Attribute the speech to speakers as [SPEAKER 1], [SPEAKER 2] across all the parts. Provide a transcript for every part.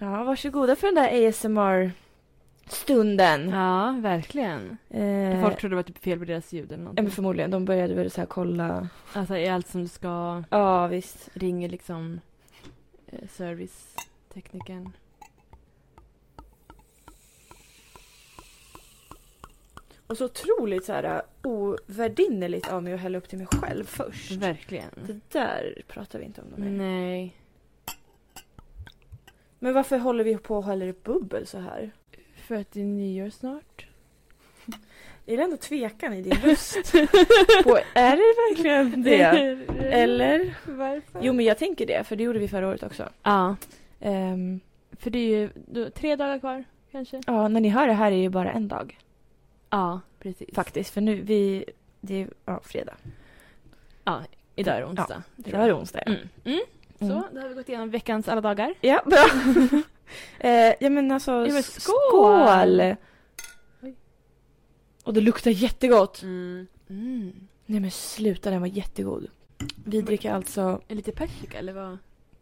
[SPEAKER 1] Ja, varsågoda för den där ASMR-stunden.
[SPEAKER 2] Ja, verkligen.
[SPEAKER 1] Eh,
[SPEAKER 2] Folk trodde det var typ fel på deras ljud eller
[SPEAKER 1] ja, men
[SPEAKER 2] någonting.
[SPEAKER 1] förmodligen, de började väl så här kolla.
[SPEAKER 2] Alltså är allt som du ska,
[SPEAKER 1] Ja, visst.
[SPEAKER 2] ringer liksom eh, serviceteknikern.
[SPEAKER 1] Och så otroligt så här ovärdinnligt av mig att hälla upp till mig själv först.
[SPEAKER 2] Verkligen.
[SPEAKER 1] Det där pratar vi inte om.
[SPEAKER 2] Mm.
[SPEAKER 1] Då mer.
[SPEAKER 2] Nej.
[SPEAKER 1] Men varför håller vi på och häller upp bubbel så här?
[SPEAKER 2] För att det är nyår snart.
[SPEAKER 1] Är det ändå tvekan i din röst? på, är det verkligen det? Eller?
[SPEAKER 2] Varför?
[SPEAKER 1] Jo men jag tänker det, för det gjorde vi förra året också.
[SPEAKER 2] Ja.
[SPEAKER 1] Ehm,
[SPEAKER 2] För det är ju då, tre dagar kvar kanske.
[SPEAKER 1] ja, när ni hör det här är det ju bara en dag
[SPEAKER 2] Ja, precis.
[SPEAKER 1] faktiskt. För nu, vi, det är ja, fredag.
[SPEAKER 2] Idag är det onsdag.
[SPEAKER 1] Det var onsdag.
[SPEAKER 2] Mm. Mm. Så,
[SPEAKER 1] Mm.
[SPEAKER 2] då har vi gått igenom veckans alla dagar.
[SPEAKER 1] Ja, bra. eh, ja men alltså,
[SPEAKER 2] Ja, men
[SPEAKER 1] skål!
[SPEAKER 2] skål! Oj.
[SPEAKER 1] Och det luktar jättegott.
[SPEAKER 2] Mm.
[SPEAKER 1] Nej men sluta, den var jättegod. Vi dricker alltså
[SPEAKER 2] Lite persika eller vad?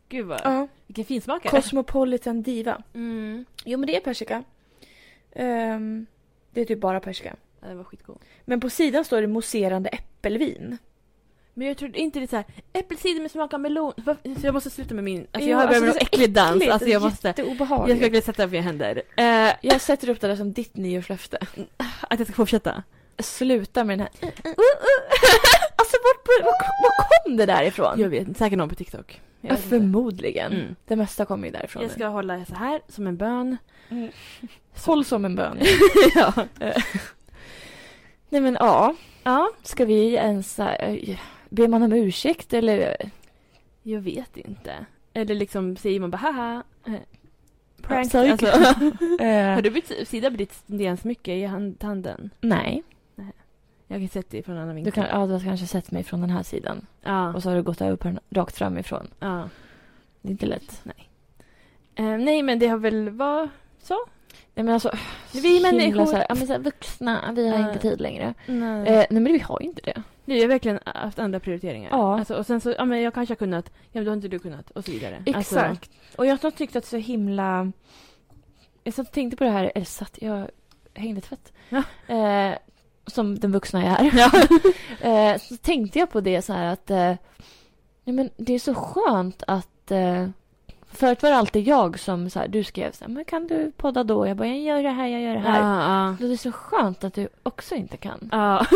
[SPEAKER 2] Gud vad,
[SPEAKER 1] ja,
[SPEAKER 2] vilken finsmakare.
[SPEAKER 1] Cosmopolitan Diva.
[SPEAKER 2] mm.
[SPEAKER 1] Jo men det är persika. Ehm, det är typ bara persika.
[SPEAKER 2] Ja, det var skitgod.
[SPEAKER 1] Men på sidan står det mousserande äppelvin.
[SPEAKER 2] Men jag trodde inte det är så här, äppelcider med smak av melon. Varför- Så jag måste sluta med min, alltså
[SPEAKER 1] Jo,
[SPEAKER 2] jag har börjat
[SPEAKER 1] alltså
[SPEAKER 2] med
[SPEAKER 1] det
[SPEAKER 2] någon
[SPEAKER 1] är så
[SPEAKER 2] äcklig dans. Alltså
[SPEAKER 1] Äckligt,
[SPEAKER 2] jag måste, jag
[SPEAKER 1] Jätteobehagligt.
[SPEAKER 2] ska verkligen sätta upp mina händer. Eh,
[SPEAKER 1] Jag sätter upp det där som ditt nyårslöfte.
[SPEAKER 2] att jag ska fortsätta.
[SPEAKER 1] Sluta med den här... eh, alltså vart, var, var, var kom det där ifrån?
[SPEAKER 2] Jag vet, säkert någon på TikTok. Jag
[SPEAKER 1] Ja,
[SPEAKER 2] vet inte.
[SPEAKER 1] förmodligen.
[SPEAKER 2] Mm.
[SPEAKER 1] Det mesta kommer ju därifrån.
[SPEAKER 2] Jag
[SPEAKER 1] nu.
[SPEAKER 2] ska hålla så här som en bön.
[SPEAKER 1] Håll som en bön.
[SPEAKER 2] ja.
[SPEAKER 1] Nej men ja,
[SPEAKER 2] ja,
[SPEAKER 1] ska vi ens... eh, Ber man om ursäkt eller?
[SPEAKER 2] jag vet inte. Eller liksom säger man bara haha. eh,
[SPEAKER 1] Ja,
[SPEAKER 2] Prank.
[SPEAKER 1] sorry.
[SPEAKER 2] alltså,
[SPEAKER 1] Eh,
[SPEAKER 2] har du bytt sida på ditt stensmycke i hand, handen?
[SPEAKER 1] Nej,
[SPEAKER 2] Jag har sett det från en annan
[SPEAKER 1] du,
[SPEAKER 2] vinkel.
[SPEAKER 1] kan, ja, du har kanske sett mig från den här sidan
[SPEAKER 2] Ja.
[SPEAKER 1] och så har du gått över på den rakt framifrån.
[SPEAKER 2] ja.
[SPEAKER 1] Det är inte lätt.
[SPEAKER 2] Eh, nej, men det har väl varit så?
[SPEAKER 1] Nej men alltså,
[SPEAKER 2] Vi
[SPEAKER 1] så himla
[SPEAKER 2] människor-
[SPEAKER 1] Så här, ja, men så här, vuxna, vi har
[SPEAKER 2] Ja.
[SPEAKER 1] inte tid längre.
[SPEAKER 2] Nej.
[SPEAKER 1] Eh, nej men vi har ju inte det.
[SPEAKER 2] Nu har jag verkligen haft andra prioriteringar.
[SPEAKER 1] Ja.
[SPEAKER 2] Alltså, och sen så, ja men jag kanske har kunnat, ja men då har inte du kunnat och så vidare. Alltså,
[SPEAKER 1] Exakt. och jag har tyckt att så himla... Jag satt och tänkte på det här, eller satt, jag hängde tvätt.
[SPEAKER 2] Ja.
[SPEAKER 1] Eh, som den vuxna jag är. eh, så tänkte jag på det så här att... Eh, ja, men det är så skönt att... Eh, förut var det alltid jag som så här, du skrev så här, men kan du podda då? Jag bara, jag gör det här, jag gör det här.
[SPEAKER 2] ja,
[SPEAKER 1] Då är det så skönt att du också inte kan.
[SPEAKER 2] ja.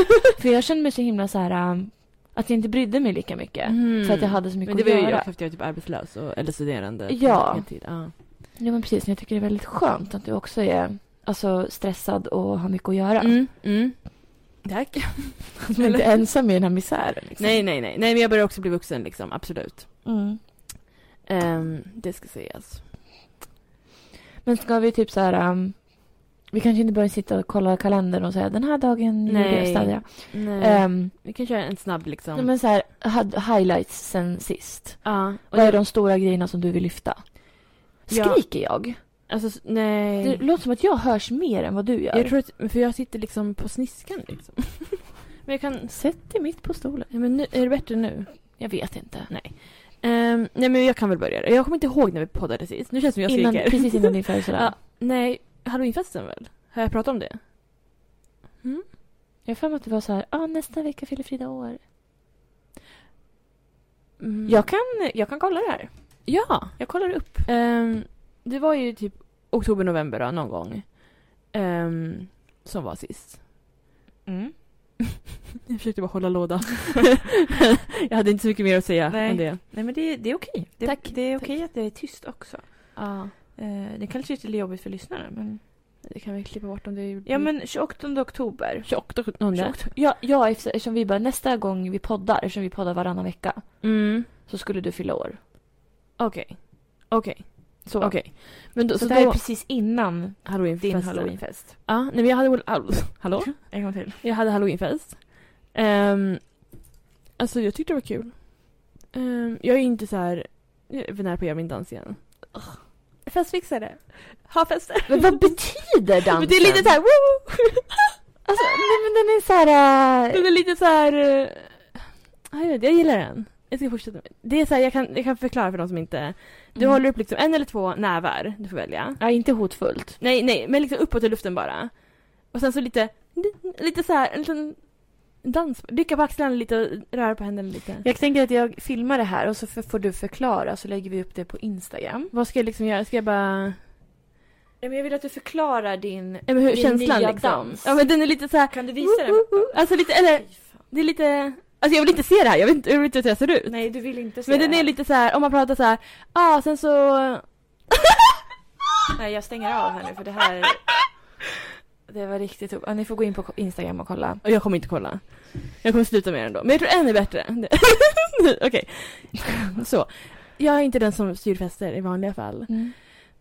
[SPEAKER 1] För jag kände mig så himla så här... um, att jag inte brydde mig lika mycket.
[SPEAKER 2] Mm.
[SPEAKER 1] För att jag hade så mycket
[SPEAKER 2] Men det var ju
[SPEAKER 1] att
[SPEAKER 2] jag
[SPEAKER 1] göra.
[SPEAKER 2] också efter jag var typ arbetslös och, eller studerande. på
[SPEAKER 1] Ja.
[SPEAKER 2] heltid. ja.
[SPEAKER 1] Ja men precis, men jag tycker det är väldigt skönt att du också är alltså, stressad och har mycket att göra.
[SPEAKER 2] Mm, mm. Tack.
[SPEAKER 1] Att du inte är ensam i den här misären. Liksom.
[SPEAKER 2] Nej, nej, nej. Nej, men jag börjar också bli vuxen liksom. Absolut.
[SPEAKER 1] Mm.
[SPEAKER 2] Ehm, det ska sägas.
[SPEAKER 1] Men ska vi typ så här... um, vi kanske inte börjar sitta och kolla kalendern och säga den här dagen gjorde jag
[SPEAKER 2] Nej.
[SPEAKER 1] städade
[SPEAKER 2] Nej.
[SPEAKER 1] jag. Um,
[SPEAKER 2] Vi kan köra en snabb liksom.
[SPEAKER 1] Men så här, had- highlights sen sist.
[SPEAKER 2] ja. Och
[SPEAKER 1] Vad är
[SPEAKER 2] jag,
[SPEAKER 1] de stora grejerna som du vill lyfta?
[SPEAKER 2] Ja.
[SPEAKER 1] Skriker jag?
[SPEAKER 2] alltså, s- nej.
[SPEAKER 1] Det låter som att jag hörs mer än vad du gör.
[SPEAKER 2] jag tror att, för jag sitter liksom på sniskan liksom. men jag kan
[SPEAKER 1] Sätt dig mitt på stolen.
[SPEAKER 2] Ja, men nu, är det bättre nu?
[SPEAKER 1] Jag vet inte.
[SPEAKER 2] Ehm, nej men jag kan väl börja. Jag kommer inte ihåg när vi poddade sist. Nu känns det som jag
[SPEAKER 1] Innan,
[SPEAKER 2] skriker.
[SPEAKER 1] precis innan din födelsedag.
[SPEAKER 2] Ja, nej, halloweenfesten väl? Har jag pratat om det?
[SPEAKER 1] Jag har för mig att det var så här, ah, nästa vecka fyller Frida år.
[SPEAKER 2] Mm.
[SPEAKER 1] Jag kan, jag kan kolla det här.
[SPEAKER 2] Ja!
[SPEAKER 1] Jag kollar upp.
[SPEAKER 2] Ehm, det var ju typ oktober, november då, någon gång. Ehm, som var sist.
[SPEAKER 1] Mm.
[SPEAKER 2] Jag försökte bara hålla låda. jag hade inte så mycket mer att säga
[SPEAKER 1] Nej.
[SPEAKER 2] än det.
[SPEAKER 1] Nej men det, det är okej. Det,
[SPEAKER 2] Tack.
[SPEAKER 1] det är
[SPEAKER 2] Tack.
[SPEAKER 1] okej att det är tyst också.
[SPEAKER 2] Ja,
[SPEAKER 1] Eh, det kanske är lite jobbigt för lyssnarna men...
[SPEAKER 2] det kan vi klippa bort om det är...
[SPEAKER 1] Ja men 28 oktober.
[SPEAKER 2] 28, 28.
[SPEAKER 1] Mm. Ja, ja efter- eftersom vi bara nästa gång vi poddar, eftersom vi poddar varannan vecka,
[SPEAKER 2] Mm,
[SPEAKER 1] så skulle du fylla år.
[SPEAKER 2] okej. Okej,
[SPEAKER 1] Så,
[SPEAKER 2] okej. Men då,
[SPEAKER 1] så,
[SPEAKER 2] så,
[SPEAKER 1] det här
[SPEAKER 2] då...
[SPEAKER 1] är precis innan din
[SPEAKER 2] Halloweenfesten.
[SPEAKER 1] halloweenfest.
[SPEAKER 2] Ja, nej men jag hade... väl- Hallå? Hallå?
[SPEAKER 1] En gång till.
[SPEAKER 2] Jag hade halloweenfest. Um, alltså jag tyckte det var kul. Ehm, jag är inte så här... Jag är nära på att göra min dans igen. Festfixare. Ha fester.
[SPEAKER 1] Men vad betyder dansen?
[SPEAKER 2] Men det är lite så här... Woo!
[SPEAKER 1] Alltså, nej men den är så här... eh,
[SPEAKER 2] Den är lite så här... eh, jag vet, jag gillar den. Jag ska fortsätta. med- Det är så här, jag kan, jag kan förklara för de som inte... Du
[SPEAKER 1] Mm.
[SPEAKER 2] håller upp liksom en eller två nävar, du får välja.
[SPEAKER 1] Ja, inte hotfullt.
[SPEAKER 2] Nej, nej, men liksom uppåt i luften bara. Och sen så lite, lite så här, en liten dans. Rycka på axlarna lite och röra på händerna lite.
[SPEAKER 1] Jag tänker att jag filmar det här och så får du förklara så lägger vi upp det på Instagram.
[SPEAKER 2] Vad ska jag liksom göra? Ska jag bara...
[SPEAKER 1] Ja, men jag vill att du förklarar din...
[SPEAKER 2] Ja, men hur,
[SPEAKER 1] Din
[SPEAKER 2] känslan
[SPEAKER 1] nya
[SPEAKER 2] liksom.
[SPEAKER 1] dans.
[SPEAKER 2] Ja men den är lite så här...
[SPEAKER 1] Kan du visa den?
[SPEAKER 2] Alltså lite, eller
[SPEAKER 1] Fy fan.
[SPEAKER 2] det är lite... Alltså jag vill inte se det här, jag vill inte, jag vill inte hur jag ser ut.
[SPEAKER 1] Nej, du vill inte se
[SPEAKER 2] men den
[SPEAKER 1] det.
[SPEAKER 2] är lite så här, om man pratar så här, ah sen så...
[SPEAKER 1] Nej, jag stänger av här nu för det här... Det var riktigt... upp- Ja, ni får gå in på Instagram och kolla.
[SPEAKER 2] Och jag kommer inte kolla. Jag kommer sluta med den då. Men jag tror en är bättre. Okej. Så. Jag är inte den som styr fester i vanliga fall.
[SPEAKER 1] Mm.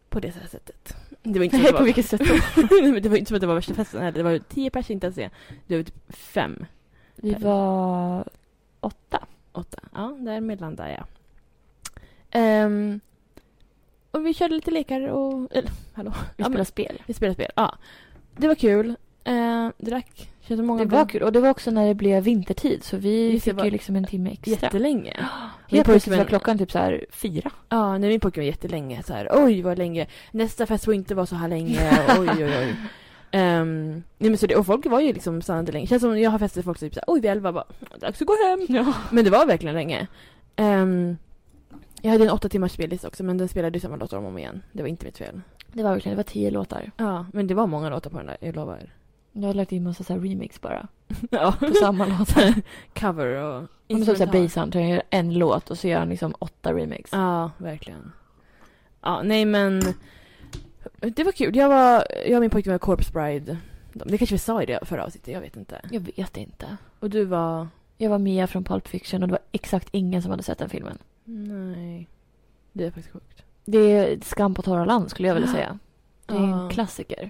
[SPEAKER 2] På det här sättet. Det var inte så att det
[SPEAKER 1] på
[SPEAKER 2] var...
[SPEAKER 1] vilket sätt
[SPEAKER 2] Nej, men det var inte som att det var värsta festen heller. Det var ju tio personer inte ens det. Det var typ fem,
[SPEAKER 1] Vi var åtta.
[SPEAKER 2] åtta. Ja, därmed landade jag. Ehm, och vi körde lite lekar och... Eller, hallå.
[SPEAKER 1] Vi
[SPEAKER 2] Ja, men-
[SPEAKER 1] spelade spel.
[SPEAKER 2] Vi spelade spel. Ja. Det var kul. Uh, drack. Körde många
[SPEAKER 1] Det var kul. Och det var också när det blev vintertid så vi
[SPEAKER 2] Just det,
[SPEAKER 1] fick
[SPEAKER 2] var-
[SPEAKER 1] ju liksom en timme extra.
[SPEAKER 2] Jättelänge. Min
[SPEAKER 1] Helt plötsligt var
[SPEAKER 2] pojkvän-
[SPEAKER 1] klockan typ så här fyra.
[SPEAKER 2] Ja, när min pojkvän var jättelänge så här, oj vad länge, nästa fest får inte vara så här länge, oj oj oj. Ehm, nej, men så det, och folk var ju liksom stannade länge. känns som jag har fester med folk som typ såhär, oj vid elva, bara, dags att gå hem. Men det var verkligen länge. Ehm, jag hade en åtta timmars spellista också, men den spelade ju samma låtar om och om igen. Det var inte mitt fel.
[SPEAKER 1] Det var verkligen, det var tio låtar.
[SPEAKER 2] Ja, men det var många låtar på den där, jag lovar.
[SPEAKER 1] Jag har lagt in massa så här remix bara.
[SPEAKER 2] Ja.
[SPEAKER 1] På samma låt.
[SPEAKER 2] Cover och
[SPEAKER 1] Om typ så
[SPEAKER 2] instrumental.
[SPEAKER 1] såhär jag gör en låt och så gör han liksom åtta remix.
[SPEAKER 2] Ja, verkligen. Ja, nej men. Det var kul. Jag, var, jag och min pojkvän var Corpse Bride. De- Det kanske vi sa i det förra avsnittet, jag vet inte.
[SPEAKER 1] Jag vet inte.
[SPEAKER 2] Och du var...
[SPEAKER 1] Jag var Mia från Pulp Fiction och det var exakt ingen som hade sett den filmen.
[SPEAKER 2] Nej. Det är faktiskt sjukt.
[SPEAKER 1] Det är Skam på torra land skulle jag vilja säga. Det är en
[SPEAKER 2] Ja.
[SPEAKER 1] klassiker.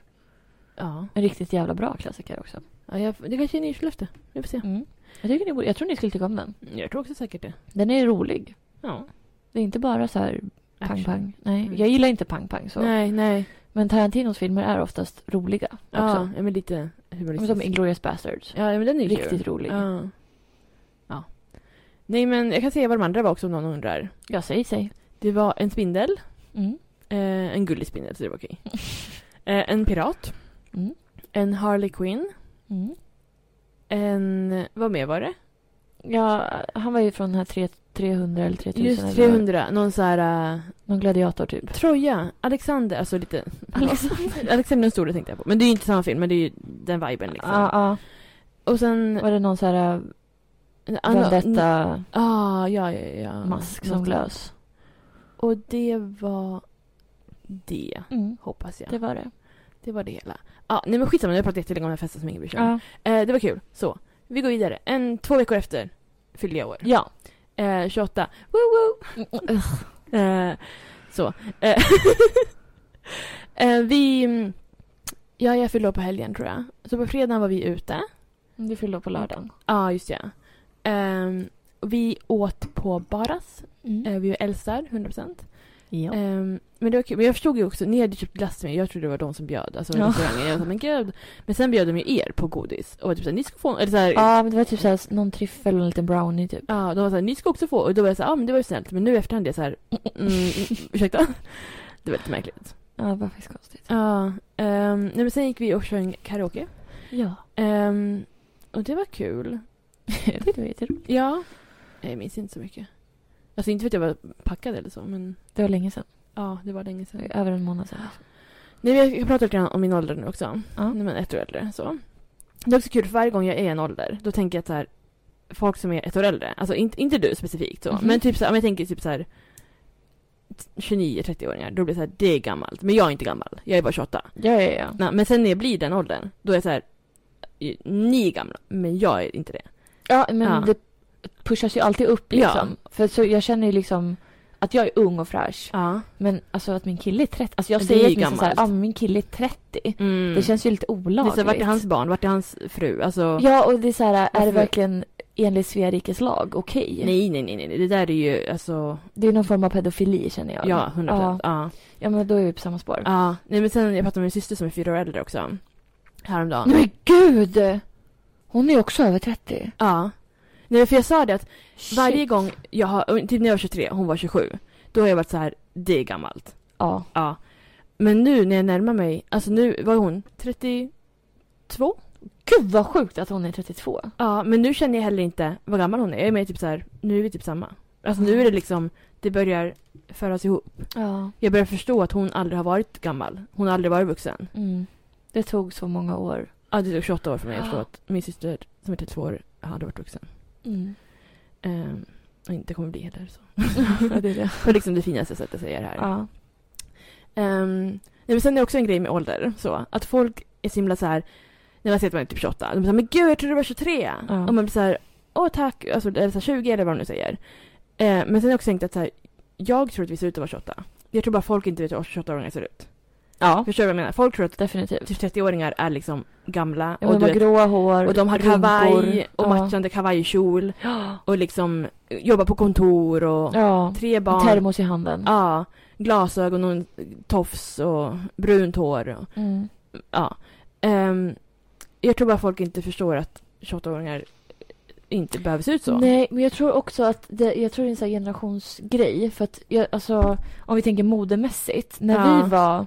[SPEAKER 2] Ja.
[SPEAKER 1] En riktigt jävla bra klassiker också.
[SPEAKER 2] ja jag, det kanske är ny i Skellefteå. Vi får se.
[SPEAKER 1] Mm. Jag, tycker ni borde, jag tror ni skulle tycka om den.
[SPEAKER 2] Jag tror också säkert det.
[SPEAKER 1] Den är rolig.
[SPEAKER 2] Ja.
[SPEAKER 1] Det är inte bara så här
[SPEAKER 2] Action.
[SPEAKER 1] pang-pang. Nej,
[SPEAKER 2] Mm.
[SPEAKER 1] jag gillar inte pang-pang så.
[SPEAKER 2] Nej, nej.
[SPEAKER 1] Men Tarantinos filmer är oftast roliga också.
[SPEAKER 2] Ja, ja, men lite
[SPEAKER 1] Men
[SPEAKER 2] humoristiskt.
[SPEAKER 1] Som Inglourious Basterds.
[SPEAKER 2] Ja, men den är ju kul.
[SPEAKER 1] typ. Riktigt rolig.
[SPEAKER 2] Ja. ja. Nej, men jag kan säga vad de andra var också om någon undrar.
[SPEAKER 1] Jag säger sig.
[SPEAKER 2] Det var en spindel.
[SPEAKER 1] Mm.
[SPEAKER 2] Eh, en gullig spindel, så det var okej. eh, en pirat.
[SPEAKER 1] Mm.
[SPEAKER 2] En Harley Quinn.
[SPEAKER 1] Mm.
[SPEAKER 2] En... Vad mer var det?
[SPEAKER 1] Ja, han var ju från den här tre- 300 eller 3000. eller
[SPEAKER 2] Just
[SPEAKER 1] vad det var.
[SPEAKER 2] 300. Någon så här... eh,
[SPEAKER 1] Någon gladiator typ. Liksom.
[SPEAKER 2] Troja. Alexander. Alltså lite...
[SPEAKER 1] Alexander.
[SPEAKER 2] Alexander den store tänkte jag på. Men det är ju inte samma film, men det är ju den viben liksom.
[SPEAKER 1] Ja,
[SPEAKER 2] Och sen...
[SPEAKER 1] ja. Var det någon så här eh,
[SPEAKER 2] en annan-
[SPEAKER 1] vendetta
[SPEAKER 2] Ah, ja, ja, ja.
[SPEAKER 1] mask som
[SPEAKER 2] Något-
[SPEAKER 1] lös?
[SPEAKER 2] Och det var... Det. Hoppas jag.
[SPEAKER 1] Det
[SPEAKER 2] Det,
[SPEAKER 1] var det.
[SPEAKER 2] var det hela. Ja, nej men skitsamma, nu har jag pratat jättelänge om den här festen som ingen bryr sig om.
[SPEAKER 1] Ja.
[SPEAKER 2] Eh, det var kul. Så, vi går vidare. En, två veckor efter fyllde jag år.
[SPEAKER 1] ja.
[SPEAKER 2] Eh, 28. Woo woo! Eh, så. Eh, eh, vi... mm, Ja, jag fyllde år på helgen tror jag. Så på fredagen var vi ute. Ja,
[SPEAKER 1] Du fyllde år på lördagen.
[SPEAKER 2] just det. Ehm, och vi åt på Baras. Eh, vi var älsar, 100%.
[SPEAKER 1] Ja.
[SPEAKER 2] Ehm, men det var kul. Men jag förstod ju också, ni hade köpt glass till mig. Jag trodde det var de som bjöd. Alltså
[SPEAKER 1] Ja.
[SPEAKER 2] restaurangen. Jag sa, men gud. Men sen bjöd de ju er på godis. Och var typ såhär, ni ska få... Eller såhär,
[SPEAKER 1] Ja, men det var typ så här, någon tryffel och en liten brownie typ.
[SPEAKER 2] Ja, de var såhär, ni ska också få. Och då var jag såhär, ja ah, men det var ju snällt. Men nu i efterhand är jag såhär, mm, ursäkta. Det var lite märkligt.
[SPEAKER 1] Ja, det var faktiskt konstigt.
[SPEAKER 2] Ja, ehm, nej, men sen gick vi och sjöng karaoke.
[SPEAKER 1] Ja.
[SPEAKER 2] Ehm, och det var kul.
[SPEAKER 1] Jag tyckte det var jätteroligt.
[SPEAKER 2] Ja. Jag minns inte så mycket. Alltså inte för att jag var packad eller så, men
[SPEAKER 1] Det var länge sedan.
[SPEAKER 2] ja, det var länge
[SPEAKER 1] Det
[SPEAKER 2] sedan.
[SPEAKER 1] var Över en månad sedan.
[SPEAKER 2] Nej, men jag kan prata lite grann om min ålder nu också.
[SPEAKER 1] Ja.
[SPEAKER 2] Nej, men ett år äldre, så. Det är också kul, för varje gång jag är i en ålder, då tänker jag så här, folk som är ett år äldre, alltså inte, inte du specifikt så,
[SPEAKER 1] Mhm.
[SPEAKER 2] men typ så här, om jag tänker typ så här 29-30-åringar, då blir det så här, det är gammalt. Men jag är inte gammal, jag är bara 28.
[SPEAKER 1] Ja, ja, ja.
[SPEAKER 2] Nej, men sen när jag blir den åldern, då är jag så här, ni är gamla, men jag är inte det.
[SPEAKER 1] Ja, men
[SPEAKER 2] Ja.
[SPEAKER 1] det pushas ju alltid upp liksom. För så jag känner ju liksom att jag är ung och fräsch.
[SPEAKER 2] Ja.
[SPEAKER 1] Men alltså att min kille är 30. Alltså jag
[SPEAKER 2] Det är
[SPEAKER 1] säger
[SPEAKER 2] ju
[SPEAKER 1] åtminstone så här, ja
[SPEAKER 2] gammalt.
[SPEAKER 1] min kille är 30.
[SPEAKER 2] Mm.
[SPEAKER 1] Det känns ju lite
[SPEAKER 2] det är
[SPEAKER 1] olagligt.
[SPEAKER 2] så här, vart är hans barn, vart är hans fru? Alltså,
[SPEAKER 1] Ja, och det är så här, är det
[SPEAKER 2] Varför?
[SPEAKER 1] verkligen enligt Svea rikes lag okej?
[SPEAKER 2] nej, nej, nej, nej, nej, det där är ju alltså,
[SPEAKER 1] Det är någon form av pedofili känner jag.
[SPEAKER 2] ja, hundra
[SPEAKER 1] ja.
[SPEAKER 2] procent. Ah. Ja.
[SPEAKER 1] Ja, men då är vi på samma spår.
[SPEAKER 2] Ja, nej men sen jag pratade med min syster som är fyra år äldre också. Häromdagen.
[SPEAKER 1] Nej, men gud! Hon är ju också över 30.
[SPEAKER 2] Ja. Nej för jag sa det att varje
[SPEAKER 1] Shit.
[SPEAKER 2] gång jag har, typ när jag var 23, hon var 27. Då har jag varit så här, det är gammalt.
[SPEAKER 1] Ja.
[SPEAKER 2] Ja. Men nu när jag närmar mig, alltså nu var hon 32?
[SPEAKER 1] Gud vad sjukt att hon är 32.
[SPEAKER 2] Ja, men nu känner jag heller inte vad gammal hon är. Jag är mer typ så här, nu är vi typ samma. Alltså nu är det liksom, det börjar föras ihop.
[SPEAKER 1] Ja.
[SPEAKER 2] Jag börjar förstå att hon aldrig har varit gammal. Hon har aldrig varit vuxen.
[SPEAKER 1] Mm. Det tog så många år.
[SPEAKER 2] Ja, det tog 28 år för mig att förstå att min syster som är 32 år hade varit vuxen.
[SPEAKER 1] Mm.
[SPEAKER 2] Ehm, och inte kommer bli heller så.
[SPEAKER 1] Ja, det är det.
[SPEAKER 2] Det är liksom det finaste sättet att säga det här.
[SPEAKER 1] Ja.
[SPEAKER 2] Ehm, nej, men sen är det också en grej med ålder. Så, att folk är så himla så här, när man säger att man är typ 28, de säger men gud jag trodde du var 23.
[SPEAKER 1] Ja.
[SPEAKER 2] Och man blir så här, åh tack, alltså, eller så här, 20 eller vad de nu säger. Eh, men sen har jag också tänkt att så här, jag tror att vi ser ut att vara 28. Jag tror bara folk inte vet hur 28-åringar ser ut.
[SPEAKER 1] ja,
[SPEAKER 2] Förstår du vad jag menar? Folk tror att
[SPEAKER 1] definitivt.
[SPEAKER 2] typ 30-åringar är liksom gamla.
[SPEAKER 1] Och
[SPEAKER 2] och,
[SPEAKER 1] de
[SPEAKER 2] du
[SPEAKER 1] har
[SPEAKER 2] vet,
[SPEAKER 1] gråa hår,
[SPEAKER 2] och de har
[SPEAKER 1] rynkor.
[SPEAKER 2] kavaj och
[SPEAKER 1] Ja.
[SPEAKER 2] matchande kavajkjol
[SPEAKER 1] Ja.
[SPEAKER 2] och liksom eh, jobbar på kontor och
[SPEAKER 1] Ja.
[SPEAKER 2] tre barn.
[SPEAKER 1] Termos i handen.
[SPEAKER 2] Ja, glasögon och en tofs och brunt hår. Och,
[SPEAKER 1] Mm.
[SPEAKER 2] ja. Ehm, jag tror bara folk inte förstår att 28-åringar inte behöver se ut så.
[SPEAKER 1] Nej, men jag tror också att det, jag tror det är en sån här generationsgrej. För att jag, alltså, om vi tänker modemässigt. När
[SPEAKER 2] Ja.
[SPEAKER 1] vi var,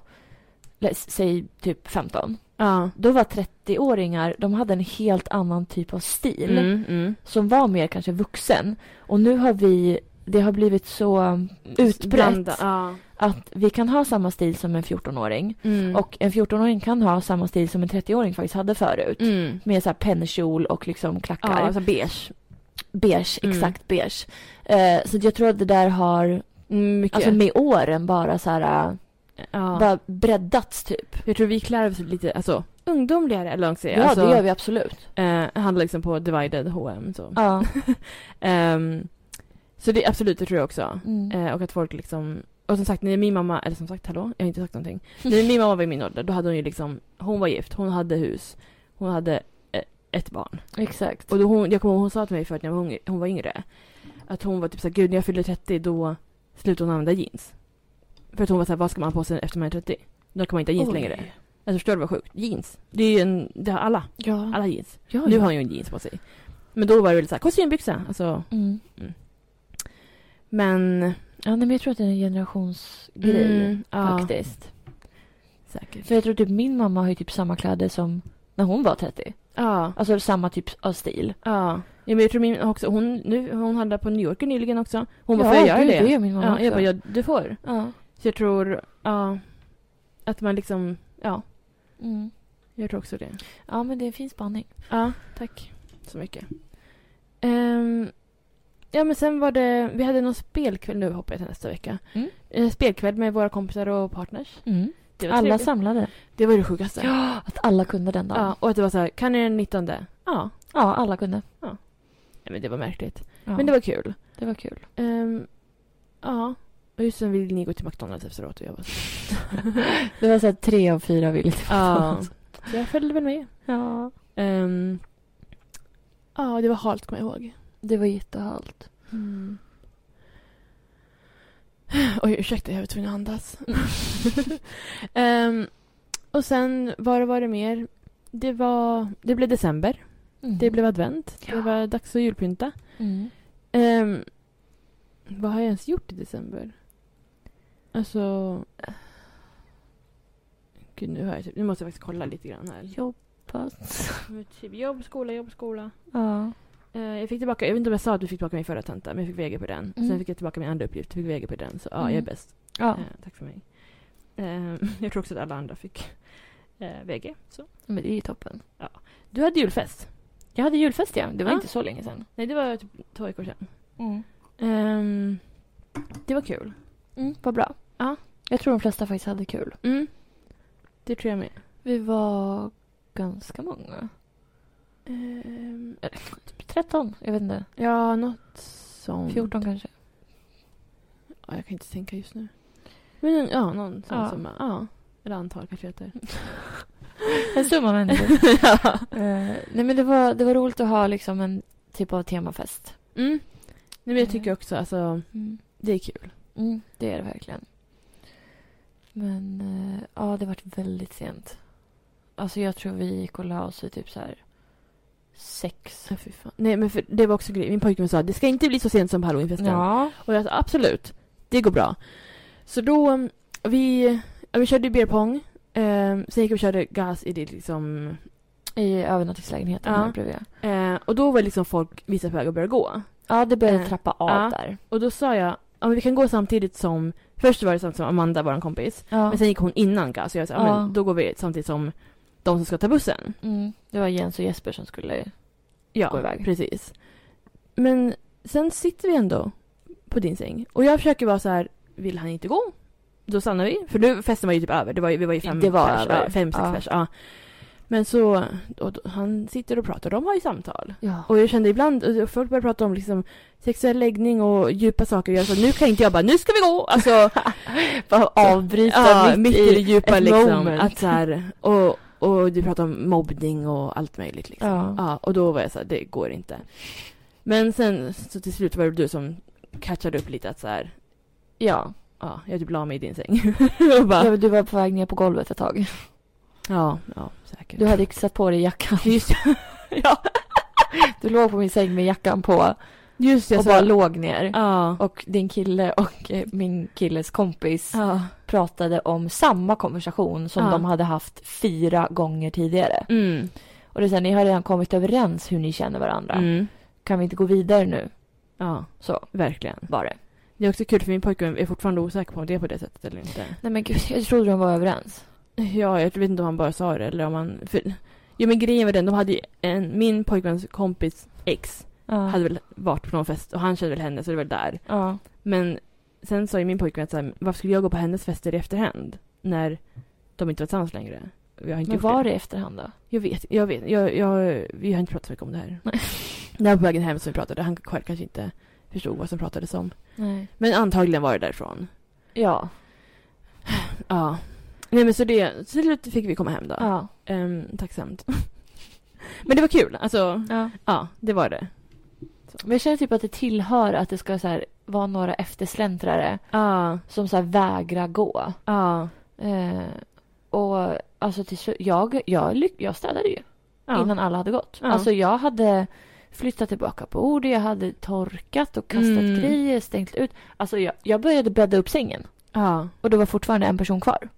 [SPEAKER 1] lä- säg typ 15.
[SPEAKER 2] Ja.
[SPEAKER 1] Då var 30-åringar, de hade en helt annan typ av stil.
[SPEAKER 2] Mm, mm.
[SPEAKER 1] Som var mer kanske vuxen. Och nu har vi, det har blivit så um, utbrett.
[SPEAKER 2] Blanda- Ja.
[SPEAKER 1] Att vi kan ha samma stil som en 14-åring.
[SPEAKER 2] Mm.
[SPEAKER 1] Och en 14-åring kan ha samma stil som en 30-åring faktiskt hade förut.
[SPEAKER 2] mm.
[SPEAKER 1] Med så här pennkjol och liksom
[SPEAKER 2] Ja,
[SPEAKER 1] klackar.
[SPEAKER 2] alltså beige.
[SPEAKER 1] Beige,
[SPEAKER 2] Mm.
[SPEAKER 1] exakt beige. Eh, så jag tror att det där har,
[SPEAKER 2] Mm, Mycket.
[SPEAKER 1] alltså med åren bara så här, eh,
[SPEAKER 2] ja.
[SPEAKER 1] bara breddats typ.
[SPEAKER 2] Jag tror vi klär oss lite alltså, ungdomligare. Eller vad man ska säga.
[SPEAKER 1] Ja,
[SPEAKER 2] alltså,
[SPEAKER 1] det gör vi absolut.
[SPEAKER 2] eh, handlar liksom på divided H&M så.
[SPEAKER 1] Ja.
[SPEAKER 2] Ehm, så det absolut, det tror jag också.
[SPEAKER 1] Mm.
[SPEAKER 2] Eh, och att folk liksom... Och som sagt, när min mamma... Eller som sagt, hallå? Jag har inte sagt någonting. När min mamma var i min ålder, då hade hon ju liksom... Hon var gift, hon hade hus, hon hade eh, ett barn.
[SPEAKER 1] Exakt.
[SPEAKER 2] Och då hon, jag kommer ihåg hon sa till mig förut när hon, var yngre- hon var yngre att hon var typ såhär, gud när jag fyllde 30 då slutade hon använda jeans. För att hon var såhär, vad ska man ha på sig efter man är 30? Då kan man inte ha jeans
[SPEAKER 1] Oj.
[SPEAKER 2] längre. Alltså förstår du vad sjukt? Jeans. Det är ju en, det har alla,
[SPEAKER 1] Ja.
[SPEAKER 2] alla jeans.
[SPEAKER 1] ja,
[SPEAKER 2] Nu
[SPEAKER 1] ja.
[SPEAKER 2] har hon ju en jeans på sig. Men då var det väl såhär, kostymbyxa. Alltså,
[SPEAKER 1] Mm.
[SPEAKER 2] men...
[SPEAKER 1] Ja, nej, men jag tror att det är en generationsgrej
[SPEAKER 2] Mm, ja,
[SPEAKER 1] faktiskt.
[SPEAKER 2] säkert.
[SPEAKER 1] För jag tror typ min mamma har ju typ samma kläder som när hon var 30.
[SPEAKER 2] Ja.
[SPEAKER 1] Alltså samma typ av stil.
[SPEAKER 2] Ja. ja men jag tror min också, hon, nu, hon handlade på New York nyligen också. Hon bara,
[SPEAKER 1] ja,
[SPEAKER 2] får jag göra
[SPEAKER 1] gud, det
[SPEAKER 2] det?
[SPEAKER 1] gör min mamma
[SPEAKER 2] Ja,
[SPEAKER 1] också.
[SPEAKER 2] jag bara, ja, du får.
[SPEAKER 1] Ja.
[SPEAKER 2] Så jag tror, ja, att man liksom, ja,
[SPEAKER 1] Mm.
[SPEAKER 2] jag tror också det.
[SPEAKER 1] ja, men det är en fin spaning.
[SPEAKER 2] Ja, tack så mycket. Ehm, ja, men sen var det, vi hade någon spelkväll, nu hoppar jag till nästa vecka.
[SPEAKER 1] Mm.
[SPEAKER 2] Eh, spelkväll med våra kompisar och partners. Det var
[SPEAKER 1] Alla
[SPEAKER 2] trevligt.
[SPEAKER 1] samlade.
[SPEAKER 2] Det var det sjukaste.
[SPEAKER 1] Ja, att alla kunde den dagen.
[SPEAKER 2] Ja, och att det var så här, kan ni den 19? Ja. ja.
[SPEAKER 1] Ja, alla kunde.
[SPEAKER 2] Men det var märkligt.
[SPEAKER 1] Ja,
[SPEAKER 2] Men det var kul.
[SPEAKER 1] det var kul.
[SPEAKER 2] Ehm, ja. Och just sen ville ni gå till McDonalds efteråt och jag bara...
[SPEAKER 1] Det var så här tre av fyra ville till
[SPEAKER 2] Ja.
[SPEAKER 1] McDonalds.
[SPEAKER 2] Så jag följde väl med.
[SPEAKER 1] ja.
[SPEAKER 2] Ehm, ja, det var halt kommer jag ihåg.
[SPEAKER 1] Det var jättehalt.
[SPEAKER 2] Mm. Oj, ursäkta, jag var tvungen att andas. Ehm, och sen, vad var det mer? Det var... Det blev december.
[SPEAKER 1] Mm.
[SPEAKER 2] Det blev advent.
[SPEAKER 1] Ja.
[SPEAKER 2] Det var dags att julpynta.
[SPEAKER 1] Mm.
[SPEAKER 2] Ehm, vad har jag ens gjort i december? Alltså... Gud, nu, har jag typ, nu måste jag faktiskt kolla lite grann här.
[SPEAKER 1] Jobbat.
[SPEAKER 2] Typ jobb, skola, jobb, skola.
[SPEAKER 1] Ja.
[SPEAKER 2] Eh, jag fick tillbaka, jag vet inte om jag sa att du fick tillbaka min förra tenta, men jag fick VG på den.
[SPEAKER 1] Mm.
[SPEAKER 2] Sen fick jag tillbaka min andra uppgift, fick VG på den. Så ja, jag är
[SPEAKER 1] Mm.
[SPEAKER 2] bäst.
[SPEAKER 1] ja.
[SPEAKER 2] Eh, tack för mig. Eh, jag tror också att alla andra fick eh, VG. Så.
[SPEAKER 1] Men det är ju toppen.
[SPEAKER 2] Du hade julfest.
[SPEAKER 1] Jag hade julfest, ja. Mm. Det var
[SPEAKER 2] Ja.
[SPEAKER 1] inte så länge sedan.
[SPEAKER 2] Nej, det var typ två veckor sedan. Ehm, det var kul.
[SPEAKER 1] Mm, vad bra.
[SPEAKER 2] Ja.
[SPEAKER 1] Jag tror de flesta faktiskt hade kul.
[SPEAKER 2] Mm. Det tror jag med.
[SPEAKER 1] Vi var ganska många.
[SPEAKER 2] Ehm,
[SPEAKER 1] 13, jag vet inte.
[SPEAKER 2] ja, något sånt.
[SPEAKER 1] 14 kanske.
[SPEAKER 2] Ja, jag kan inte tänka just nu. Men ja, någon sån
[SPEAKER 1] Ja.
[SPEAKER 2] summa. Ja. Eller antal kanske heter.
[SPEAKER 1] En summa människor. Eh, nej men det var, det var roligt att ha liksom en typ av temafest.
[SPEAKER 2] Mm. Nej, men jag tycker också alltså,
[SPEAKER 1] Mm.
[SPEAKER 2] det är kul.
[SPEAKER 1] det är det verkligen. Men eh, ja, det vart väldigt sent. Alltså jag tror vi gick och la oss i typ så här sex.
[SPEAKER 2] Ja, fy fan. Nej men för, det var också en grej. Min pojkvän sa det ska inte bli så sent som på halloweenfesten.
[SPEAKER 1] Ja.
[SPEAKER 2] Och jag sa absolut, det går bra. Så då, mm, vi, ja, vi körde beer pong. Eh, sen gick vi och körde gas i det liksom.
[SPEAKER 1] I övernattningslägenheten
[SPEAKER 2] Ja.
[SPEAKER 1] här bredvid.
[SPEAKER 2] Eh, och då var det liksom folk vissa på väg att börja gå.
[SPEAKER 1] Ja, det började
[SPEAKER 2] Eh,
[SPEAKER 1] trappa av
[SPEAKER 2] ja.
[SPEAKER 1] där.
[SPEAKER 2] Och då sa jag, ja men vi kan gå samtidigt som, först var det samtidigt som Amanda, vår kompis.
[SPEAKER 1] Ja.
[SPEAKER 2] Men sen gick hon innan gas. Så jag sa, ja.
[SPEAKER 1] Ja.
[SPEAKER 2] men då går vi samtidigt som de som ska ta bussen.
[SPEAKER 1] mm, det var Jens och Jesper som skulle...
[SPEAKER 2] Ja,
[SPEAKER 1] Gå iväg.
[SPEAKER 2] precis. Men sen sitter vi ändå på din säng. Och jag försöker vara så här, vill han inte gå? Då stannar vi. För nu festen var ju typ över. Det var ju, vi var ju fem
[SPEAKER 1] Det var
[SPEAKER 2] pers,
[SPEAKER 1] över.
[SPEAKER 2] Ja, fem, sex
[SPEAKER 1] Ja.
[SPEAKER 2] pers. Ja. Men så, och då, han sitter och pratar. De har ju samtal.
[SPEAKER 1] Ja.
[SPEAKER 2] Och jag kände ibland, och folk började prata om liksom sexuell läggning och djupa saker. Jag sa, nu kan inte jag bara, nu ska vi gå! Alltså,
[SPEAKER 1] Bara avbryta
[SPEAKER 2] ja, mitt i det djupa
[SPEAKER 1] ett
[SPEAKER 2] liksom.
[SPEAKER 1] moment.
[SPEAKER 2] Att så här, och, och du pratar om mobbning och allt möjligt liksom.
[SPEAKER 1] Ja.
[SPEAKER 2] Ja, och då var jag så här, det går inte. Men sen så till slut var det du som catchade upp lite att så här,
[SPEAKER 1] ja.
[SPEAKER 2] ja, jag typ la mig i din säng. och bara,
[SPEAKER 1] Ja, men Du var på väg ner på golvet ett tag.
[SPEAKER 2] ja, ja, säkert.
[SPEAKER 1] Du hade ju satt på dig jackan.
[SPEAKER 2] just, ja,
[SPEAKER 1] Du låg på min säng med jackan på
[SPEAKER 2] just det, jag
[SPEAKER 1] och
[SPEAKER 2] sa-
[SPEAKER 1] bara låg ner.
[SPEAKER 2] ja.
[SPEAKER 1] Och din kille och eh, min killes kompis
[SPEAKER 2] ja.
[SPEAKER 1] pratade om samma konversation som
[SPEAKER 2] Ja.
[SPEAKER 1] de hade haft fyra gånger tidigare.
[SPEAKER 2] Mm.
[SPEAKER 1] Och det är så här, ni har redan kommit överens hur ni känner varandra.
[SPEAKER 2] Mm.
[SPEAKER 1] Kan vi inte gå vidare nu?
[SPEAKER 2] Ja,
[SPEAKER 1] Så
[SPEAKER 2] verkligen.
[SPEAKER 1] var det.
[SPEAKER 2] Det är också kul för min pojkvän är fortfarande osäker på om det är på det sättet eller inte.
[SPEAKER 1] Nej men gud, jag trodde de var överens.
[SPEAKER 2] Ja, jag vet inte om han bara sa det eller om han... För, jo, men grejen var den, de hade ju en, min pojkväns kompis ex
[SPEAKER 1] Ja.
[SPEAKER 2] hade väl varit på någon fest och han kände väl henne så det var där.
[SPEAKER 1] ja.
[SPEAKER 2] Men sen sa ju min pojkvän att så här, varför skulle jag gå på hennes fester i efterhand? När de inte var tillsammans längre. Vi har inte
[SPEAKER 1] Men
[SPEAKER 2] gjort
[SPEAKER 1] var
[SPEAKER 2] det.
[SPEAKER 1] det i efterhand då?
[SPEAKER 2] Jag vet, jag vet. Jag, jag, vi har inte pratat så mycket om det här.
[SPEAKER 1] Nej.
[SPEAKER 2] När jag var på vägen hem som vi pratade, han själv kanske inte förstod vad som pratades om.
[SPEAKER 1] Nej.
[SPEAKER 2] Men antagligen var det därifrån.
[SPEAKER 1] Ja.
[SPEAKER 2] Ja. Nej men så det, så till slut fick vi komma hem då.
[SPEAKER 1] Ja.
[SPEAKER 2] Ehm, tacksamt. men det var kul, alltså.
[SPEAKER 1] ja.
[SPEAKER 2] Ja, det var det.
[SPEAKER 1] Men jag känner typ att det tillhör att det ska så här, vara några eftersläntrare
[SPEAKER 2] Ja,
[SPEAKER 1] som så här, vägrar gå.
[SPEAKER 2] ja.
[SPEAKER 1] Eh, och alltså till slut, jag, jag, lyck- jag städade ju
[SPEAKER 2] ja.
[SPEAKER 1] innan alla hade gått.
[SPEAKER 2] Ja.
[SPEAKER 1] Alltså jag hade flyttat tillbaka bordet, jag hade torkat och kastat
[SPEAKER 2] Mm.
[SPEAKER 1] grejer, stängt ut. Alltså jag, jag började bädda upp sängen
[SPEAKER 2] Ja.
[SPEAKER 1] och det var fortfarande en person kvar.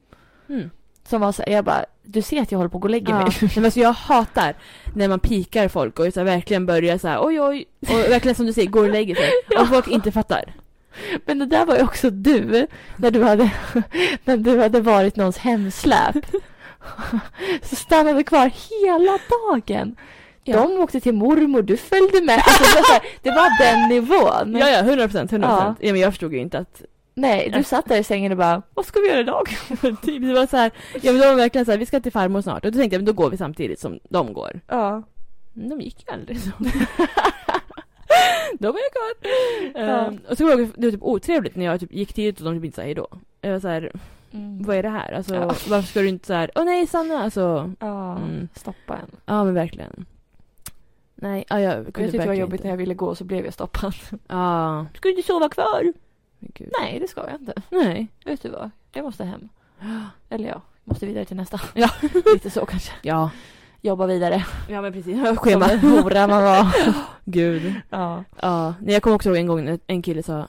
[SPEAKER 2] Mm.
[SPEAKER 1] Som var så här, jag bara, du ser att jag håller på att gå och lägga
[SPEAKER 2] Ja.
[SPEAKER 1] mig.
[SPEAKER 2] Nej, men alltså jag hatar när man pikar folk och så här, verkligen börjar så här, oj oj, och verkligen som du säger, går och lägger sig. Och folk inte fattar.
[SPEAKER 1] Men det där var ju också du, när du hade, när du hade varit någons hemsläp. Så stannade kvar hela dagen.
[SPEAKER 2] Ja.
[SPEAKER 1] De åkte till mormor, du följde med. Alltså, det, var så här, det var den nivån.
[SPEAKER 2] Ja, ja, 100 procent, 100
[SPEAKER 1] Ja.
[SPEAKER 2] procent. Ja. men jag förstod ju inte att
[SPEAKER 1] Nej, du satt där i sängen och bara,
[SPEAKER 2] vad ska vi göra idag? Typ, det var så här, ja men de var verkligen så här, vi ska till farmor snart. Och då tänkte jag, men då går vi samtidigt som de går.
[SPEAKER 1] ja.
[SPEAKER 2] Men Mm, De gick ju aldrig så. de är kvar.
[SPEAKER 1] Ja.
[SPEAKER 2] Ehm, och så var det, det var typ otrevligt när jag typ gick tidigt och de typ inte sa hejdå. Jag var så här,
[SPEAKER 1] mm.
[SPEAKER 2] vad är det här? Alltså,
[SPEAKER 1] Ja.
[SPEAKER 2] varför ska du inte så här, åh nej Sanna, alltså.
[SPEAKER 1] Ja,
[SPEAKER 2] Mm.
[SPEAKER 1] stoppa en.
[SPEAKER 2] Ja men verkligen. Nej, ja, jag
[SPEAKER 1] Jag
[SPEAKER 2] kunde
[SPEAKER 1] tyckte det var
[SPEAKER 2] verkligen
[SPEAKER 1] jobbigt
[SPEAKER 2] inte.
[SPEAKER 1] när jag ville gå så blev jag stoppad.
[SPEAKER 2] Ja.
[SPEAKER 1] Ska du inte sova kvar?
[SPEAKER 2] Men gud.
[SPEAKER 1] Nej, det ska jag inte.
[SPEAKER 2] Nej.
[SPEAKER 1] Vet du vad? Jag måste hem. Eller ja, måste vidare till nästa.
[SPEAKER 2] Ja.
[SPEAKER 1] Lite så kanske.
[SPEAKER 2] Ja.
[SPEAKER 1] Jobba vidare.
[SPEAKER 2] Ja men precis. Schema.
[SPEAKER 1] Som en hora man var.
[SPEAKER 2] Gud.
[SPEAKER 1] Ja.
[SPEAKER 2] Ja. Nej, jag kommer också ihåg en gång när en kille sa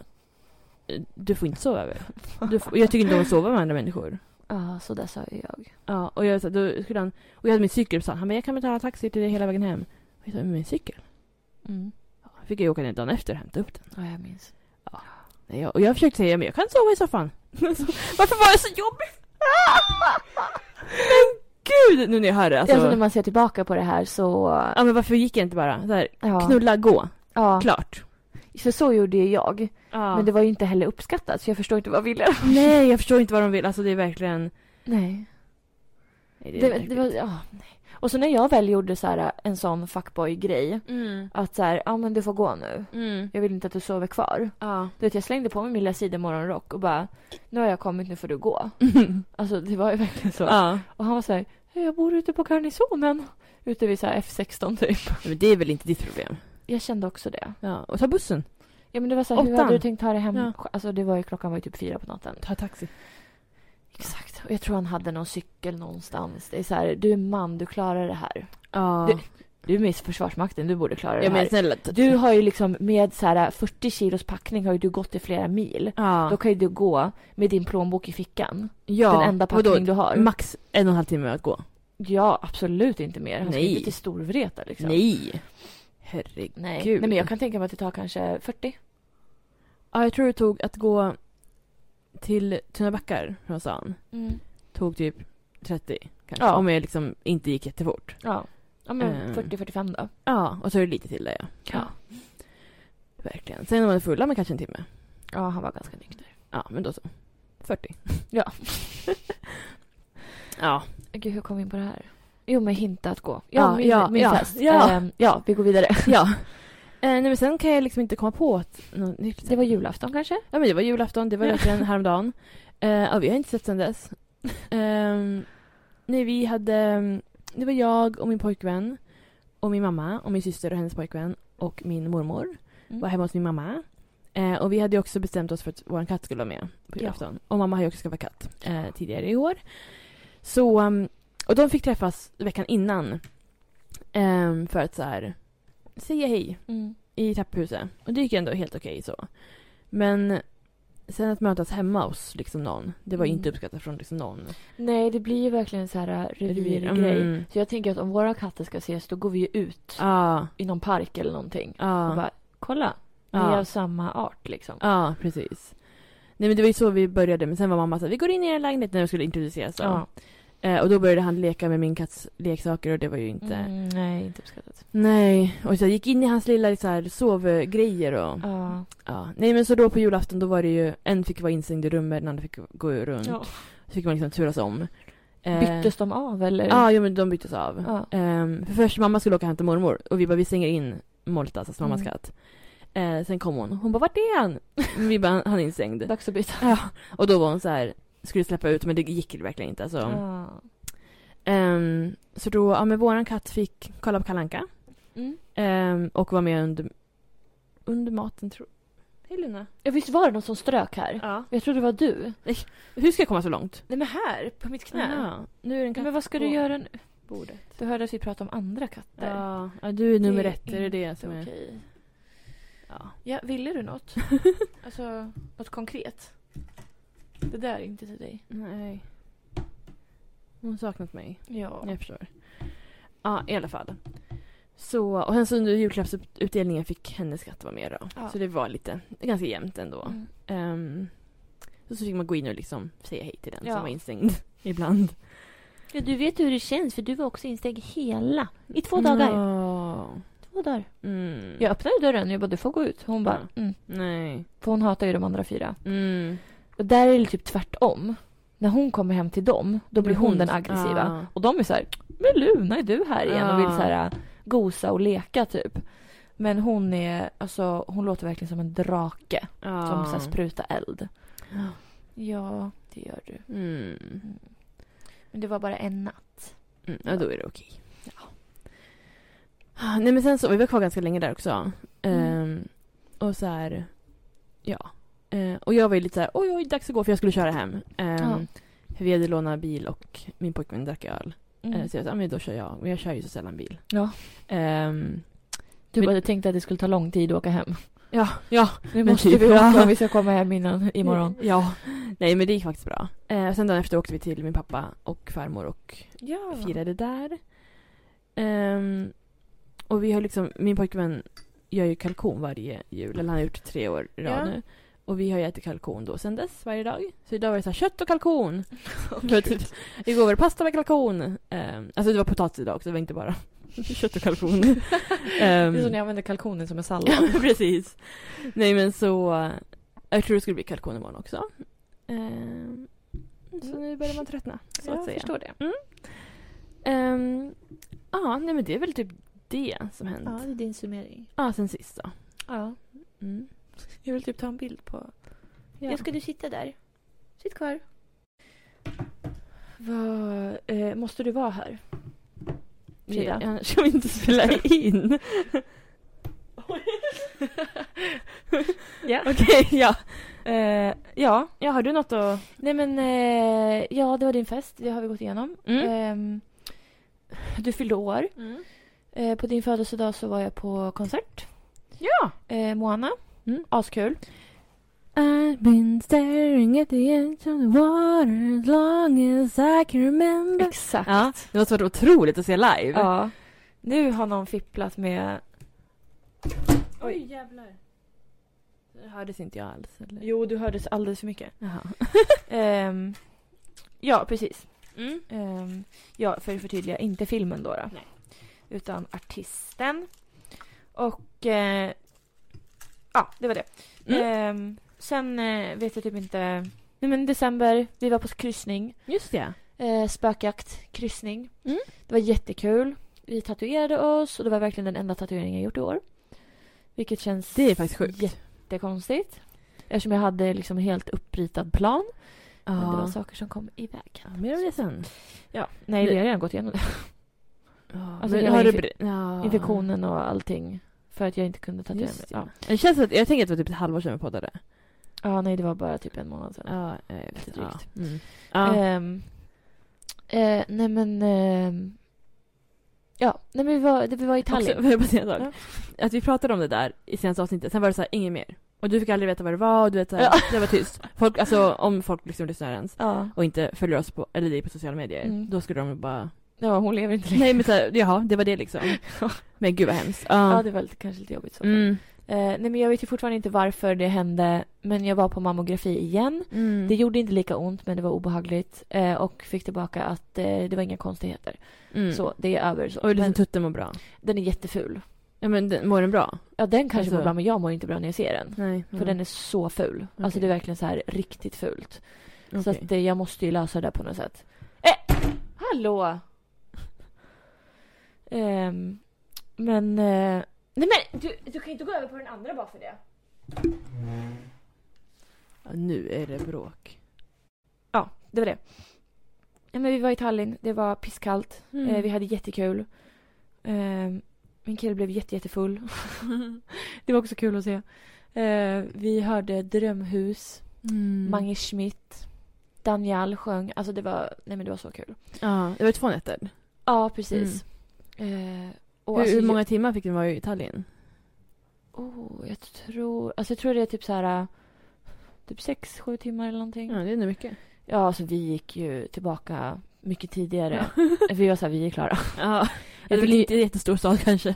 [SPEAKER 2] Du får inte sova över. Du får... Jag tycker inte om att sova med andra människor.
[SPEAKER 1] ja, så där sa ju jag.
[SPEAKER 2] Ja. Och jag sa, då skulle han Och jag hade min cykel sa han, han bara, jag kan väl ta taxi till dig hela vägen hem. Och jag sa, men min cykel?
[SPEAKER 1] Mm.
[SPEAKER 2] Ja, fick jag åka ner dagen efter och hämta upp den.
[SPEAKER 1] Ja, jag minns.
[SPEAKER 2] Nej, jag... Och jag försökte säga, men jag kan sova i soffan. Så, Varför var det så jobbigt? men gud! Nu när jag hör det
[SPEAKER 1] Alltså,
[SPEAKER 2] alltså.
[SPEAKER 1] när man ser tillbaka på det här så...
[SPEAKER 2] Ja men varför gick jag inte bara? Så här,
[SPEAKER 1] Ja.
[SPEAKER 2] Knulla, gå.
[SPEAKER 1] ja.
[SPEAKER 2] Klart.
[SPEAKER 1] Så, så gjorde ju jag.
[SPEAKER 2] Ja.
[SPEAKER 1] Men det var ju inte heller uppskattat så jag förstår inte vad jag ville.
[SPEAKER 2] Nej, jag förstår inte vad de vill. Alltså det är verkligen...
[SPEAKER 1] Nej.
[SPEAKER 2] Nej,
[SPEAKER 1] Det, det var, ja, nej. Och så när jag väl gjorde så här, en sån fuckboy-grej.
[SPEAKER 2] Mm.
[SPEAKER 1] Att så här, ja men du får gå nu.
[SPEAKER 2] Mm.
[SPEAKER 1] Jag vill inte att du sover kvar.
[SPEAKER 2] Ja.
[SPEAKER 1] Du vet, jag slängde på mig min lilla sidenmorgonrock och bara, nu har jag kommit, nu får du gå. Alltså det var ju verkligen så.
[SPEAKER 2] ja.
[SPEAKER 1] Och han var så här, "Hej, jag bor ute på garnisonen. Ute vid så här F16 typ.
[SPEAKER 2] Men det är väl inte ditt problem?
[SPEAKER 1] Jag kände också det.
[SPEAKER 2] Ja. Och ta bussen.
[SPEAKER 1] Ja men det var så här, hur
[SPEAKER 2] Åttan.
[SPEAKER 1] hade du tänkt ta dig hem?
[SPEAKER 2] Ja.
[SPEAKER 1] Alltså det var ju, klockan var ju typ fyra på natten.
[SPEAKER 2] Ta taxi.
[SPEAKER 1] Exakt. Och jag tror han hade någon cykel någonstans. Det är så här, du är man, du klarar det här.
[SPEAKER 2] Ja.
[SPEAKER 1] Det- du är med i Försvarsmakten, du borde klara
[SPEAKER 2] Ja
[SPEAKER 1] det här.
[SPEAKER 2] men snälla. t-
[SPEAKER 1] Du har ju liksom med så här 40 kilos packning har ju du gått i flera mil.
[SPEAKER 2] ja.
[SPEAKER 1] Då kan ju du gå med din plånbok i fickan.
[SPEAKER 2] ja.
[SPEAKER 1] Den enda
[SPEAKER 2] vadå?
[SPEAKER 1] packning du har.
[SPEAKER 2] Max en och en halv timme att gå.
[SPEAKER 1] ja, absolut inte mer. Han ska
[SPEAKER 2] Nej.
[SPEAKER 1] inte till Storvreta liksom.
[SPEAKER 2] Nej. Herregud.
[SPEAKER 1] Nej.
[SPEAKER 2] Gud.
[SPEAKER 1] Nej, men jag kan tänka mig att det tar kanske 40.
[SPEAKER 2] Ja, jag tror det tog att gå till Tunabackar från stan. Tog typ 30 kanske.
[SPEAKER 1] Ja.
[SPEAKER 2] Om jag liksom inte gick jättefort.
[SPEAKER 1] Ja. Ja, men
[SPEAKER 2] Eh.
[SPEAKER 1] 40-45 då.
[SPEAKER 2] Ja, och så är det lite till där ja.
[SPEAKER 1] Ja.
[SPEAKER 2] Verkligen. Sen när man är fulla men kanske en timme.
[SPEAKER 1] ja, han var ganska nykter.
[SPEAKER 2] Ja, men då så. 40.
[SPEAKER 1] Ja.
[SPEAKER 2] ja.
[SPEAKER 1] Gud, hur kom vi in på det här? Jo, men hinta att gå. Ja,
[SPEAKER 2] Ja,
[SPEAKER 1] min,
[SPEAKER 2] ja,
[SPEAKER 1] min
[SPEAKER 2] ja,
[SPEAKER 1] fest.
[SPEAKER 2] ja.
[SPEAKER 1] Ehm, ja, vi går vidare.
[SPEAKER 2] ja. Eh, nej, men sen kan jag liksom inte komma på att något nytt.
[SPEAKER 1] Det var julafton kanske?
[SPEAKER 2] Ja, men det var julafton. Det var
[SPEAKER 1] Ja.
[SPEAKER 2] verkligen häromdagen. Eh, ja, vi har inte sett sen dess. Ehm, nej, vi hade... ehm, Det var jag och min pojkvän och min mamma och min syster och hennes pojkvän och min mormor
[SPEAKER 1] Mm.
[SPEAKER 2] var hemma hos min mamma. Eh, och vi hade ju också bestämt oss för att vår katt skulle vara med på
[SPEAKER 1] Ja.
[SPEAKER 2] julafton. Och mamma har ju också skaffat katt eh, tidigare i år. Så, um, och de fick träffas veckan innan. ehm, för att så här säga hej
[SPEAKER 1] Mm.
[SPEAKER 2] i trapphuset. Och det gick ju ändå helt okej så. Men sen att mötas hemma hos liksom någon, det var ju
[SPEAKER 1] Mm.
[SPEAKER 2] inte uppskattat från liksom någon.
[SPEAKER 1] Nej, det blir ju verkligen så här äh, revirgrej.
[SPEAKER 2] Mm.
[SPEAKER 1] Så jag tänker att om våra katter ska ses, då går vi ju ut
[SPEAKER 2] Ja,
[SPEAKER 1] i någon park eller någonting. Och
[SPEAKER 2] ja,
[SPEAKER 1] bara, kolla, ni är
[SPEAKER 2] ja.
[SPEAKER 1] av samma art liksom.
[SPEAKER 2] Ja, precis. Nej men det var ju så vi började, men sen var mamma så här, vi går in i er lägenhet när vi skulle introduceras. Då.
[SPEAKER 1] Ja.
[SPEAKER 2] Eh, och då började han leka med min katts leksaker och det var ju inte...
[SPEAKER 1] Mm, nej, inte uppskattat.
[SPEAKER 2] Nej, och så jag gick in i hans lilla så här, sovgrejer och...
[SPEAKER 1] Ja.
[SPEAKER 2] Ja. Nej men så då på julafton då var det ju, en fick vara instängd i rummet, den andra fick gå runt. Så fick man liksom turas om. Eh,
[SPEAKER 1] Byttes de av eller?
[SPEAKER 2] Ja, jo, men de byttes av.
[SPEAKER 1] Ja.
[SPEAKER 2] Ehm, för först mamma skulle åka och hämta mormor och vi bara vi stänger in Moltas, alltså mammas
[SPEAKER 1] Mm.
[SPEAKER 2] katt. Eh, sen kom hon, hon bara vart är han? vi bara han är instängd.
[SPEAKER 1] Dags att byta.
[SPEAKER 2] Ja, och då var hon så här, skulle släppa ut men det gick verkligen inte. Alltså.
[SPEAKER 1] Ja.
[SPEAKER 2] Ehm, så då, ja men våran katt fick kolla på Kalle Anka
[SPEAKER 1] Mm.
[SPEAKER 2] ehm, och var med under, under maten tror Hej Luna.
[SPEAKER 1] Ja, visst var det någon som strök här?
[SPEAKER 2] Ja.
[SPEAKER 1] Jag tror det var du.
[SPEAKER 2] Hur ska jag komma så långt?
[SPEAKER 1] Nej, men här, på mitt
[SPEAKER 2] Ja, nu är det en
[SPEAKER 1] Ja,
[SPEAKER 2] katt
[SPEAKER 1] men vad ska du
[SPEAKER 2] på
[SPEAKER 1] göra nu?
[SPEAKER 2] bordet.
[SPEAKER 1] Du hörde att vi pratade om andra katter.
[SPEAKER 2] Ja, ja, du är nummer
[SPEAKER 1] Det
[SPEAKER 2] ett, är det det som är...
[SPEAKER 1] Okej.
[SPEAKER 2] Ja.
[SPEAKER 1] Ja, ville du något? alltså, något konkret? Det där är inte till dig.
[SPEAKER 2] Nej. Hon har saknat mig.
[SPEAKER 1] Ja.
[SPEAKER 2] Jag förstår. Ja, i alla fall. Så, och sen så under julklappsutdelningen fick hennes katt vara med då.
[SPEAKER 1] Ja.
[SPEAKER 2] Så det var lite, ganska jämnt ändå.
[SPEAKER 1] Mm.
[SPEAKER 2] Ehm, så, så fick man gå in och liksom säga hej till den
[SPEAKER 1] Ja.
[SPEAKER 2] som var instängd ibland.
[SPEAKER 1] Ja, du vet hur det känns för du var också instängd hela. I två
[SPEAKER 2] Ja.
[SPEAKER 1] Två dagar.
[SPEAKER 2] Mm.
[SPEAKER 1] Mm. Jag öppnade dörren och jag bara du får gå ut. Hon bara mm.
[SPEAKER 2] Nej.
[SPEAKER 1] För hon hatar ju de andra fyra.
[SPEAKER 2] Mm.
[SPEAKER 1] Och där är det typ tvärtom. När hon kommer hem till dem, då blir
[SPEAKER 2] Men
[SPEAKER 1] hon
[SPEAKER 2] hon-
[SPEAKER 1] den aggressiva.
[SPEAKER 2] Ja.
[SPEAKER 1] Och de är så här, men Luna är du här igen? Och vill
[SPEAKER 2] Ja.
[SPEAKER 1] så här äh, gosa och leka typ. Men hon är, alltså hon låter verkligen som en drake
[SPEAKER 2] Ja.
[SPEAKER 1] som så här sprutar eld.
[SPEAKER 2] Ja.
[SPEAKER 1] Ja, det gör du.
[SPEAKER 2] Mm.
[SPEAKER 1] Men det var bara en natt.
[SPEAKER 2] Mm, ja, då är det okej. Ah, Nej, men sen så, vi var kvar ganska länge där också.
[SPEAKER 1] Mm.
[SPEAKER 2] Ehm, och så här, ja. Eh, och jag var ju lite så här, oj, oj, dags att gå för jag skulle köra hem. Ehm,
[SPEAKER 1] Ja.
[SPEAKER 2] För vi hade lånat bil och min pojkvän drack öl.
[SPEAKER 1] Mm.
[SPEAKER 2] Eh, så jag sa, "Ah, men då kör jag. Men jag kör ju så sällan bil.
[SPEAKER 1] Ja.
[SPEAKER 2] Ehm,
[SPEAKER 1] Du
[SPEAKER 2] men-
[SPEAKER 1] bara tänkte att det skulle ta lång tid att åka hem.
[SPEAKER 2] ja, ja.
[SPEAKER 1] Nu
[SPEAKER 2] Men
[SPEAKER 1] måste
[SPEAKER 2] typ,
[SPEAKER 1] vi åka
[SPEAKER 2] ja.
[SPEAKER 1] om vi ska komma hem innan imorgon.
[SPEAKER 2] Ja. Nej, men det gick faktiskt bra. Eh, sen dagen efter åkte vi till min pappa och farmor och
[SPEAKER 1] Ja.
[SPEAKER 2] firade där. Ehm, och vi har liksom, min pojkvän gör ju kalkon varje jul, eller han har gjort tre år i rad
[SPEAKER 1] Ja.
[SPEAKER 2] nu. Och vi har ju ätit kalkon då sen dess varje dag. Så idag var det så här, kött och kalkon. För typ, igår var det pasta med kalkon. Ehm, alltså det var potatis idag också, det var inte bara kött och kalkon. Ehm,
[SPEAKER 1] Det är som när jag använder kalkonen som en sallad.
[SPEAKER 2] Ja, precis. Nej men så, eh, jag tror det skulle bli kalkon imorgon också. Ehm,
[SPEAKER 1] Mm.
[SPEAKER 2] så nu börjar man tröttna, så att säga.
[SPEAKER 1] det.
[SPEAKER 2] Ehm, Ja, nej men det är väl typ det som hänt.
[SPEAKER 1] Ja,
[SPEAKER 2] Ja,
[SPEAKER 1] det är din summering.
[SPEAKER 2] sen sist då.
[SPEAKER 1] Ja.
[SPEAKER 2] Mm.
[SPEAKER 1] Jag vill typ ta en bild på...
[SPEAKER 2] Ja.
[SPEAKER 1] ska du sitta där. Sitt kvar. Vad... Eh, måste du vara här?
[SPEAKER 2] Vi,
[SPEAKER 1] Frida.
[SPEAKER 2] annars kan vi inte spela in.
[SPEAKER 1] Ja.
[SPEAKER 2] Okej, ja.
[SPEAKER 1] Eh, ja.
[SPEAKER 2] ja. Har du något att...
[SPEAKER 1] Nej men... Eh, Mm. ja, det var din fest. Det har vi gått igenom. Ehm, du fyllde år.
[SPEAKER 2] Mm.
[SPEAKER 1] Eh, Eh, på din födelsedag så var jag på konsert.
[SPEAKER 2] Ja!
[SPEAKER 1] Eh, Moana.
[SPEAKER 2] Mm.
[SPEAKER 1] Askul.
[SPEAKER 2] I've been staring at the edge of the water as long as I can remember
[SPEAKER 1] Exakt.
[SPEAKER 2] Ja, det måste varit otroligt att se live.
[SPEAKER 1] Ja. Nu har någon fipplat med... Oj,
[SPEAKER 2] jävlar. Det hördes inte jag alls. Eller?
[SPEAKER 1] Jo, du hördes alldeles för mycket.
[SPEAKER 2] Jaha.
[SPEAKER 1] Ehm, ja, precis.
[SPEAKER 2] Mm.
[SPEAKER 1] Ehm, ja, för att förtydliga, inte filmen då. då
[SPEAKER 2] Nej.
[SPEAKER 1] Utan artisten. Och... Eh, ja, det var det.
[SPEAKER 2] Mm.
[SPEAKER 1] Ehm, sen eh, vet jag typ inte... Nej, men december, vi var på kryssning.
[SPEAKER 2] Just det.
[SPEAKER 1] Eh, spökjakt, kryssning.
[SPEAKER 2] Mm.
[SPEAKER 1] Det var jättekul. Vi tatuerade oss och det var verkligen den enda tatueringen jag gjort i år. Vilket känns
[SPEAKER 2] Det är faktiskt sjukt.
[SPEAKER 1] jättekonstigt. Eftersom jag hade liksom en helt uppritad plan.
[SPEAKER 2] Ja.
[SPEAKER 1] Men det var saker som kom i vägen.
[SPEAKER 2] Ja, mer om det sen.
[SPEAKER 1] Ja, nej, vi
[SPEAKER 2] Det-
[SPEAKER 1] har redan gått igenom det.
[SPEAKER 2] Ja,
[SPEAKER 1] Alltså,
[SPEAKER 2] men
[SPEAKER 1] hela
[SPEAKER 2] har du
[SPEAKER 1] infe-
[SPEAKER 2] bry- ja.
[SPEAKER 1] Infektionen och allting. För att jag inte kunde tatuera mig.
[SPEAKER 2] Just det.
[SPEAKER 1] Ja.
[SPEAKER 2] Det känns att, jag tänker att det var typ ett halvår sedan vi poddade.
[SPEAKER 1] ja, nej, det var bara typ en månad sedan.
[SPEAKER 2] Ja, jag vet inte.
[SPEAKER 1] Drygt.
[SPEAKER 2] Ja. Mm. Ja.
[SPEAKER 1] Ehm, eh, nej, men... ehm, ja, nej, men vi var, vi var i
[SPEAKER 2] Också,
[SPEAKER 1] Tallinn.
[SPEAKER 2] får jag bara säga en sak? Att vi pratade om det där i senaste avsnittet, sen var det så här, inget mer. Och du fick aldrig veta vad det var, och du vet så här,
[SPEAKER 1] Ja.
[SPEAKER 2] det var tyst. Folk, alltså om folk liksom lyssnar ens
[SPEAKER 1] Ja.
[SPEAKER 2] och inte följer oss på, eller dig på sociala medier,
[SPEAKER 1] Mm.
[SPEAKER 2] då skulle de bara
[SPEAKER 1] ja, hon lever inte längre.
[SPEAKER 2] Nej men såhär, jaha, det var det liksom.
[SPEAKER 1] Ja.
[SPEAKER 2] Men gud vad hemskt.
[SPEAKER 1] Ja,
[SPEAKER 2] Ja.
[SPEAKER 1] det var lite, kanske lite jobbigt. Så.
[SPEAKER 2] Mm.
[SPEAKER 1] Eh, nej, men jag vet ju fortfarande inte varför det hände. Men jag var på mammografi igen.
[SPEAKER 2] Mm.
[SPEAKER 1] Det gjorde inte lika ont, men det var obehagligt. Eh, och fick tillbaka att eh, det var inga konstigheter.
[SPEAKER 2] Mm.
[SPEAKER 1] Så det är över. Så.
[SPEAKER 2] Och liksom
[SPEAKER 1] men
[SPEAKER 2] tutten mår bra.
[SPEAKER 1] den är jätteful.
[SPEAKER 2] Ja men den, mår den bra?
[SPEAKER 1] Ja, den kanske
[SPEAKER 2] Alltså-
[SPEAKER 1] mår bra, men jag mår inte bra när jag ser den.
[SPEAKER 2] Nej.
[SPEAKER 1] För den är så ful. Alltså
[SPEAKER 2] Okej.
[SPEAKER 1] det är verkligen så här riktigt fult.
[SPEAKER 2] Mm, Okej.
[SPEAKER 1] Så att eh, jag måste ju lösa det på något sätt. Eh! Hallå! Ehm, men... Eh, nej men du, du kan inte gå över på den andra bara för det.
[SPEAKER 2] Ja, nu är det bråk.
[SPEAKER 1] Ja, det var det. Ja, men vi var i Tallinn, det var pisskallt.
[SPEAKER 2] Mm.
[SPEAKER 1] Eh, vi hade jättekul. Eh, min kille blev jätte, jättefull. det var också kul att se. Eh, vi hörde Drömhus,
[SPEAKER 2] Mm.
[SPEAKER 1] Mange Schmidt, Daniel sjöng. Alltså det var, nej men det var så kul.
[SPEAKER 2] Ja, det var två nätter.
[SPEAKER 1] Ja, precis. Eh, och
[SPEAKER 2] Mm. hur,
[SPEAKER 1] alltså,
[SPEAKER 2] hur många timmar fick den vara i Italien?
[SPEAKER 1] Oh, jag tror, alltså jag tror det är typ så här eh, typ sex, sju timmar eller någonting.
[SPEAKER 2] Ja, det är nog mycket.
[SPEAKER 1] Ja, alltså vi gick ju tillbaka mycket tidigare. vi var så här, vi är klara.
[SPEAKER 2] Ja. Det
[SPEAKER 1] Jag
[SPEAKER 2] är väl
[SPEAKER 1] tycker-
[SPEAKER 2] inte en jättestor stad kanske.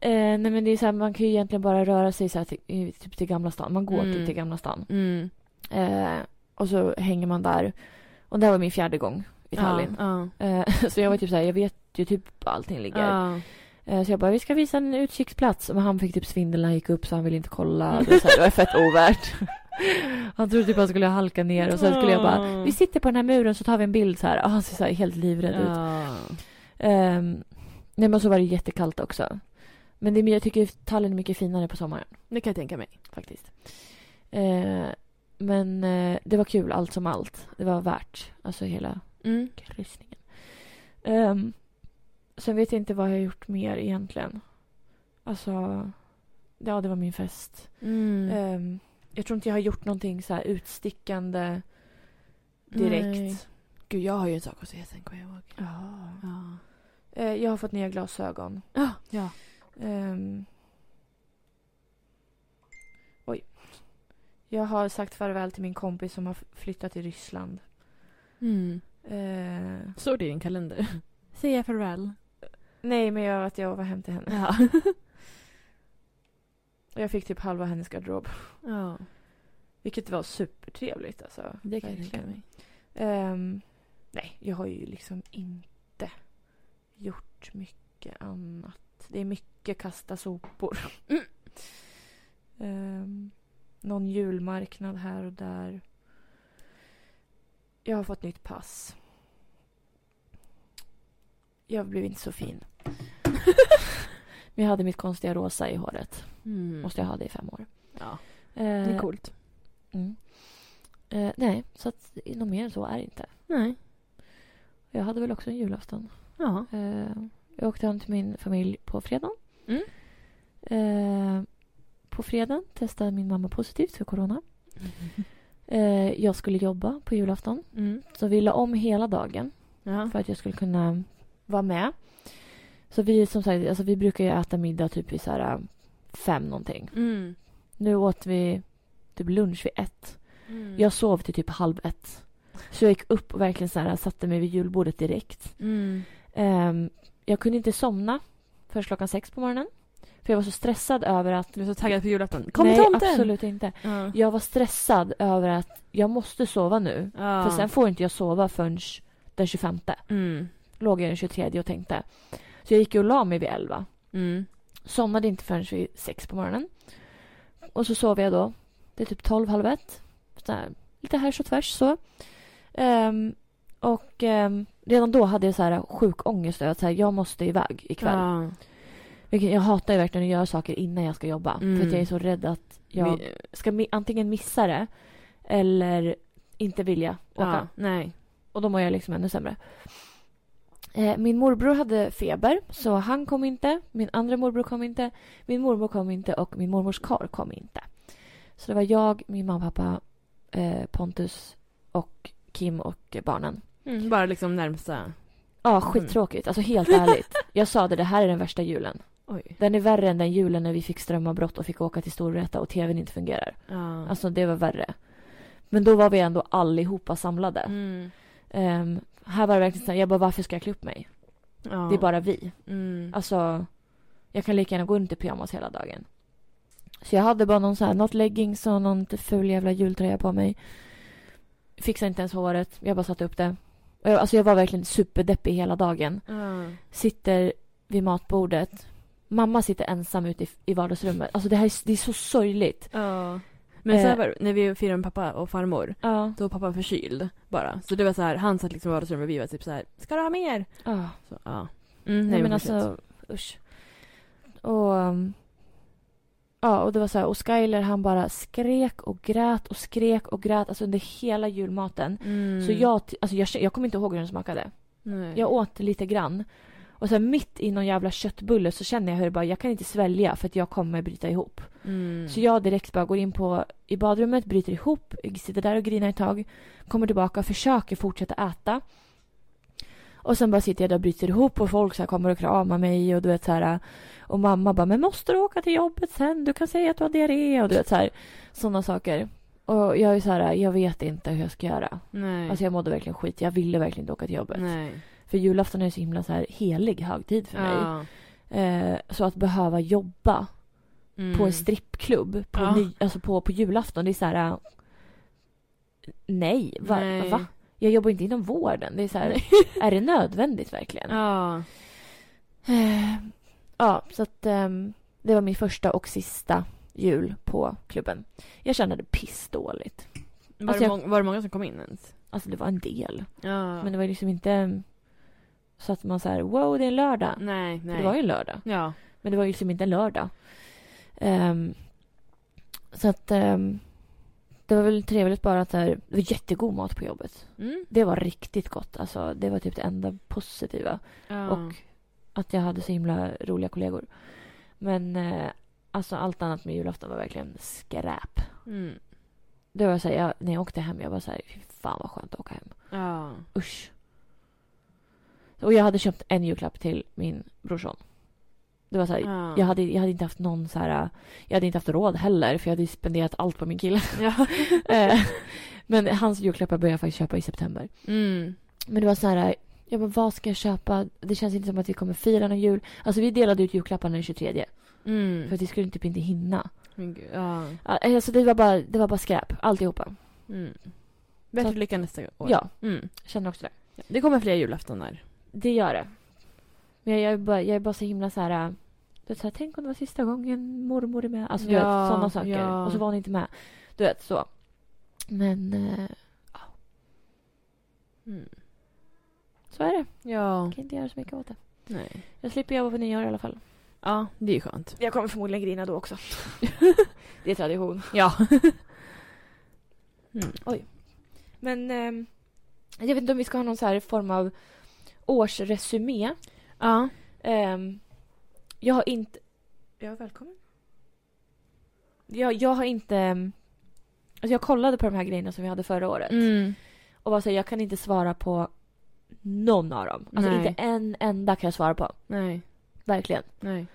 [SPEAKER 1] Eh, nej men det är så här, man kan ju egentligen bara röra sig så här till, i- typ till Gamla stan. Man går
[SPEAKER 2] Mm.
[SPEAKER 1] typ till Gamla stan.
[SPEAKER 2] Mm.
[SPEAKER 1] Eh, och så hänger man där. Och det här var min fjärde gång i Tallinn.
[SPEAKER 2] Ja.
[SPEAKER 1] Eh, så jag var typ så här, jag vet ju typ var allting
[SPEAKER 2] Ja.
[SPEAKER 1] ligger.
[SPEAKER 2] ja.
[SPEAKER 1] Eh, så jag bara, vi ska visa en utkiksplats. Men han fick typ svindel när han gick upp så han ville inte kolla. Det var, så här, det var fett ovärt. Han trodde typ han skulle halka ner och sen skulle jag bara,
[SPEAKER 2] Ja.
[SPEAKER 1] vi sitter på den här muren så tar vi en bild så här. Och han ser så här helt livrädd ut.
[SPEAKER 2] Ja.
[SPEAKER 1] Ehm, nej men så var det jättekallt också. Men det, är- jag tycker Tallinn är mycket finare på sommaren
[SPEAKER 2] Det kan jag tänka mig.
[SPEAKER 1] faktiskt. Eh, men eh, det var kul allt som allt. Det var värt alltså hela
[SPEAKER 2] Mm.
[SPEAKER 1] kryssningen. Um, sen vet jag inte vad jag har gjort mer egentligen. Alltså, ja det var min fest.
[SPEAKER 2] Mm.
[SPEAKER 1] Ehm, jag tror inte jag har gjort någonting så här utstickande direkt.
[SPEAKER 2] Nej. Gud, jag har ju en sak att säga sen kommer jag ihåg.
[SPEAKER 1] Ja.
[SPEAKER 2] Ja.
[SPEAKER 1] Eh, jag har fått nya glasögon.
[SPEAKER 2] Ja. ja.
[SPEAKER 1] Ehm. Oj. Jag har sagt farväl till min kompis som har f- flyttat till Ryssland.
[SPEAKER 2] Mm.
[SPEAKER 1] Eh,
[SPEAKER 2] Står det i din kalender? Säga farväl.
[SPEAKER 1] nej, men jag, att jag var hem till henne.
[SPEAKER 2] Ja.
[SPEAKER 1] Och jag fick typ halva hennes garderob.
[SPEAKER 2] ja.
[SPEAKER 1] Vilket var supertrevligt alltså.
[SPEAKER 2] Det kan jag
[SPEAKER 1] Verkligen.
[SPEAKER 2] tänka mig.
[SPEAKER 1] Ehm, nej, jag har ju liksom inte gjort mycket annat. Det är mycket kasta sopor.
[SPEAKER 2] Mm.
[SPEAKER 1] Ehm, någon julmarknad här och där. Jag har fått nytt pass. Jag blev inte så fin. Men jag hade mitt konstiga rosa i håret.
[SPEAKER 2] Mm. Eh,
[SPEAKER 1] Måste jag ha det i fem år.
[SPEAKER 2] Ja, det
[SPEAKER 1] Ehm,
[SPEAKER 2] är coolt.
[SPEAKER 1] mm. Ehm, nej, så att något mer än så är det inte.
[SPEAKER 2] Nej.
[SPEAKER 1] Jag hade väl också en julafton.
[SPEAKER 2] Ja.
[SPEAKER 1] Eh, jag åkte hem till min familj på fredagen.
[SPEAKER 2] Mm.
[SPEAKER 1] Eh, på fredagen testade min mamma positivt för corona. Eh, jag skulle jobba på julafton.
[SPEAKER 2] Mm.
[SPEAKER 1] Så vi la om hela dagen
[SPEAKER 2] Ja.
[SPEAKER 1] för att jag skulle kunna vara med. Så vi som sagt, alltså vi brukar ju äta middag typ vid så här äh, fem någonting.
[SPEAKER 2] Mm.
[SPEAKER 1] Nu åt vi typ lunch vid ett.
[SPEAKER 2] Mm.
[SPEAKER 1] Jag sov till typ halv ett. Så jag gick upp och verkligen så här, satte mig vid julbordet direkt.
[SPEAKER 2] Mm.
[SPEAKER 1] Ehm, jag kunde inte somna förrän klockan sex på morgonen. För jag var så stressad över att...
[SPEAKER 2] Du är så taggad på julafton. Kom
[SPEAKER 1] Nej,
[SPEAKER 2] tomten!
[SPEAKER 1] absolut inte.
[SPEAKER 2] Ja.
[SPEAKER 1] Jag var stressad över att jag måste sova nu.
[SPEAKER 2] Ja.
[SPEAKER 1] För sen får inte jag sova förrän den 25.
[SPEAKER 2] Mm.
[SPEAKER 1] Låg jag den 23 och tänkte. Så jag gick ju och la mig vid 11.
[SPEAKER 2] Mm.
[SPEAKER 1] Somnade inte förrän vid sex på morgonen. Och så sov jag då. Det är typ 12, halv ett. Så här, Lite härs och tvärs så. Ehm, och ehm, redan då hade jag så här sjuk ångest över att så här, jag måste iväg ikväll.
[SPEAKER 2] Ja.
[SPEAKER 1] Vilket jag hatar ju verkligen att göra saker innan jag ska jobba.
[SPEAKER 2] Mm.
[SPEAKER 1] För att jag är så rädd att jag
[SPEAKER 2] Vi-
[SPEAKER 1] ska mi- antingen missa det eller inte vilja åka.
[SPEAKER 2] ja. Nej.
[SPEAKER 1] Och då mår jag liksom ännu sämre. Eh, Min morbror hade feber, så han kom inte. Min andra morbror kom inte. Min mormor kom inte och min mormors karl kom inte. Så det var jag, min mamma, pappa, eh, Pontus och Kim och eh, barnen.
[SPEAKER 2] Mm. Bara liksom närmsta... Mm.
[SPEAKER 1] Ja, skittråkigt. Alltså helt ärligt. Jag sa det, det här är den värsta julen.
[SPEAKER 2] Oj.
[SPEAKER 1] Den är värre än den julen när vi fick strömavbrott och fick åka till Storvreta och tvn inte fungerar.
[SPEAKER 2] Ja.
[SPEAKER 1] Alltså det var värre. Men då var vi ändå allihopa samlade.
[SPEAKER 2] Mm.
[SPEAKER 1] Ehm, här var det verkligen så här, jag bara varför ska jag klä upp mig?
[SPEAKER 2] Ja.
[SPEAKER 1] Det är bara vi.
[SPEAKER 2] Mm.
[SPEAKER 1] Alltså, jag kan lika gärna gå runt i pyjamas hela dagen. Så jag hade bara någon så här, något leggings och någon ful jävla jultröja på mig. Fixade inte ens håret, jag bara satte upp det. Och jag, alltså jag var verkligen superdeppig hela dagen.
[SPEAKER 2] Ja.
[SPEAKER 1] Sitter vid matbordet. Mamma sitter ensam ute i, i vardagsrummet. Alltså det här är, s- det är så sorgligt.
[SPEAKER 2] Ja. Men så här
[SPEAKER 1] Eh.
[SPEAKER 2] var det, när vi firade med pappa och farmor,
[SPEAKER 1] Ja.
[SPEAKER 2] då var pappa förkyld bara. Så det var så här, han satt liksom i vardagsrummet och vi var typ så här, ska du ha mer?
[SPEAKER 1] Ah.
[SPEAKER 2] Så, ja. Mm,
[SPEAKER 1] Nej men
[SPEAKER 2] förkyld.
[SPEAKER 1] alltså, usch. Och... um, Ja, och det var så här, och Skyler han bara skrek och grät och skrek och grät alltså under hela julmaten.
[SPEAKER 2] Mm.
[SPEAKER 1] Så jag, t- alltså jag, kä- jag kommer inte ihåg hur den smakade.
[SPEAKER 2] Nej.
[SPEAKER 1] Jag åt lite grann. Och sen mitt i någon jävla köttbulle så känner jag hur det bara, jag kan inte svälja för att jag kommer bryta ihop.
[SPEAKER 2] Mm.
[SPEAKER 1] Så jag direkt bara går in på, i badrummet, bryter ihop, sitter där och grinar ett tag. Kommer tillbaka, försöker fortsätta äta. Och sen bara sitter jag där och bryter ihop och folk så här kommer och kramar mig och du vet så här. Och mamma bara, men måste du åka till jobbet sen? Du kan säga att du har diarré och du vet så här. Sådana saker. Och jag är så här, jag vet inte hur jag ska göra.
[SPEAKER 2] Nej.
[SPEAKER 1] Alltså jag mådde verkligen skit. Jag ville verkligen inte åka till jobbet.
[SPEAKER 2] Nej. typ.
[SPEAKER 1] För julafton är ju så himla så här helig högtid för mig.
[SPEAKER 2] Ja.
[SPEAKER 1] Eh, så att behöva jobba
[SPEAKER 2] Mm.
[SPEAKER 1] på en strippklubb på,
[SPEAKER 2] Ja.
[SPEAKER 1] ny, alltså på, på julafton, det är så här... eh, Nej, va,
[SPEAKER 2] Nej.
[SPEAKER 1] va? Jag jobbar inte inom vården. Det är så här, är det nödvändigt verkligen?
[SPEAKER 2] Ja.
[SPEAKER 1] Eh, ja, så att ehm, det var min första och sista jul på klubben. Jag kände pissdåligt.
[SPEAKER 2] Var,
[SPEAKER 1] Alltså
[SPEAKER 2] det
[SPEAKER 1] jag-
[SPEAKER 2] mång- var det många som kom in ens?
[SPEAKER 1] Alltså det var en del.
[SPEAKER 2] Ja.
[SPEAKER 1] Men det var ju liksom inte mm, så att man så här, wow, det är en lördag.
[SPEAKER 2] nej, nej.
[SPEAKER 1] För det var ju en lördag.
[SPEAKER 2] Ja.
[SPEAKER 1] Men det var ju liksom inte en lördag. Ehm, så att ehm, det var väl trevligt bara att det, här, det var jättegod mat på jobbet.
[SPEAKER 2] Mm.
[SPEAKER 1] Det var riktigt gott. Alltså, det var typ det enda positiva.
[SPEAKER 2] Ja.
[SPEAKER 1] Och att jag hade så himla roliga kollegor. Men eh, alltså allt annat med julafton var verkligen skräp.
[SPEAKER 2] Mm.
[SPEAKER 1] Det var så här, jag, när jag åkte hem, jag bara så här, fy fan vad skönt att åka hem.
[SPEAKER 2] Ja.
[SPEAKER 1] Usch. Och jag hade köpt en julklapp till min brorson. Det var så här,
[SPEAKER 2] Ja.
[SPEAKER 1] jag hade, jag hade inte haft någon så här, jag hade inte haft råd heller för jag hade ju spenderat allt på min kille.
[SPEAKER 2] Ja.
[SPEAKER 1] Eh, Men hans julklappar började jag faktiskt köpa i september.
[SPEAKER 2] Mm.
[SPEAKER 1] Men det var så här, jag bara, vad ska jag köpa? Det känns inte som att vi kommer fira någon jul. Alltså vi delade ut julklapparna den 23
[SPEAKER 2] Mm.
[SPEAKER 1] för att vi skulle typ inte hinna.
[SPEAKER 2] Men gud, Ja.
[SPEAKER 1] Ja, Alltså det var bara, det var bara skräp, alltihopa.
[SPEAKER 2] Mm. Bättre
[SPEAKER 1] Så-
[SPEAKER 2] lycka nästa år.
[SPEAKER 1] Ja,
[SPEAKER 2] Mm.
[SPEAKER 1] jag känner också det.
[SPEAKER 2] Det kommer fler julaftonar.
[SPEAKER 1] Det gör det. Men jag, jag, är, bara, jag är bara så himla så här... äh, Du vet, så här Tänk om det var sista gången mormor är med. Alltså, du
[SPEAKER 2] Ja,
[SPEAKER 1] vet, sådana saker.
[SPEAKER 2] ja.
[SPEAKER 1] Och så var hon inte med. Du vet, så. Men eh,
[SPEAKER 2] Mm.
[SPEAKER 1] så är det.
[SPEAKER 2] Ja.
[SPEAKER 1] Jag kan inte göra så mycket åt det.
[SPEAKER 2] Nej.
[SPEAKER 1] Jag slipper jobba på nyår i alla fall.
[SPEAKER 2] Ja, det är ju skönt.
[SPEAKER 1] Jag kommer förmodligen grina då också. det är tradition. Mm.
[SPEAKER 2] Ja.
[SPEAKER 1] Men ehm, jag vet inte om vi ska ha någon så här form av årsresumé.
[SPEAKER 2] Ja.
[SPEAKER 1] Ehm, jag har inte... Ja, välkommen. Jag, jag har inte... ehm, Alltså jag kollade på de här grejerna som vi hade förra året
[SPEAKER 2] Mm.
[SPEAKER 1] och var så här, jag kan inte svara på någon av dem. Alltså
[SPEAKER 2] Nej.
[SPEAKER 1] inte en enda kan jag svara på.
[SPEAKER 2] Nej.
[SPEAKER 1] verkligen.
[SPEAKER 2] Nej.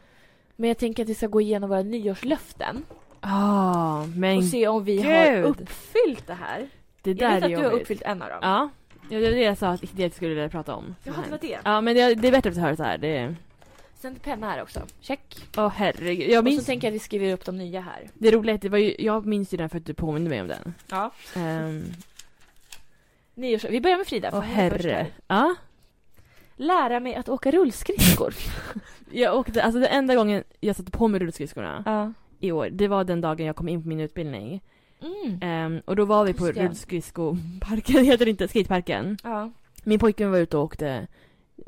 [SPEAKER 1] Men jag tänker att vi ska gå igenom våra nyårslöften
[SPEAKER 2] Ah, men
[SPEAKER 1] och se om vi har
[SPEAKER 2] gud.
[SPEAKER 1] uppfyllt det här.
[SPEAKER 2] det
[SPEAKER 1] jag
[SPEAKER 2] där
[SPEAKER 1] vet
[SPEAKER 2] är
[SPEAKER 1] att du har
[SPEAKER 2] jobbigt.
[SPEAKER 1] uppfyllt en av dem.
[SPEAKER 2] Ja, Ja, det var det jag sa att det skulle vilja prata om.
[SPEAKER 1] Jaha, det var det.
[SPEAKER 2] Ja, men det, det är bättre att höra så här. Det...
[SPEAKER 1] Sen penna här också. Check.
[SPEAKER 2] Åh herregud. Jag
[SPEAKER 1] Och så
[SPEAKER 2] minns,
[SPEAKER 1] tänker jag att vi skriver upp de nya här.
[SPEAKER 2] det roliga är att det var ju, jag minns ju den för att du påminde mig om den.
[SPEAKER 1] Ja.
[SPEAKER 2] Ehm,
[SPEAKER 1] Nyårs... Vi börjar med Frida. för
[SPEAKER 2] Åh
[SPEAKER 1] hon är först
[SPEAKER 2] herre.
[SPEAKER 1] här.
[SPEAKER 2] Ja.
[SPEAKER 1] Lära mig att åka rullskridskor.
[SPEAKER 2] Jag åkte, alltså den enda gången jag satte på mig rullskridskorna
[SPEAKER 1] ja.
[SPEAKER 2] i år, det var den dagen jag kom in på min utbildning.
[SPEAKER 1] Mm.
[SPEAKER 2] Ehm, och då var vi på
[SPEAKER 1] Just det.
[SPEAKER 2] rullskridskoparken, heter det inte, skateparken.
[SPEAKER 1] Ja.
[SPEAKER 2] Min pojkvän var ute och åkte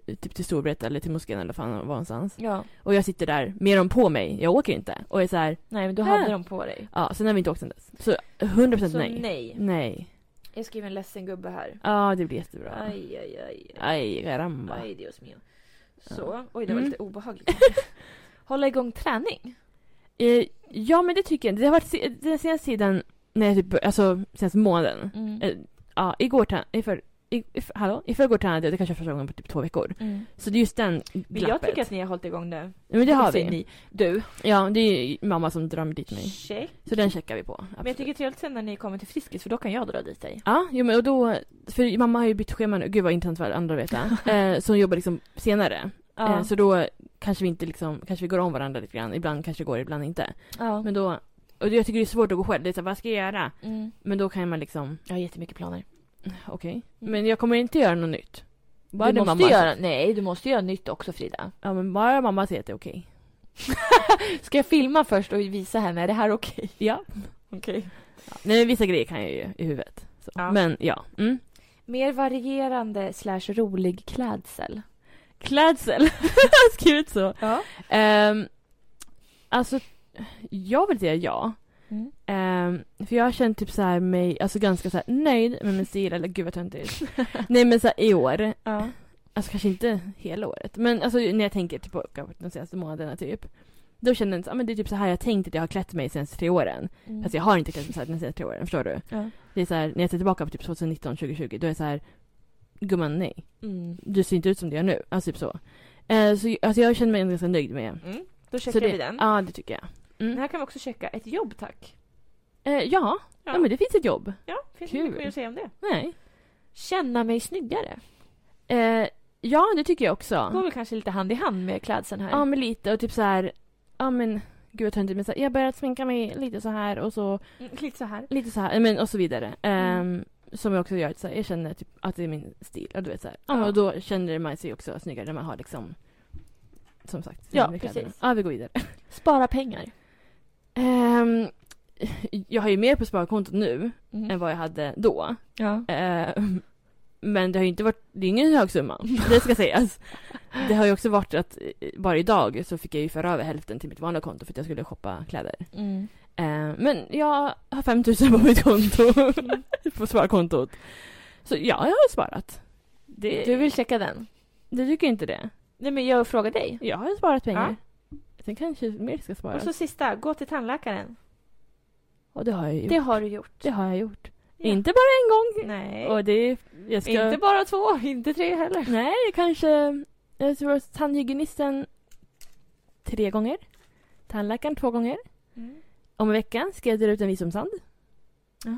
[SPEAKER 2] eh, typ till Storvreta eller till moskén eller fan var någonstans.
[SPEAKER 1] ja.
[SPEAKER 2] Och jag sitter där med dem på mig, jag åker inte. Och är så här,
[SPEAKER 1] Nej, men du
[SPEAKER 2] Äh.
[SPEAKER 1] hade dem på dig.
[SPEAKER 2] ja, sen har vi inte åkt sen dess. Så 100%
[SPEAKER 1] Så
[SPEAKER 2] nej.
[SPEAKER 1] nej.
[SPEAKER 2] Nej.
[SPEAKER 1] Jag skriver en ledsen gubbe här.
[SPEAKER 2] Ja, det blir jättebra. Aj,
[SPEAKER 1] Aj, aj, aj.
[SPEAKER 2] caramba.
[SPEAKER 1] Aj, Dios mio.
[SPEAKER 2] Ja.
[SPEAKER 1] Så. Oj, det var
[SPEAKER 2] Mm.
[SPEAKER 1] lite obehagligt. kanske. Hålla igång träning.
[SPEAKER 2] Eh, ja, men det tycker jag. Det har varit se- den senaste tiden, när jag typ, alltså senaste månaden.
[SPEAKER 1] Mm.
[SPEAKER 2] Eh, Ja, igår tränade, i, för, i, i, för- hallå? I förrgår tränade jag, det kanske är första gången på typ två veckor.
[SPEAKER 1] Mm.
[SPEAKER 2] Så det är just den glappet.
[SPEAKER 1] Men jag tycker att ni har hållit igång nu.
[SPEAKER 2] Ja, men det har
[SPEAKER 1] Säger
[SPEAKER 2] vi.
[SPEAKER 1] Ni. Du,
[SPEAKER 2] Ja, det är ju mamma som drömmer dit mig.
[SPEAKER 1] check.
[SPEAKER 2] Så den checkar vi på. Absolut.
[SPEAKER 1] Men jag tycker det är trevligt sen när ni kommer till Friskis för då kan jag dra dit dig.
[SPEAKER 2] Ja, jo, men och då, för mamma har ju bytt schema nu, gud vad intressant för andra att veta. eh, så hon jobbar liksom senare. Eh, så då kanske vi inte liksom, kanske vi går om varandra lite grann. Ibland kanske det går, ibland inte.
[SPEAKER 1] ja.
[SPEAKER 2] Men då, och jag tycker det är svårt att gå själv. Det är så här, vad ska jag göra?
[SPEAKER 1] Mm.
[SPEAKER 2] Men då kan man liksom,
[SPEAKER 1] Jag har jättemycket planer.
[SPEAKER 2] okej. Men jag kommer inte göra något nytt. Bara
[SPEAKER 1] du
[SPEAKER 2] det
[SPEAKER 1] måste
[SPEAKER 2] mamma
[SPEAKER 1] göra, nej, du måste göra nytt också Frida.
[SPEAKER 2] Ja men bara mamma säger att det är okej.
[SPEAKER 1] Ska jag filma först och visa henne, är det här okej?
[SPEAKER 2] Ja.
[SPEAKER 1] Okej.
[SPEAKER 2] ja. Nej men vissa grejer kan jag ju i huvudet. Så.
[SPEAKER 1] Ja.
[SPEAKER 2] Men ja. Mm.
[SPEAKER 1] Mer varierande slash rolig klädsel.
[SPEAKER 2] Klädsel. jag har skrivit så.
[SPEAKER 1] Ja.
[SPEAKER 2] Ehm, alltså, jag vill säga ja.
[SPEAKER 1] Mm.
[SPEAKER 2] Ehm, för jag har känt typ så här mig, alltså ganska så här nöjd med min stil, eller gud vad töntigt. Nej men så här, i år,
[SPEAKER 1] ja.
[SPEAKER 2] alltså kanske inte hela året, men alltså när jag tänker tillbaka på de senaste månaderna typ. Då känner jag att ah, men det är typ så här jag tänkt att jag har klätt mig de senaste tre åren.
[SPEAKER 1] Mm.
[SPEAKER 2] Fast jag har inte klätt mig så här de senaste tre åren, förstår du?
[SPEAKER 1] Ja.
[SPEAKER 2] Det är så här, när jag ser tillbaka på typ 2019, 2020, då är jag så här, gumman nej,
[SPEAKER 1] Mm.
[SPEAKER 2] du ser inte ut som du gör nu. Alltså typ så. Eh, så alltså, jag känner mig ändå ganska nöjd med
[SPEAKER 1] Mm. Då
[SPEAKER 2] så
[SPEAKER 1] checkar
[SPEAKER 2] det,
[SPEAKER 1] vi den.
[SPEAKER 2] Ja, det tycker jag. Mm.
[SPEAKER 1] Den här kan vi också checka. Ett jobb tack.
[SPEAKER 2] Eh, ja. ja, men det finns ett jobb.
[SPEAKER 1] Ja, finns
[SPEAKER 2] Kul.
[SPEAKER 1] det mycket mer att säga om det.
[SPEAKER 2] Nej.
[SPEAKER 1] Känna mig snyggare.
[SPEAKER 2] Eh, ja, det tycker jag
[SPEAKER 1] Går
[SPEAKER 2] också.
[SPEAKER 1] väl kanske lite hand i hand med klädseln här.
[SPEAKER 2] Ja, men lite och typ så här. Ja, men gud vad töntigt, men så här, jag börjar sminka mig lite så här och så
[SPEAKER 1] Mm, lite så här.
[SPEAKER 2] lite så här, eh, men och så vidare. Ehm,
[SPEAKER 1] Mm.
[SPEAKER 2] som jag också gör, så här, jag känner typ att det är min stil. Och du vet så här. Ja,
[SPEAKER 1] Ja.
[SPEAKER 2] och då känner man sig också snyggare när man har liksom som sagt.
[SPEAKER 1] Ja,
[SPEAKER 2] kläderna.
[SPEAKER 1] precis.
[SPEAKER 2] Ja, vi går vidare.
[SPEAKER 1] Spara pengar.
[SPEAKER 2] Ehm, jag har ju mer på sparkontot nu än
[SPEAKER 1] Mm.
[SPEAKER 2] vad jag hade då.
[SPEAKER 1] Ja.
[SPEAKER 2] Ehm, men det har ju inte varit, det är ingen hög summa, det ska sägas. Det har ju också varit att eh, bara idag så fick jag ju föra över hälften till mitt vanliga konto för att jag skulle shoppa kläder.
[SPEAKER 1] Mm.
[SPEAKER 2] Ehm, men jag har 5000 på mitt konto, på sparkontot. Så ja, jag har sparat. Det,
[SPEAKER 1] Du vill checka den?
[SPEAKER 2] du tycker inte det?
[SPEAKER 1] Nej, men jag frågar dig.
[SPEAKER 2] Jag har sparat pengar. Sen kanske mer ska sparas.
[SPEAKER 1] Och så sista, gå till tandläkaren.
[SPEAKER 2] Och det har jag ju gjort.
[SPEAKER 1] Det
[SPEAKER 2] Det,
[SPEAKER 1] har du gjort.
[SPEAKER 2] har jag gjort.
[SPEAKER 1] Ja.
[SPEAKER 2] Inte bara en gång.
[SPEAKER 1] Nej.
[SPEAKER 2] Och det, jag ska...
[SPEAKER 1] Inte bara två, inte tre heller.
[SPEAKER 2] Nej, kanske... Jag tror att tandhygienisten tre gånger. Tandläkaren två gånger.
[SPEAKER 1] Mm.
[SPEAKER 2] Om en vecka ska jag dra ut en visumsand.
[SPEAKER 1] Ja.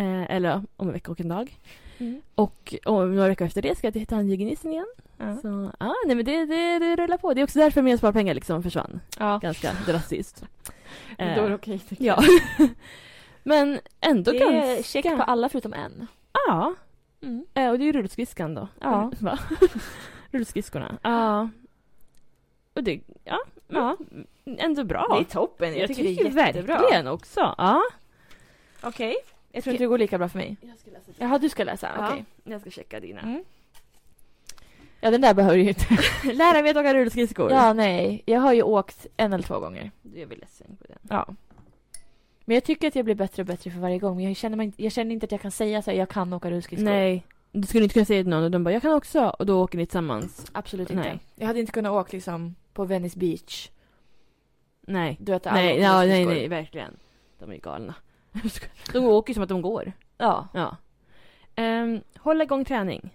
[SPEAKER 2] Eh, eller om en vecka och en dag.
[SPEAKER 1] Mm.
[SPEAKER 2] Och om några veckor efter det ska jag till tandhygienisten igen.
[SPEAKER 1] Ja.
[SPEAKER 2] Så, ah, nej men det, det, det rullar på. Det är också därför mina sparpengar liksom försvann.
[SPEAKER 1] Ja.
[SPEAKER 2] Ganska drastiskt. Eh,
[SPEAKER 1] Då är det okej. tycker
[SPEAKER 2] ja. men ändå
[SPEAKER 1] jag. Det är
[SPEAKER 2] ganska...
[SPEAKER 1] check på alla förutom en.
[SPEAKER 2] Ja.
[SPEAKER 1] Mm.
[SPEAKER 2] Eh, och det är ju rullskridskan då.
[SPEAKER 1] Ja.
[SPEAKER 2] Va? Rullskridskorna. Ja. Och det, ja. ja. Ändå bra.
[SPEAKER 1] Det är toppen. Jag, tycker, det är jättebra.
[SPEAKER 2] verkligen också. Ja.
[SPEAKER 1] Okej. Jag tror inte det går lika bra för mig.
[SPEAKER 2] Jag ska läsa
[SPEAKER 1] Jaha, du ska läsa. Okej.
[SPEAKER 2] Jag ska checka dina.
[SPEAKER 1] Mm. Ja, den där behöver ju inte.
[SPEAKER 2] Lära mig att åka rullskridskor.
[SPEAKER 1] Ja, nej. Jag har ju åkt en eller två gånger.
[SPEAKER 2] Du är väl ledsen på den.
[SPEAKER 1] Ja. Men jag tycker att jag blir bättre och bättre för varje gång. Men jag känner, mig, jag känner inte att jag kan säga så här, jag kan åka rullskridskor.
[SPEAKER 2] Nej. Du skulle inte kunna säga till någon och de bara jag kan också och då åker ni tillsammans.
[SPEAKER 1] Absolut inte.
[SPEAKER 2] Nej.
[SPEAKER 1] Jag hade inte kunnat åka liksom på Venice Beach.
[SPEAKER 2] Nej.
[SPEAKER 1] Du vet, alla
[SPEAKER 2] Nej,
[SPEAKER 1] åker
[SPEAKER 2] ja, nej,
[SPEAKER 1] rullskridskor.
[SPEAKER 2] nej, verkligen. De är ju galna. de åker ju som att de går.
[SPEAKER 1] Ja.
[SPEAKER 2] Ja. Um, hålla igång träning.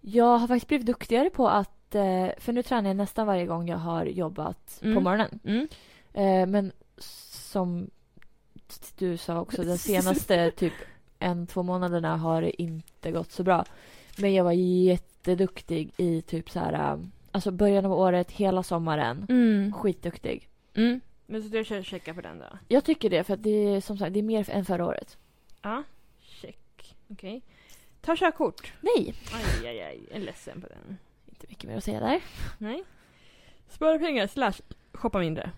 [SPEAKER 1] Jag har faktiskt blivit duktigare på att eh, för nu tränar jag nästan varje gång jag har jobbat på
[SPEAKER 2] Mm.
[SPEAKER 1] morgonen.
[SPEAKER 2] Mm.
[SPEAKER 1] Eh, men som du sa också, de senaste typ en, två månaderna har det inte gått så bra. Men jag var jätteduktig i typ så här, eh, alltså början av året, hela sommaren.
[SPEAKER 2] Mm.
[SPEAKER 1] Skitduktig.
[SPEAKER 2] Mm. Men så du kör checka på den då?
[SPEAKER 1] Jag tycker det, för att det är som sagt, det är mer än förra året.
[SPEAKER 2] Ja. Check. Okej. Ta körkort.
[SPEAKER 1] Nej,
[SPEAKER 2] Aj, aj, aj. Jag är ledsen på den.
[SPEAKER 1] inte mycket mer att säga där.
[SPEAKER 2] Nej. Spara pengar slash shoppa mindre.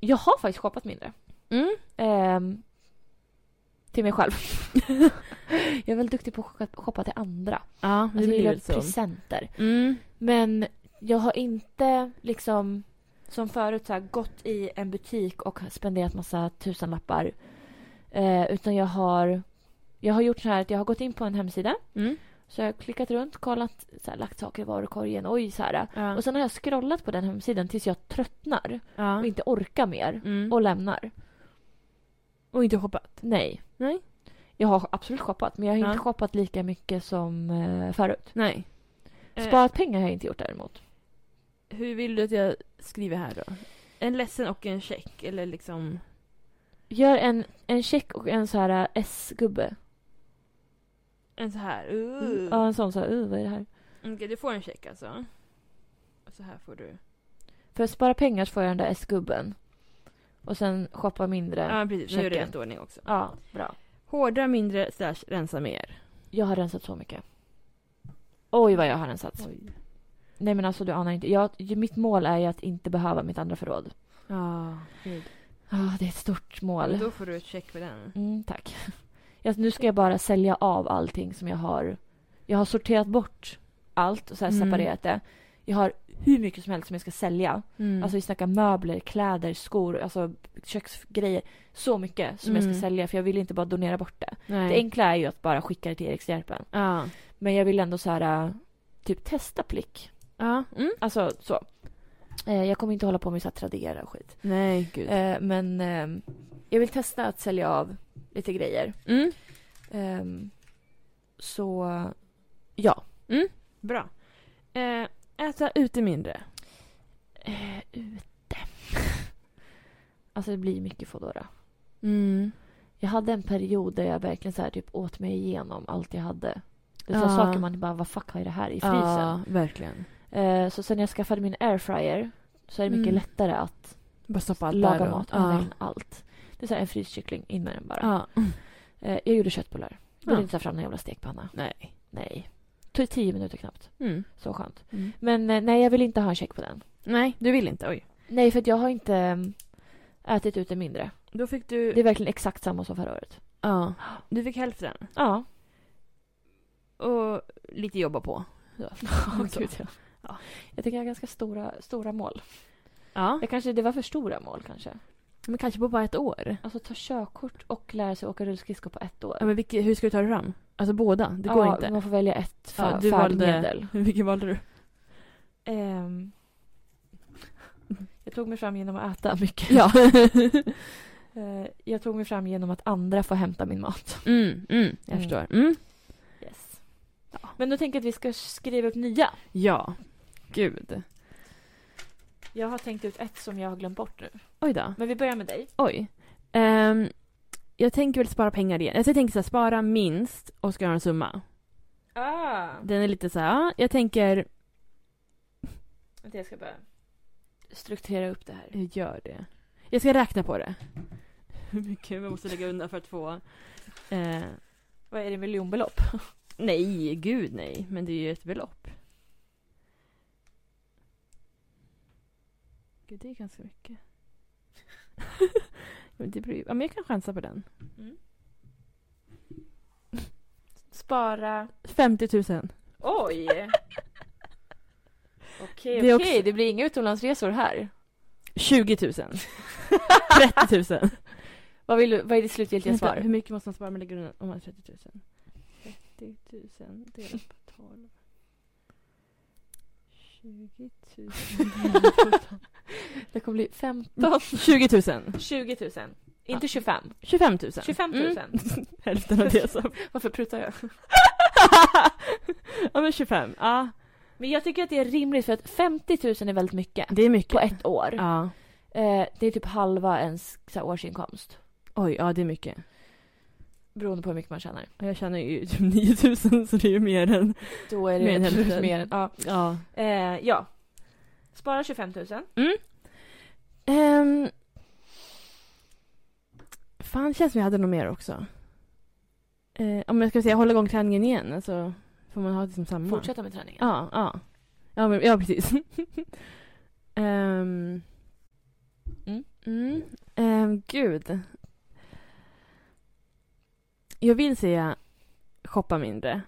[SPEAKER 1] Jag har faktiskt shoppat mindre.
[SPEAKER 2] Mm.
[SPEAKER 1] Ehm, till mig själv. jag är väldigt duktig på att shoppa till andra.
[SPEAKER 2] Ja,
[SPEAKER 1] Alltså, jag gillar presenter.
[SPEAKER 2] Mm.
[SPEAKER 1] Men jag har inte liksom som förut så här, gått i en butik och spenderat massa tusenlappar. Eh, utan jag har, jag har gjort så här att jag har gått in på en hemsida.
[SPEAKER 2] Mm.
[SPEAKER 1] Så jag har klickat runt, kollat, så här, lagt saker i varukorgen. Oj, så här.
[SPEAKER 2] Ja.
[SPEAKER 1] Och sen har jag scrollat på den hemsidan tills jag tröttnar och
[SPEAKER 2] ja.
[SPEAKER 1] inte orkar mer
[SPEAKER 2] Mm.
[SPEAKER 1] och lämnar.
[SPEAKER 2] och inte shoppat.
[SPEAKER 1] Nej.
[SPEAKER 2] Nej.
[SPEAKER 1] Jag har absolut shoppat, men jag har
[SPEAKER 2] Ja.
[SPEAKER 1] inte shoppat lika mycket som eh, förut.
[SPEAKER 2] Nej. Eh.
[SPEAKER 1] Sparat pengar har jag inte gjort däremot.
[SPEAKER 2] Hur vill du att jag skriver här då? En ledsen och en check eller liksom...
[SPEAKER 1] Gör en, en check och en så här eh, S-gubbe.
[SPEAKER 2] En så här.
[SPEAKER 1] Mm.
[SPEAKER 2] Uh.
[SPEAKER 1] Ja, en sån så här, uh, vad är det här?
[SPEAKER 2] Okej, du får en check alltså. Och så här får du.
[SPEAKER 1] För att spara pengar så får jag den där S-gubben. Och sen shoppa mindre.
[SPEAKER 2] Ja,
[SPEAKER 1] Ja,
[SPEAKER 2] precis. Nu är det
[SPEAKER 1] checken.
[SPEAKER 2] rätt ordning också.
[SPEAKER 1] bra.
[SPEAKER 2] Hårdra mindre slash rensa mer.
[SPEAKER 1] Jag har rensat så mycket. Oj, vad jag har rensat. Nej, men alltså du anar inte. Jag, ju- mitt mål är ju att inte behöva mitt andra förråd.
[SPEAKER 2] Ja,
[SPEAKER 1] Ja, det är ett stort mål.
[SPEAKER 2] Då får du ett check för den.
[SPEAKER 1] Mm, tack. Jag, nu ska jag bara sälja av allting som jag har. Jag har sorterat bort allt och så här
[SPEAKER 2] Mm.
[SPEAKER 1] separerat det. Jag har hur mycket som helst som jag ska sälja.
[SPEAKER 2] Mm.
[SPEAKER 1] Alltså vi snackar möbler, kläder, skor, alltså köksgrejer. Så mycket som jag
[SPEAKER 2] Mm.
[SPEAKER 1] ska sälja för jag vill inte bara donera bort det.
[SPEAKER 2] Nej.
[SPEAKER 1] Det enkla är ju att bara skicka det till Erikshjälpen.
[SPEAKER 2] Ja.
[SPEAKER 1] Men jag vill ändå så här, äh, typ testa plick.
[SPEAKER 2] Ja. Mm.
[SPEAKER 1] Alltså så. Eh, Jag kommer inte hålla på med så här Tradera och skit.
[SPEAKER 2] Nej, gud.
[SPEAKER 1] Eh, Men ehm, jag vill testa att sälja av lite grejer.
[SPEAKER 2] Mm.
[SPEAKER 1] Ehm, Så ja.
[SPEAKER 2] Bra. Eh, äta ute mindre.
[SPEAKER 1] Eh, Ute. Alltså det blir mycket Foodora.
[SPEAKER 2] Mm.
[SPEAKER 1] Jag hade en period där jag verkligen så här typ åt mig igenom allt jag hade. Det var
[SPEAKER 2] Ja.
[SPEAKER 1] saker man bara, vad fuck har jag det här i frysen?
[SPEAKER 2] Ja, verkligen.
[SPEAKER 1] Eh, så sen jag skaffade min airfryer så är det mycket
[SPEAKER 2] Mm.
[SPEAKER 1] lättare att
[SPEAKER 2] Bara stoppa allt
[SPEAKER 1] laga
[SPEAKER 2] där då.
[SPEAKER 1] mat. Ja.
[SPEAKER 2] Ja.
[SPEAKER 1] verkligen Allt. Det är så här en fryskkyckling, in med den bara.
[SPEAKER 2] Ja.
[SPEAKER 1] Eh, jag gjorde köttbullar. Jag ville
[SPEAKER 2] Ja.
[SPEAKER 1] inte ta fram någon jävla stekpanna.
[SPEAKER 2] Nej.
[SPEAKER 1] Nej. Tog tio minuter knappt.
[SPEAKER 2] Mm.
[SPEAKER 1] Så skönt.
[SPEAKER 2] Mm.
[SPEAKER 1] Men eh, nej, jag vill inte ha en check på den.
[SPEAKER 2] Nej, du vill inte. Oj.
[SPEAKER 1] Nej, för att jag har inte mm, ätit ute mindre.
[SPEAKER 2] Då fick du...
[SPEAKER 1] Det är verkligen exakt samma som förra året.
[SPEAKER 2] Ja. Du fick hälften.
[SPEAKER 1] Ja.
[SPEAKER 2] Och lite jobba på.
[SPEAKER 1] Åh,
[SPEAKER 2] Så.
[SPEAKER 1] Gud, ja.
[SPEAKER 2] Ja.
[SPEAKER 1] Jag tycker jag har ganska stora, stora mål.
[SPEAKER 2] Ja.
[SPEAKER 1] Det, kanske, det var för stora mål kanske.
[SPEAKER 2] Men kanske på bara ett år.
[SPEAKER 1] Alltså ta körkort och lära sig åka rullskridskor på ett år.
[SPEAKER 2] Ja, men vilke, hur ska du ta dig fram? Alltså båda? Det går
[SPEAKER 1] Ja,
[SPEAKER 2] inte.
[SPEAKER 1] Man får välja ett fa-
[SPEAKER 2] Ja, du valde-
[SPEAKER 1] färdmedel.
[SPEAKER 2] Vilken valde du?
[SPEAKER 1] Ehm, jag tog mig fram genom att äta mycket.
[SPEAKER 2] Ja.
[SPEAKER 1] Eh, jag tog mig fram genom att andra får hämta min mat.
[SPEAKER 2] mm, mm, jag
[SPEAKER 1] Mm.
[SPEAKER 2] förstår. Mm.
[SPEAKER 1] Yes. Men då tänker jag att vi ska skriva upp nya.
[SPEAKER 2] Ja. Gud.
[SPEAKER 1] Jag har tänkt ut ett som jag har glömt bort nu.
[SPEAKER 2] Oj då.
[SPEAKER 1] Men vi börjar med dig.
[SPEAKER 2] Oj. Ehm, jag tänker väl spara pengar igen. Alltså jag tänker så här, spara minst och ska göra en summa.
[SPEAKER 1] Ah.
[SPEAKER 2] Den är lite så här, ja, jag tänker...
[SPEAKER 1] Vänta, jag ska bara strukturera upp det här.
[SPEAKER 2] Jag gör det. Jag ska räkna på det. Hur mycket man måste lägga undan för att få... Eh,
[SPEAKER 1] Vad är det, miljonbelopp?
[SPEAKER 2] nej, gud nej. Men det är ju ett belopp. Gud, det är ganska mycket. men, det beror, ju- ja, men jag kan chansa på den.
[SPEAKER 1] Mm. Spara...
[SPEAKER 2] 50 000.
[SPEAKER 1] Oj! Okej,
[SPEAKER 2] Det
[SPEAKER 1] okej.
[SPEAKER 2] är också-
[SPEAKER 1] Det blir inga utomlandsresor här.
[SPEAKER 2] 20 000. 30 000.
[SPEAKER 1] Vad, vill du, vad är ditt slutgiltiga
[SPEAKER 2] Vänta,
[SPEAKER 1] svar?
[SPEAKER 2] hur mycket måste man spara om man lägger undan om man har 30 000? 30 000 delat på 12. 20 000 delat på 12.
[SPEAKER 1] Det kommer bli 15
[SPEAKER 2] 20 000.
[SPEAKER 1] 20 000. Inte 25.
[SPEAKER 2] 25 000.
[SPEAKER 1] 25 000.
[SPEAKER 2] Mm, hälften av det som...
[SPEAKER 1] Varför prutar jag?
[SPEAKER 2] ja men 25. Ja.
[SPEAKER 1] Men Men jag tycker att det är rimligt för att 50 000 är väldigt mycket
[SPEAKER 2] Det är mycket.
[SPEAKER 1] på ett år.
[SPEAKER 2] Ja.
[SPEAKER 1] Eh, det är typ halva ens så här, årsinkomst.
[SPEAKER 2] Oj, ja det är mycket.
[SPEAKER 1] Beroende på hur mycket man tjänar.
[SPEAKER 2] Och Jag tjänar ju typ 9000 så det är ju mer än...
[SPEAKER 1] Då är det
[SPEAKER 2] Mer än
[SPEAKER 1] absolut
[SPEAKER 2] hälften.
[SPEAKER 1] mer än, ja.
[SPEAKER 2] Ja.
[SPEAKER 1] Eh, ja. Spara 25 000.
[SPEAKER 2] Um, fan, det känns som jag hade något mer också. Eh, om jag ska säga hålla igång träningen igen, alltså får man ha det som samma.
[SPEAKER 1] Fortsätta med träningen.
[SPEAKER 2] Ja, ja. Ja, men, ja precis. Ehm.
[SPEAKER 1] Mm.
[SPEAKER 2] Mm. Ehm, gud. Jag vill säga shoppa mindre.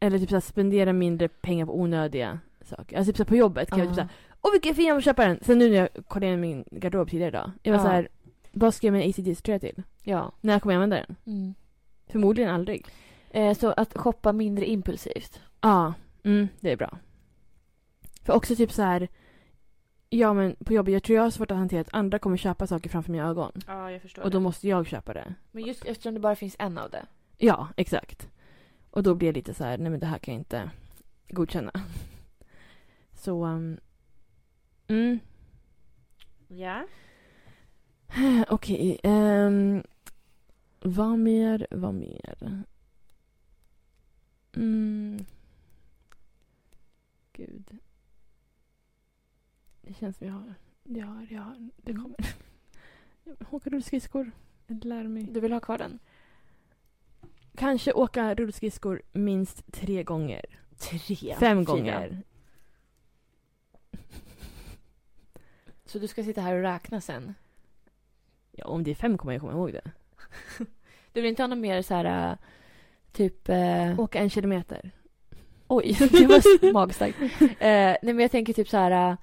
[SPEAKER 2] Eller typ så här, spendera mindre pengar på onödiga saker. Alltså typ så här, på jobbet kan jag
[SPEAKER 1] Ja.
[SPEAKER 2] typ så här, Åh vilken fin, jag måste köpa den. Sen nu när jag kollade in min garderob tidigare idag. Jag var
[SPEAKER 1] Ja.
[SPEAKER 2] så här, vad ska jag med en ACDC-tröja till?
[SPEAKER 1] Ja.
[SPEAKER 2] När kommer jag använda den?
[SPEAKER 1] Mm.
[SPEAKER 2] Förmodligen aldrig.
[SPEAKER 1] Eh, så att shoppa mindre impulsivt.
[SPEAKER 2] Ja, mm, det är bra. För också typ så här. Ja men på jobbet, jag tror jag har svårt att hantera att andra kommer köpa saker framför mina ögon.
[SPEAKER 1] Ja, jag förstår
[SPEAKER 2] Och då måste jag köpa det.
[SPEAKER 1] Men just eftersom det bara finns en av det.
[SPEAKER 2] Ja, exakt. Och då blir jag lite så här, nej men det här kan jag inte godkänna. Så, um, mm,
[SPEAKER 1] Ja.
[SPEAKER 2] okej. ehm, vad mer, vad mer? Mm. Gud. Det känns som jag har, jag har, jag har, det kommer. Åka rullskridskor. Lär mig.
[SPEAKER 1] Du vill ha kvar den?
[SPEAKER 2] Kanske åka rullskridskor minst tre gånger.
[SPEAKER 1] Tre.
[SPEAKER 2] Fem
[SPEAKER 1] fyra.
[SPEAKER 2] gånger.
[SPEAKER 1] Så du ska sitta här och räkna sen?
[SPEAKER 2] Ja, om det är fem kommer jag komma ihåg det.
[SPEAKER 1] Du vill inte ha någon mer så här äh, typ... Äh,
[SPEAKER 2] Åka en kilometer.
[SPEAKER 1] oj, det var magstarkt. Eh, nej men jag tänker typ så här... Äh,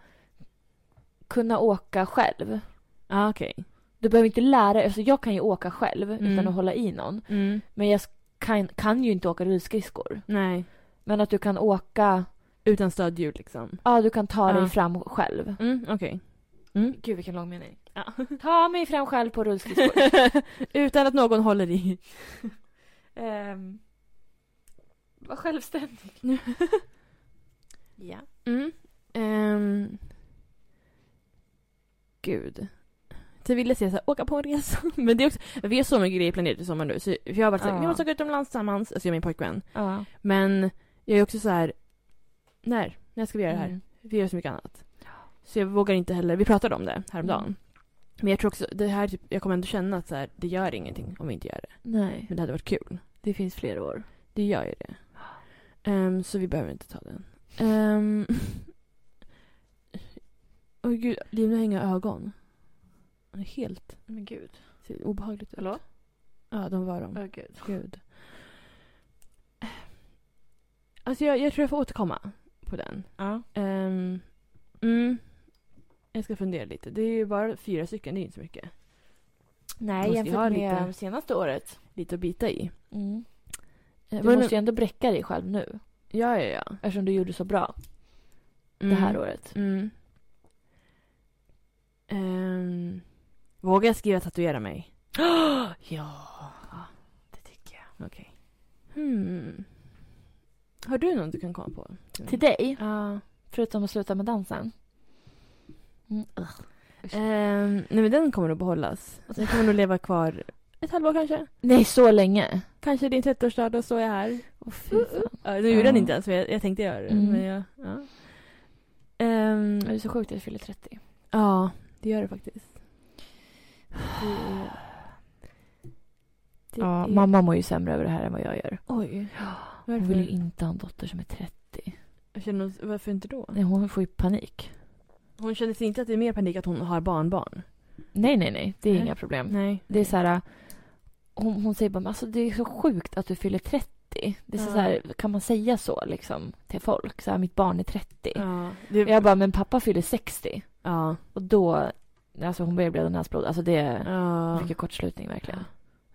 [SPEAKER 1] kunna åka själv.
[SPEAKER 2] Ja, Ah, okej.
[SPEAKER 1] Du behöver inte lära dig. Alltså jag kan ju åka själv utan
[SPEAKER 2] Mm.
[SPEAKER 1] att hålla i någon.
[SPEAKER 2] Mm.
[SPEAKER 1] Men jag kan, kan ju inte åka rullskridskor.
[SPEAKER 2] Nej.
[SPEAKER 1] Men att du kan åka...
[SPEAKER 2] Utan stödhjul liksom.
[SPEAKER 1] Ja, du kan ta
[SPEAKER 2] Ja.
[SPEAKER 1] dig fram själv.
[SPEAKER 2] Mm, okej. Mm.
[SPEAKER 1] Gud, vilken lång mening.
[SPEAKER 2] Ja.
[SPEAKER 1] Ta mig fram själv på rullskridskor.
[SPEAKER 2] Utan att någon håller i.
[SPEAKER 1] Ehm, var självständig. ja.
[SPEAKER 2] Mm. Ehm. Gud. Så ville jag säga så här, åka på en resa. Men det är också, vi har så mycket grejer planerat i sommar nu. Så för jag har varit så här,
[SPEAKER 1] Ja.
[SPEAKER 2] vi måste åka utomlands tillsammans. Alltså jag och min pojkvän.
[SPEAKER 1] ja.
[SPEAKER 2] Men jag är också så här, när? När ska vi göra det här?
[SPEAKER 1] Mm.
[SPEAKER 2] Vi gör så mycket annat. Så jag vågar inte heller, vi pratade om det häromdagen.
[SPEAKER 1] Mm.
[SPEAKER 2] Men jag tror också, det här, typ, jag kommer ändå känna att så här, det gör ingenting om vi inte gör det.
[SPEAKER 1] Nej,
[SPEAKER 2] Men det hade varit kul.
[SPEAKER 1] det finns fler år.
[SPEAKER 2] Det gör ju det. Ehm, så vi behöver inte ta den. Um, Åh gud, Liv, nu har jag inga ögon. Helt
[SPEAKER 1] Men gud.
[SPEAKER 2] ser obehagligt ut.
[SPEAKER 1] Hallå?
[SPEAKER 2] Ja, de var de.
[SPEAKER 1] Åh gud.
[SPEAKER 2] Gud. Alltså jag, jag tror jag får återkomma på den.
[SPEAKER 1] Ja.
[SPEAKER 2] Ehm, mm. Jag ska fundera lite. Det är ju bara fyra stycken, det är ju inte så mycket.
[SPEAKER 1] Nej,
[SPEAKER 2] Måste jag ha
[SPEAKER 1] jämfört med
[SPEAKER 2] lite-
[SPEAKER 1] senaste året.
[SPEAKER 2] Lite att bita i.
[SPEAKER 1] Mm.
[SPEAKER 2] Eh,
[SPEAKER 1] Du
[SPEAKER 2] vad-
[SPEAKER 1] måste ju ändå bräcka dig själv nu.
[SPEAKER 2] Ja, ja, ja.
[SPEAKER 1] Eftersom du gjorde så bra
[SPEAKER 2] Mm.
[SPEAKER 1] det här året.
[SPEAKER 2] Mm. Ehm, vågar jag skriva tatuera mig?
[SPEAKER 1] Ja, det tycker jag.
[SPEAKER 2] Hmm. Har du någon du kan komma på?
[SPEAKER 1] Till dig,
[SPEAKER 2] Ja.
[SPEAKER 1] förutom att sluta med dansen. Mm.
[SPEAKER 2] Ehm, nej, men den kommer nog behållas. Den kommer nog leva kvar ett halvår kanske.
[SPEAKER 1] Nej, så länge.
[SPEAKER 2] Kanske din 30-årsdag, då står jag här.
[SPEAKER 1] Åh fy fan.
[SPEAKER 2] Ja, nu gjorde
[SPEAKER 1] Ja.
[SPEAKER 2] den inte ens, men jag, jag tänkte göra det.
[SPEAKER 1] Mm.
[SPEAKER 2] Men jag, ja. Ehm,
[SPEAKER 1] Det är så sjukt att jag fyller 30.
[SPEAKER 2] ja, det gör det faktiskt. Det är- det
[SPEAKER 1] Ja,
[SPEAKER 2] är-
[SPEAKER 1] mamma mår ju sämre över det här än vad jag gör. Mm.
[SPEAKER 2] Oj.
[SPEAKER 1] Hon
[SPEAKER 2] Varför?
[SPEAKER 1] vill ju inte ha en dotter som är 30.
[SPEAKER 2] Jag känner, oss- varför inte då?
[SPEAKER 1] Nej, hon får ju panik.
[SPEAKER 2] Hon känner sig inte att det är mer panik att hon har barnbarn.
[SPEAKER 1] Nej, nej, nej. Det är
[SPEAKER 2] Nej.
[SPEAKER 1] inga problem.
[SPEAKER 2] Nej.
[SPEAKER 1] Det är så här... äh, Hon, hon säger bara, "Men alltså det är så sjukt att du fyller 30. Det är så
[SPEAKER 2] Ja.
[SPEAKER 1] här, kan man säga så liksom till folk? Så här, mitt barn är 30.
[SPEAKER 2] Ja. Det, ja.
[SPEAKER 1] Jag bara, men pappa fyller 60.
[SPEAKER 2] ja.
[SPEAKER 1] Och då, alltså hon börjar blöda näsblod. Alltså det är
[SPEAKER 2] ja.
[SPEAKER 1] mycket kortslutning verkligen.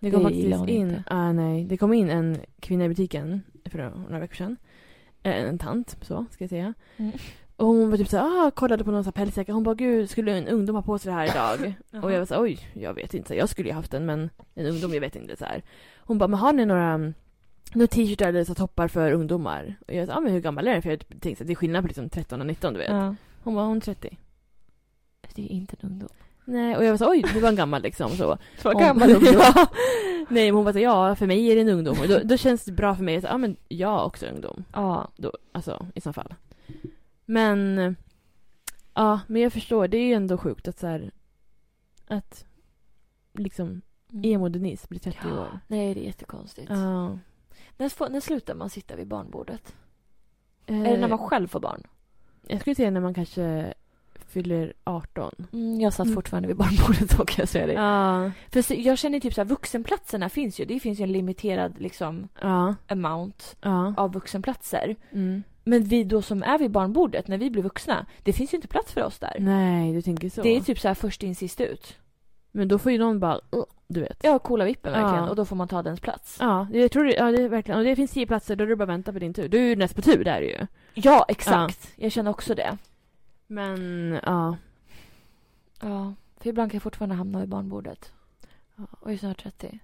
[SPEAKER 2] Det kom
[SPEAKER 1] det gillar
[SPEAKER 2] faktiskt
[SPEAKER 1] hon
[SPEAKER 2] in,
[SPEAKER 1] inte.
[SPEAKER 2] ah, nej. det kom in en kvinna i butiken för några veckor sedan. Eh, En tant, så ska jag säga.
[SPEAKER 1] Mm.
[SPEAKER 2] Och hon var typ såhär, ah, kollade på någon sån här pälsjacka. Hon bara, gud, skulle en ungdom ha på sig det här idag? Och jag var såhär, oj, jag vet inte. Jag skulle ju haft den, men en ungdom, jag vet inte. Så här. Hon bara, men har ni några mm, några t-shirtar eller så här toppar för ungdomar. Och jag sa, ah, men hur gammal är den? För jag tänkte så här, det är skillnad på liksom 13 och 19 du vet.
[SPEAKER 1] Ja.
[SPEAKER 2] Hon var hon är 30.
[SPEAKER 1] Det är inte en ungdom.
[SPEAKER 2] Nej, och jag var så här, oj, det var en gammal liksom. Så.
[SPEAKER 1] Vad
[SPEAKER 2] Hon-
[SPEAKER 1] gammal ungdom.
[SPEAKER 2] ja. Nej, men hon var så här, ja, för mig är det en ungdom. Och då, då känns det bra för mig. Ja, ah, men jag är också ungdom.
[SPEAKER 1] Ja.
[SPEAKER 2] Då, alltså, i så fall. Men... Ja, men jag förstår. Det är ju ändå sjukt att så här, Att liksom emo-Denise blir 30 år.
[SPEAKER 1] Nej, det är jättekonstigt.
[SPEAKER 2] Ja.
[SPEAKER 1] När, får- när slutar man sitta vid barnbordet?
[SPEAKER 2] Eh,
[SPEAKER 1] Är det när man själv får barn?
[SPEAKER 2] Jag skulle säga när man kanske fyller 18.
[SPEAKER 1] Mm, jag satt
[SPEAKER 2] Mm.
[SPEAKER 1] fortfarande vid barnbordet då kan jag säga det.
[SPEAKER 2] Ja.
[SPEAKER 1] För så- jag känner typ så här, vuxenplatserna finns ju. Det finns ju en limiterad liksom
[SPEAKER 2] Ja.
[SPEAKER 1] amount
[SPEAKER 2] Ja.
[SPEAKER 1] av vuxenplatser.
[SPEAKER 2] Mm.
[SPEAKER 1] Men vi då som är vid barnbordet, när vi blir vuxna, det finns ju inte plats för oss där.
[SPEAKER 2] Nej, du tänker så.
[SPEAKER 1] Det är typ så här först in sist ut.
[SPEAKER 2] Men då får ju någon bara... "Ugh", Du vet.
[SPEAKER 1] Ja, coola vippen verkligen.
[SPEAKER 2] Ja.
[SPEAKER 1] Och då får man ta dens plats.
[SPEAKER 2] Ja, det- jag tror det, ja, det är verkligen. Och det finns tio platser, då är det bara att vänta på din tur. Du är ju näst på tur, där är du ju.
[SPEAKER 1] Ja, exakt. Jag känner också det.
[SPEAKER 2] Men, ja.
[SPEAKER 1] Ja, för ibland kan jag fortfarande hamna vid barnbordet.
[SPEAKER 2] Ja.
[SPEAKER 1] Och är snart 30.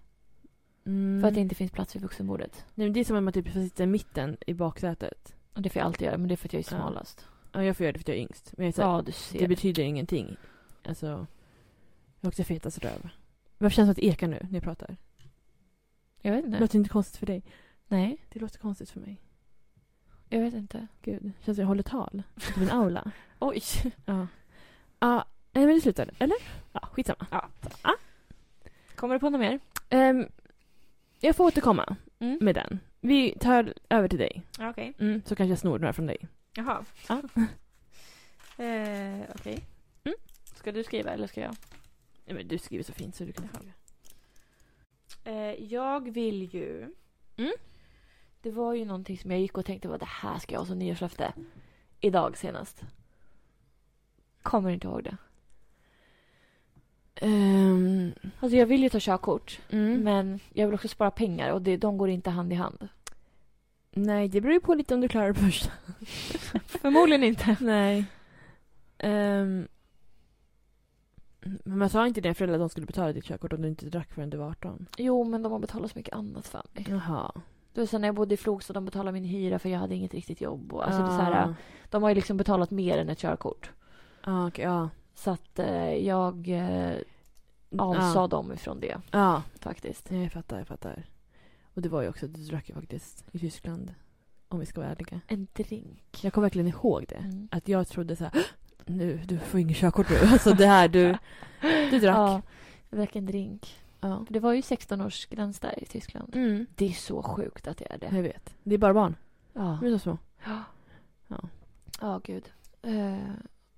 [SPEAKER 2] Mm.
[SPEAKER 1] För att det inte finns plats vid vuxenbordet.
[SPEAKER 2] Nej, men det är som om man typ får sitta i mitten i baksätet.
[SPEAKER 1] Och det får jag alltid göra, men det är för att jag är
[SPEAKER 2] Ja.
[SPEAKER 1] smalast.
[SPEAKER 2] Ja, jag får göra det för att jag är yngst. Men jag är så här,
[SPEAKER 1] Ja, du ser.
[SPEAKER 2] det betyder ingenting. Alltså, jag är också fetast röv. Varför känns det att det ekar nu när jag pratar?
[SPEAKER 1] Jag vet
[SPEAKER 2] Det
[SPEAKER 1] inte.
[SPEAKER 2] låter inte konstigt för dig.
[SPEAKER 1] Nej,
[SPEAKER 2] Det låter konstigt för mig.
[SPEAKER 1] jag vet inte.
[SPEAKER 2] Gud, det känns som jag håller tal. I min aula.
[SPEAKER 1] Oj.
[SPEAKER 2] Ja. Ja, nej men det slutar. Eller? Ja, skitsamma.
[SPEAKER 1] Ja. Kommer du på något mer?
[SPEAKER 2] Ehm, jag får återkomma
[SPEAKER 1] Mm.
[SPEAKER 2] med den. Vi tar över till dig.
[SPEAKER 1] Ja, okej.
[SPEAKER 2] Mm, så kanske jag snor några från dig.
[SPEAKER 1] Jaha.
[SPEAKER 2] Ja.
[SPEAKER 1] eh, okej. Ska du skriva eller ska jag?
[SPEAKER 2] Nej, men du skriver så fint så du kan fråga.
[SPEAKER 1] Eh, jag vill ju...
[SPEAKER 2] Mm.
[SPEAKER 1] Det var ju någonting som jag gick och tänkte vad det här ska jag ha som nyårslöfte. Idag senast. Kommer inte ihåg det.
[SPEAKER 2] Ehm,
[SPEAKER 1] Alltså jag vill ju ta körkort.
[SPEAKER 2] mm.
[SPEAKER 1] Men jag vill också spara pengar och det, de går inte hand i hand.
[SPEAKER 2] Nej, det beror ju på lite om du klarar det först.
[SPEAKER 1] Förmodligen inte.
[SPEAKER 2] Nej. Ehm, men man sa inte dina föräldrar att de skulle betala ditt körkort om du inte drack förrän du var 18?
[SPEAKER 1] Jo, men de har betalat så mycket annat för mig.
[SPEAKER 2] Jaha.
[SPEAKER 1] Du vet, sen när jag bodde i Flogsta, de betalade min hyra för jag hade inget riktigt jobb. Och, alltså, det är så
[SPEAKER 2] Ah.
[SPEAKER 1] här, de har ju liksom betalat mer än ett körkort.
[SPEAKER 2] Ja, Ah, okej, ja. Mm,
[SPEAKER 1] Så att eh, jag eh,
[SPEAKER 2] Ah.
[SPEAKER 1] avsade dem ifrån det
[SPEAKER 2] Ja,
[SPEAKER 1] faktiskt.
[SPEAKER 2] ja, jag fattar, jag fattar. Och det var ju också, du drack ju faktiskt i Tyskland. Om vi ska vara ärliga.
[SPEAKER 1] En drink.
[SPEAKER 2] Jag kommer verkligen ihåg det.
[SPEAKER 1] Mm.
[SPEAKER 2] Att jag trodde så här, "Hå! nu, du får inget körkort nu. Alltså det här, du, du drack.
[SPEAKER 1] Ja, jag drack en drink.
[SPEAKER 2] Ja.
[SPEAKER 1] Det var ju 16-årsgräns där i Tyskland.
[SPEAKER 2] Mm.
[SPEAKER 1] Det är så sjukt att det är det.
[SPEAKER 2] Jag vet. Det är bara barn.
[SPEAKER 1] Ja,
[SPEAKER 2] De är så små.
[SPEAKER 1] ja gud. Eh,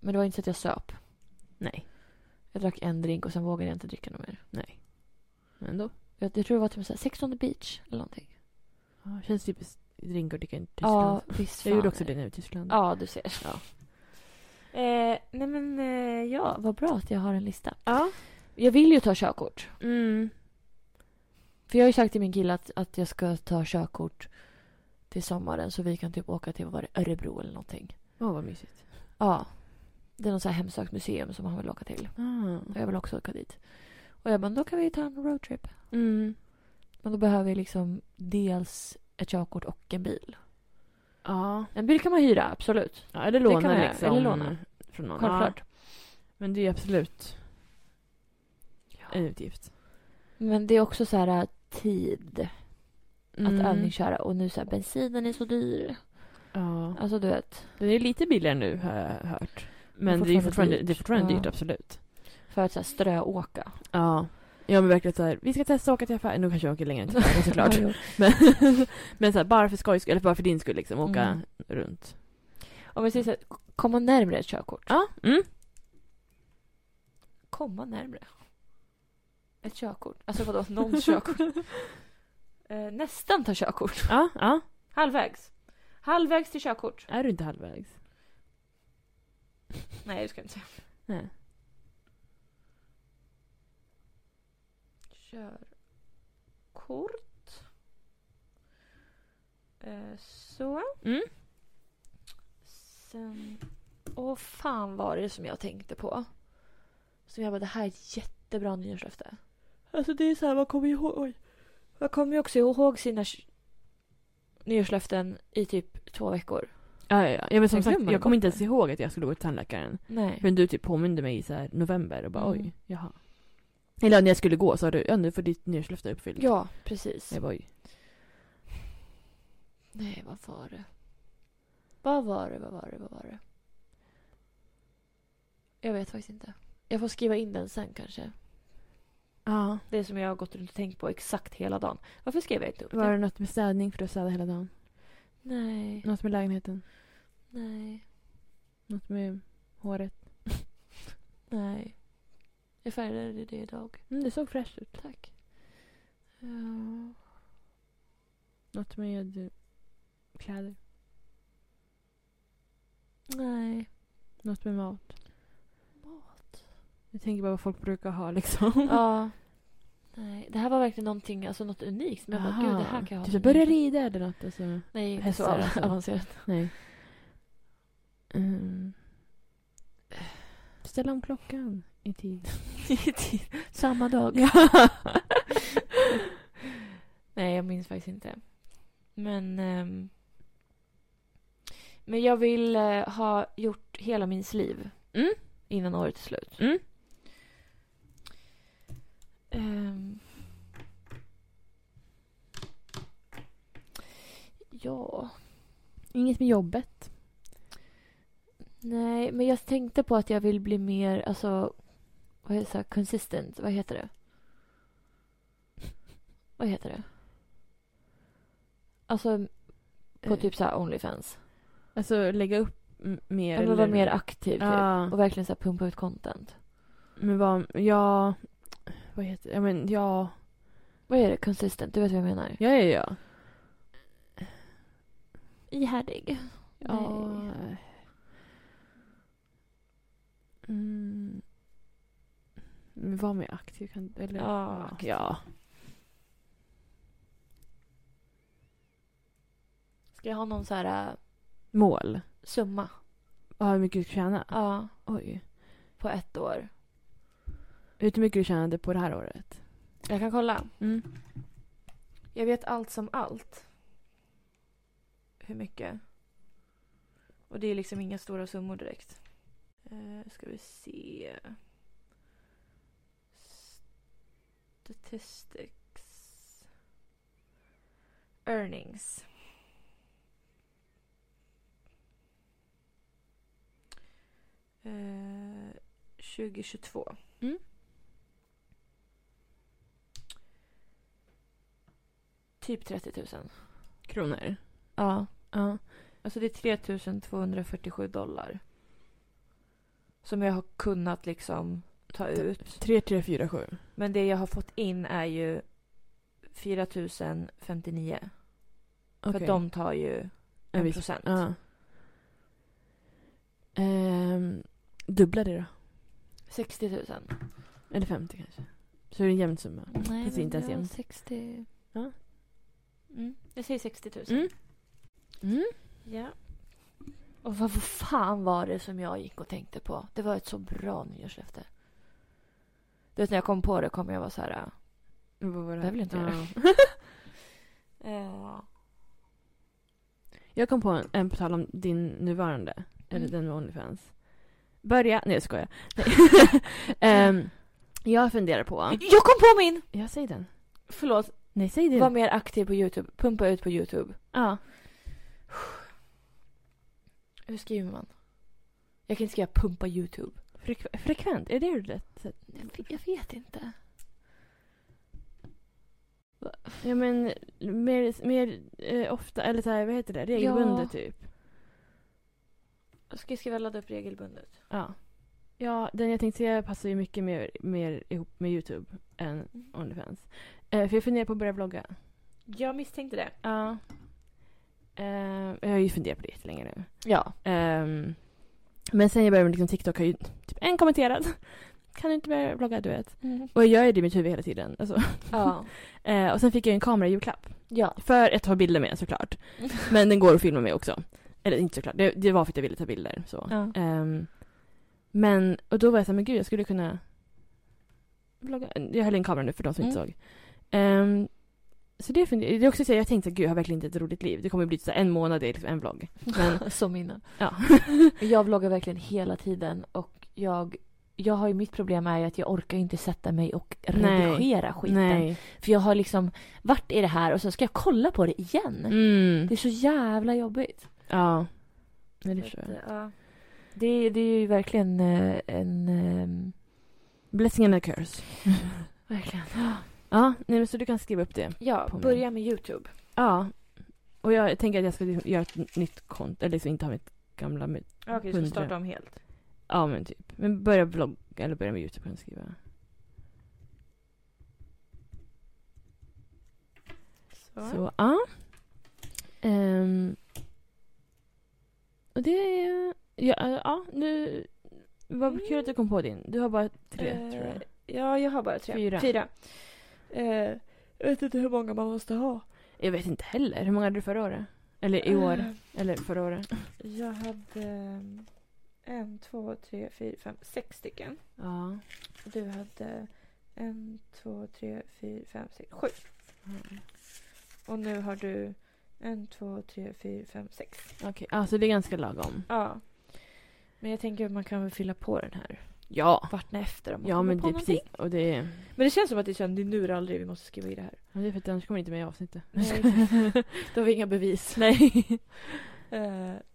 [SPEAKER 1] men det var inte så att jag söp.
[SPEAKER 2] Nej.
[SPEAKER 1] Jag drack en drink och sen vågade jag inte dricka något mer.
[SPEAKER 2] Nej. Men ändå.
[SPEAKER 1] Jag, jag tror det var typ så här, Sex on the beach eller någonting.
[SPEAKER 2] Ja, känns typiskt drink och dricka i Tyskland.
[SPEAKER 1] Ja, visst
[SPEAKER 2] jag gjorde
[SPEAKER 1] fan
[SPEAKER 2] också
[SPEAKER 1] är
[SPEAKER 2] det nu i Tyskland.
[SPEAKER 1] Ja, du ser. Eh, nej men eh, ja, vad bra att jag har en lista.
[SPEAKER 2] ja.
[SPEAKER 1] Jag vill ju ta körkort.
[SPEAKER 2] Mm.
[SPEAKER 1] För jag har ju sagt till min kille att, att jag ska ta körkort till sommaren så vi kan typ åka till vad var det, Örebro eller någonting.
[SPEAKER 2] Åh, vad mysigt.
[SPEAKER 1] Ja. Det är något så här hemsökt museum som han vill åka till.
[SPEAKER 2] Ah.
[SPEAKER 1] Och jag vill också åka dit. Och jag bara, då kan vi ta en roadtrip.
[SPEAKER 2] Mm.
[SPEAKER 1] Men då behöver vi liksom dels ett körkort och en bil.
[SPEAKER 2] Ja.
[SPEAKER 1] En bil kan man hyra, absolut.
[SPEAKER 2] ja. Eller
[SPEAKER 1] kan
[SPEAKER 2] låna
[SPEAKER 1] man göra.
[SPEAKER 2] liksom.
[SPEAKER 1] Eller låna.
[SPEAKER 2] Från någon.
[SPEAKER 1] Självklart.
[SPEAKER 2] Ja, men det är ju absolut en utgift.
[SPEAKER 1] Men det är också så här eh, tid att
[SPEAKER 2] Mm.
[SPEAKER 1] övningsköra. Och nu så här, bensinen är så dyr.
[SPEAKER 2] Ja.
[SPEAKER 1] Alltså du vet.
[SPEAKER 2] Den är lite billigare nu har jag hört. Men
[SPEAKER 1] Men
[SPEAKER 2] det är ju
[SPEAKER 1] fortfarande
[SPEAKER 2] fortfarande,
[SPEAKER 1] dyrt.
[SPEAKER 2] det är fortfarande
[SPEAKER 1] Ja.
[SPEAKER 2] dyrt, absolut.
[SPEAKER 1] För att så här, ströåka.
[SPEAKER 2] Ja. Ja men verkligen så här, vi ska testa att åka till affären. Nu kanske jag åker längre än till affären såklart.
[SPEAKER 1] Ja, jo.
[SPEAKER 2] men men så här, bara för skojs skull, eller bara för din skull liksom, åka
[SPEAKER 1] Mm.
[SPEAKER 2] runt.
[SPEAKER 1] Om vi säger så här, komma närmre ett körkort.
[SPEAKER 2] Ja. Mm.
[SPEAKER 1] Komma närmre? Ett körkort? Alltså vadå, någons körkort? Eh, nästan ta körkort.
[SPEAKER 2] Ja, ja.
[SPEAKER 1] Halvvägs. Halvvägs till körkort.
[SPEAKER 2] Är du inte halvvägs?
[SPEAKER 1] Nej, det ska jag inte säga.
[SPEAKER 2] Nej.
[SPEAKER 1] Körkort. Eh, så.
[SPEAKER 2] Mm.
[SPEAKER 1] Sen... Åh, fan var det som jag tänkte på? Som jag bara, det här är ett jättebra nyårslöfte. Alltså det är så här, man kommer ju ihåg... Oj. Man kommer ju också ihåg sina k- nyårslöften i typ två veckor.
[SPEAKER 2] Ja, ja, ja. men som
[SPEAKER 1] Jag
[SPEAKER 2] sagt,
[SPEAKER 1] glömmer
[SPEAKER 2] jag kommer inte
[SPEAKER 1] bort
[SPEAKER 2] ens ihåg att jag skulle gå till tandläkaren.
[SPEAKER 1] Nej.
[SPEAKER 2] För du typ påminde mig i så här november och bara
[SPEAKER 1] Mm.
[SPEAKER 2] oj, jaha. Eller när jag skulle gå sa du ja nu får ditt nyårslöfte uppfyllt.
[SPEAKER 1] Ja, precis.
[SPEAKER 2] Jag bara, oj.
[SPEAKER 1] Nej, vad var det? Vad var det, vad var det, vad var det? Jag vet faktiskt inte. Jag får skriva in den sen kanske.
[SPEAKER 2] Ja.
[SPEAKER 1] Det som jag har gått runt och tänkt på exakt hela dagen. Varför skrev jag inte upp
[SPEAKER 2] Var
[SPEAKER 1] det?
[SPEAKER 2] det något med städning för du städade hela dagen?
[SPEAKER 1] Nej,
[SPEAKER 2] Något med lägenheten?
[SPEAKER 1] nej,
[SPEAKER 2] Något med håret?
[SPEAKER 1] nej. Jag färgade det idag.
[SPEAKER 2] Mm, det såg fräscht ut.
[SPEAKER 1] Tack. Ja.
[SPEAKER 2] Något med eh, kläder?
[SPEAKER 1] Nej.
[SPEAKER 2] Något med mat?
[SPEAKER 1] Mat.
[SPEAKER 2] Jag tänker bara vad folk brukar ha liksom.
[SPEAKER 1] Ja. Nej, det här var verkligen någonting, alltså något unikt. som jag bara, gud det
[SPEAKER 2] Aha.
[SPEAKER 1] här kan jag ha. som
[SPEAKER 2] Typ jag börjar
[SPEAKER 1] nyårslöfte.
[SPEAKER 2] rida eller något och så.
[SPEAKER 1] Nej, inte så
[SPEAKER 2] hästar, alltså.
[SPEAKER 1] avancerat.
[SPEAKER 2] Nej. Mm. Ställa om klockan i tid.
[SPEAKER 1] Samma dag. Nej, jag minns faktiskt inte. Men... ehm, men jag vill eh, ha gjort hela mitt liv
[SPEAKER 2] Mm.
[SPEAKER 1] innan året är slut.
[SPEAKER 2] Mm.
[SPEAKER 1] Ehm. ja...
[SPEAKER 2] Inget med jobbet.
[SPEAKER 1] Nej, men jag tänkte på att jag vill bli mer... Alltså, vad heter det? Consistent. Vad heter det? Vad heter det? Alltså, på
[SPEAKER 2] Eh,
[SPEAKER 1] typ så här Onlyfans.
[SPEAKER 2] Alltså lägga upp m- mer.
[SPEAKER 1] Jag vill vara mer aktiv typ.
[SPEAKER 2] Ja.
[SPEAKER 1] Och verkligen så här pumpa ut content.
[SPEAKER 2] Men vad, ja. Vad heter det? Ja men ja.
[SPEAKER 1] Vad är det? Consistent? Du vet vad jag menar?
[SPEAKER 2] Ja ja ja.
[SPEAKER 1] Ihärdig.
[SPEAKER 2] ja.
[SPEAKER 1] Nej.
[SPEAKER 2] Mm. Men Var mer aktiv. Kan, eller,
[SPEAKER 1] Ja, aktiv.
[SPEAKER 2] ja.
[SPEAKER 1] Ska jag ha någon så här äh,
[SPEAKER 2] Mål.
[SPEAKER 1] summa?
[SPEAKER 2] Ja, hur mycket du tjänar.
[SPEAKER 1] Ja.
[SPEAKER 2] Oj.
[SPEAKER 1] På ett år.
[SPEAKER 2] Vet du hur mycket du tjänade på det här året?
[SPEAKER 1] Jag kan kolla.
[SPEAKER 2] Mm.
[SPEAKER 1] Jag vet allt som allt. Hur mycket? Och det är liksom inga stora summor direkt. Eh, ska vi se. Statistics. Earnings. Eh, 2022.
[SPEAKER 2] Mm.
[SPEAKER 1] 2022. Typ 30 000.
[SPEAKER 2] Kronor.
[SPEAKER 1] Ja.
[SPEAKER 2] Ja.
[SPEAKER 1] Alltså det är 3247 dollar. Som jag har kunnat liksom ta ut.
[SPEAKER 2] 3, 3, 4, 7.
[SPEAKER 1] Men det jag har fått in är ju 4059. För att de tar ju en
[SPEAKER 2] viss-
[SPEAKER 1] procent.
[SPEAKER 2] Ja. Ehm, dubbla det då.
[SPEAKER 1] 60 000.
[SPEAKER 2] Eller 50 kanske. Så är det en jämn summa.
[SPEAKER 1] Nej,
[SPEAKER 2] Fast det är inte ens
[SPEAKER 1] jag-
[SPEAKER 2] jämnt.
[SPEAKER 1] 60...
[SPEAKER 2] Ja.
[SPEAKER 1] Mm, jag säger 60 000.
[SPEAKER 2] Mm. Mm.
[SPEAKER 1] Ja. Och vad vad fan var det som jag gick och tänkte på? Det var ett så bra nyårslöfte. Du vet när jag kom på det kommer jag vara så här... äh,
[SPEAKER 2] Vad var
[SPEAKER 1] Det här vill jag inte
[SPEAKER 2] Ja.
[SPEAKER 1] äh. Ja.
[SPEAKER 2] Jag kom på en, en på tal om din nuvarande. Eller
[SPEAKER 1] Mm.
[SPEAKER 2] den med Onlyfans. Börja... Nej jag skojar. Nej. um, jag funderar på...
[SPEAKER 1] Jag kom på min!
[SPEAKER 2] Jag säger den.
[SPEAKER 1] Förlåt.
[SPEAKER 2] Nej säg
[SPEAKER 1] Var
[SPEAKER 2] den.
[SPEAKER 1] mer aktiv på Youtube. Pumpa ut på Youtube.
[SPEAKER 2] Ja.
[SPEAKER 1] Hur skriver man? Jag kan inte skriva pumpa Youtube.
[SPEAKER 2] Frek- frekvent, är det rätt? sätt?
[SPEAKER 1] Jag vet, jag vet inte.
[SPEAKER 2] Ja men mer, mer eh, ofta, eller så här, vad heter det? Regelbundet typ.
[SPEAKER 1] Jag ska skriva ladda upp regelbundet.
[SPEAKER 2] Ja. Ja, den jag tänkte säga passar ju mycket mer, mer ihop med Youtube än
[SPEAKER 1] Mm.
[SPEAKER 2] Onlyfans. Eh, för jag funderar på att börja vlogga.
[SPEAKER 1] Jag misstänkte det.
[SPEAKER 2] Ja. Eh, jag har ju funderat på det jättelänge nu.
[SPEAKER 1] Ja.
[SPEAKER 2] Ehm, men sen jag började med liksom TikTok har ju typ en kommenterad. Kan du inte börja vlogga, du vet?
[SPEAKER 1] Mm.
[SPEAKER 2] Och jag gör det i mitt huvud hela tiden. Alltså.
[SPEAKER 1] Ja.
[SPEAKER 2] Eh, och sen fick jag ju en kamera i julklapp.
[SPEAKER 1] Ja.
[SPEAKER 2] För att ta bilder med såklart. Men den går att filma med också. Eller inte såklart, det, det var för att jag ville ta bilder. Så.
[SPEAKER 1] ja.
[SPEAKER 2] Ehm, men, och då var jag såhär, men gud jag skulle
[SPEAKER 1] Mm.
[SPEAKER 2] kunna vlogga. Jag höll in kameran nu för de som inte såg. Ehm, Så det, funder- det är också så här, jag tänkte att gud, jag har verkligen inte ett roligt liv. Det kommer bli så här, en månad, det är liksom en vlogg. Men
[SPEAKER 1] Som innan.
[SPEAKER 2] Ja.
[SPEAKER 1] jag vloggar verkligen hela tiden och jag, jag har ju mitt problem är ju att jag orkar inte sätta mig och
[SPEAKER 2] Nej.
[SPEAKER 1] redigera skiten.
[SPEAKER 2] nej.
[SPEAKER 1] För jag har liksom varit i det här och sen ska jag kolla på det igen.
[SPEAKER 2] Mm.
[SPEAKER 1] Det är så jävla jobbigt.
[SPEAKER 2] Ja. Nej, det förstår
[SPEAKER 1] Så
[SPEAKER 2] jag.
[SPEAKER 1] att, ja. det, är- det är ju verkligen eh, en... ehm,
[SPEAKER 2] Blessing and a curse.
[SPEAKER 1] Verkligen.
[SPEAKER 2] Ja, nej, men så du kan skriva upp det.
[SPEAKER 1] Ja,
[SPEAKER 2] På mig.
[SPEAKER 1] börja med Youtube.
[SPEAKER 2] Ja. Och jag tänker att jag ska liksom göra ett nytt konto, eller liksom inte ha mitt gamla. men-
[SPEAKER 1] Okej,
[SPEAKER 2] så starta
[SPEAKER 1] om helt.
[SPEAKER 2] Ja men typ. Men börja vlogga, eller börja med Youtube kan jag skriva.
[SPEAKER 1] Så.
[SPEAKER 2] Så ja. Ehm. och det är... Ja, äh, ja nu...
[SPEAKER 1] Mm.
[SPEAKER 2] Vad kul att du kom på din. Du har bara tre
[SPEAKER 1] Eh.
[SPEAKER 2] tror jag.
[SPEAKER 1] Ja, jag har bara tre.
[SPEAKER 2] Fyra.
[SPEAKER 1] Fyra. Eh, jag vet inte hur många man måste ha.
[SPEAKER 2] Jag vet inte heller. Hur många hade du förra året? Eller i år?
[SPEAKER 1] Eh,
[SPEAKER 2] Eller förra året?
[SPEAKER 1] Jag hade ehm, en, två, tre, fyra, fem, sex stycken.
[SPEAKER 2] Ja.
[SPEAKER 1] Du hade en, två, tre, fyra, fem, sex, sju.
[SPEAKER 2] Mm.
[SPEAKER 1] Och nu har du en, två, tre, fyra, fem, sex.
[SPEAKER 2] Okej, alltså det är ganska lagom.
[SPEAKER 1] Ja. Men jag tänker att man kan väl fylla på den här
[SPEAKER 2] Ja.
[SPEAKER 1] vartna efter om man
[SPEAKER 2] Ja
[SPEAKER 1] kommer
[SPEAKER 2] men
[SPEAKER 1] på
[SPEAKER 2] det är
[SPEAKER 1] någonting.
[SPEAKER 2] precis. Och det är...
[SPEAKER 1] Men det känns som att det känns, det är nu eller aldrig vi måste skriva i det här.
[SPEAKER 2] Men det är för att annars kommer jag inte med i avsnittet.
[SPEAKER 1] Nej,
[SPEAKER 2] Då har vi inga bevis. Nej.
[SPEAKER 1] Eh,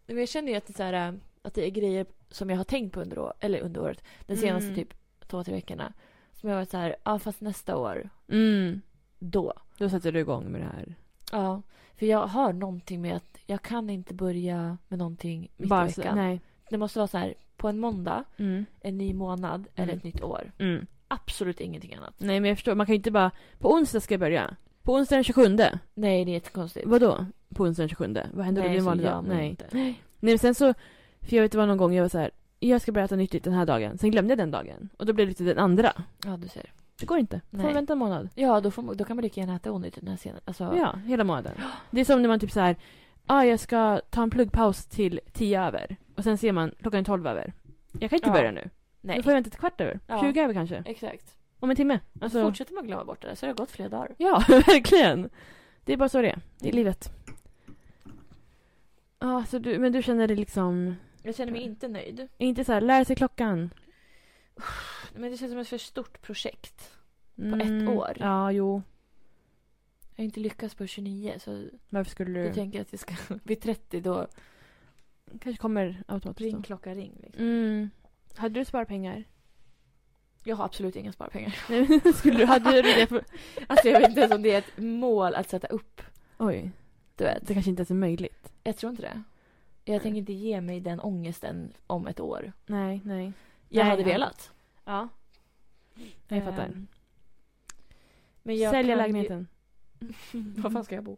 [SPEAKER 1] men jag känner ju att det, är så här, eh, att det är grejer som jag har tänkt på under, å- eller under året. Den senaste
[SPEAKER 2] Mm.
[SPEAKER 1] typ två, tre veckorna. Som jag har varit så här, ja fast nästa år,
[SPEAKER 2] Mm.
[SPEAKER 1] då.
[SPEAKER 2] Då sätter du igång med det här.
[SPEAKER 1] Ja. För jag har någonting med att jag kan inte börja med någonting mitt i
[SPEAKER 2] så-
[SPEAKER 1] veckan.
[SPEAKER 2] nej.
[SPEAKER 1] Det måste vara så här, på en måndag,
[SPEAKER 2] Mm.
[SPEAKER 1] en ny månad eller
[SPEAKER 2] Mm.
[SPEAKER 1] ett nytt år.
[SPEAKER 2] Mm.
[SPEAKER 1] Absolut ingenting annat.
[SPEAKER 2] Nej men jag förstår, man kan ju inte bara på onsdag ska jag börja. På onsdag den 27.
[SPEAKER 1] Nej, det är jättekonstigt.
[SPEAKER 2] Vadå? På onsdag den 27. Vad händer då? Det är
[SPEAKER 1] Nej,
[SPEAKER 2] en
[SPEAKER 1] så
[SPEAKER 2] vanlig
[SPEAKER 1] gör
[SPEAKER 2] dag.
[SPEAKER 1] man
[SPEAKER 2] Nej.
[SPEAKER 1] inte.
[SPEAKER 2] Nej men sen så, för jag vet det var någon gång jag var så här. jag ska börja äta nyttigt den här dagen. Sen glömde jag den dagen. Och då blev det lite den andra.
[SPEAKER 1] Ja, du ser.
[SPEAKER 2] Det går inte. Får
[SPEAKER 1] Nej.
[SPEAKER 2] man vänta en månad.
[SPEAKER 1] Ja, då, får, man- då kan man lika gärna äta onyttigt den här scenen. Alltså,
[SPEAKER 2] Ja. hela månaden. Det är som när man typ så här. ah, jag ska ta en pluggpaus till 10 över. Och sen ser man klockan är 12 över. Jag kan inte
[SPEAKER 1] Ja.
[SPEAKER 2] börja nu.
[SPEAKER 1] Nej.
[SPEAKER 2] Då får jag vänta till kvart över.
[SPEAKER 1] Ja.
[SPEAKER 2] 20 över kanske.
[SPEAKER 1] Exakt.
[SPEAKER 2] Om en timme. Alltså,
[SPEAKER 1] Fortsätter man glömma bort det där så har det gått flera dagar.
[SPEAKER 2] Ja, verkligen. Det är bara så det är. Det
[SPEAKER 1] Mm.
[SPEAKER 2] är livet. Ja, så du, men du känner dig liksom...
[SPEAKER 1] Jag känner mig inte nöjd.
[SPEAKER 2] Inte så här, lära sig klockan.
[SPEAKER 1] Men det känns som ett för stort projekt.
[SPEAKER 2] Mm,
[SPEAKER 1] ett år.
[SPEAKER 2] Ja, jo.
[SPEAKER 1] Jag har inte lyckats på 29 så
[SPEAKER 2] Varför skulle
[SPEAKER 1] jag
[SPEAKER 2] du...
[SPEAKER 1] tänker att vi ska vid 30 då
[SPEAKER 2] kanske kommer automatiskt
[SPEAKER 1] ring
[SPEAKER 2] då.
[SPEAKER 1] klocka ring. Liksom.
[SPEAKER 2] Mm. Hade du sparpengar?
[SPEAKER 1] Jag har absolut inga sparpengar.
[SPEAKER 2] Nej, men skulle du... Hade du det för...
[SPEAKER 1] Alltså jag vet inte ens om det är ett mål att sätta upp.
[SPEAKER 2] Oj.
[SPEAKER 1] Du vet.
[SPEAKER 2] Det kanske inte ens är möjligt.
[SPEAKER 1] Jag tror inte det. Jag tänker inte ge mig den ångesten om ett år.
[SPEAKER 2] Nej, nej.
[SPEAKER 1] Jag
[SPEAKER 2] Nej,
[SPEAKER 1] hade
[SPEAKER 2] ja.
[SPEAKER 1] velat.
[SPEAKER 2] Ja. Jag fattar.
[SPEAKER 1] Ehm, men jag
[SPEAKER 2] Sälja
[SPEAKER 1] kan
[SPEAKER 2] lägenheten.
[SPEAKER 1] Ju... Var fan ska jag bo?